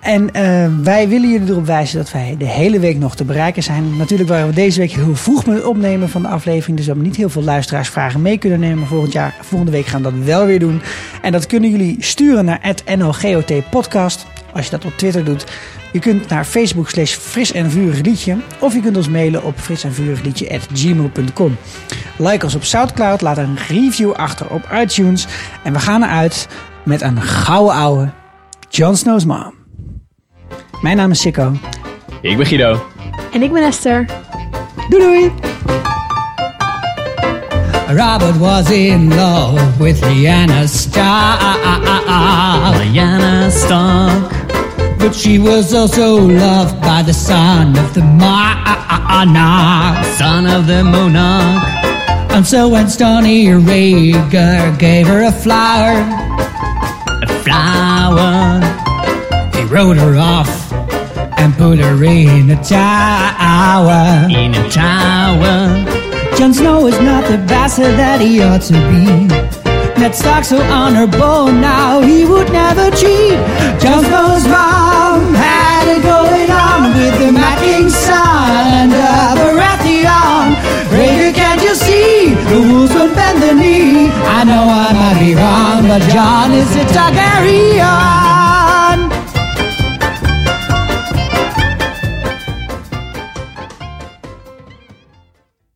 [SPEAKER 1] En eh, wij willen jullie erop wijzen dat wij de hele week nog te bereiken zijn. Natuurlijk waren we deze week heel vroeg met het opnemen van de aflevering. Dus we hebben niet heel veel luisteraarsvragen mee kunnen nemen. Volgend jaar, volgende week gaan we dat wel weer doen. En dat kunnen jullie sturen naar het NOGOT podcast. Als je dat op Twitter doet. Je kunt naar Facebook slash fris en vurig liedje. Of je kunt ons mailen op fris en vurig liedje at gmail.com. Like ons op Soundcloud. Laat een review achter op iTunes. En we gaan eruit met een gouden ouwe. Jon Snow's mom. Mijn naam is Sikko.
[SPEAKER 3] Ik ben Guido.
[SPEAKER 5] En ik ben Esther.
[SPEAKER 1] Doei doei!
[SPEAKER 15] Robert was in love with Liana Stark. Liana Stark. But she was also loved by the son of the monarch. Son of the monarch. And so when Stony Rieger gave her a flower, a flower, he wrote her off and put her in a tower. In a tower. Jon Snow is not the bastard that he ought to be. Ned Stark's so honorable now he would never cheat. Jon Snow's mom had it going on with the Mad King's son and the Baratheon. Rhaegar, can't you see? The wolves would bend the knee. I know I might be wrong, but Jon is a Targaryen.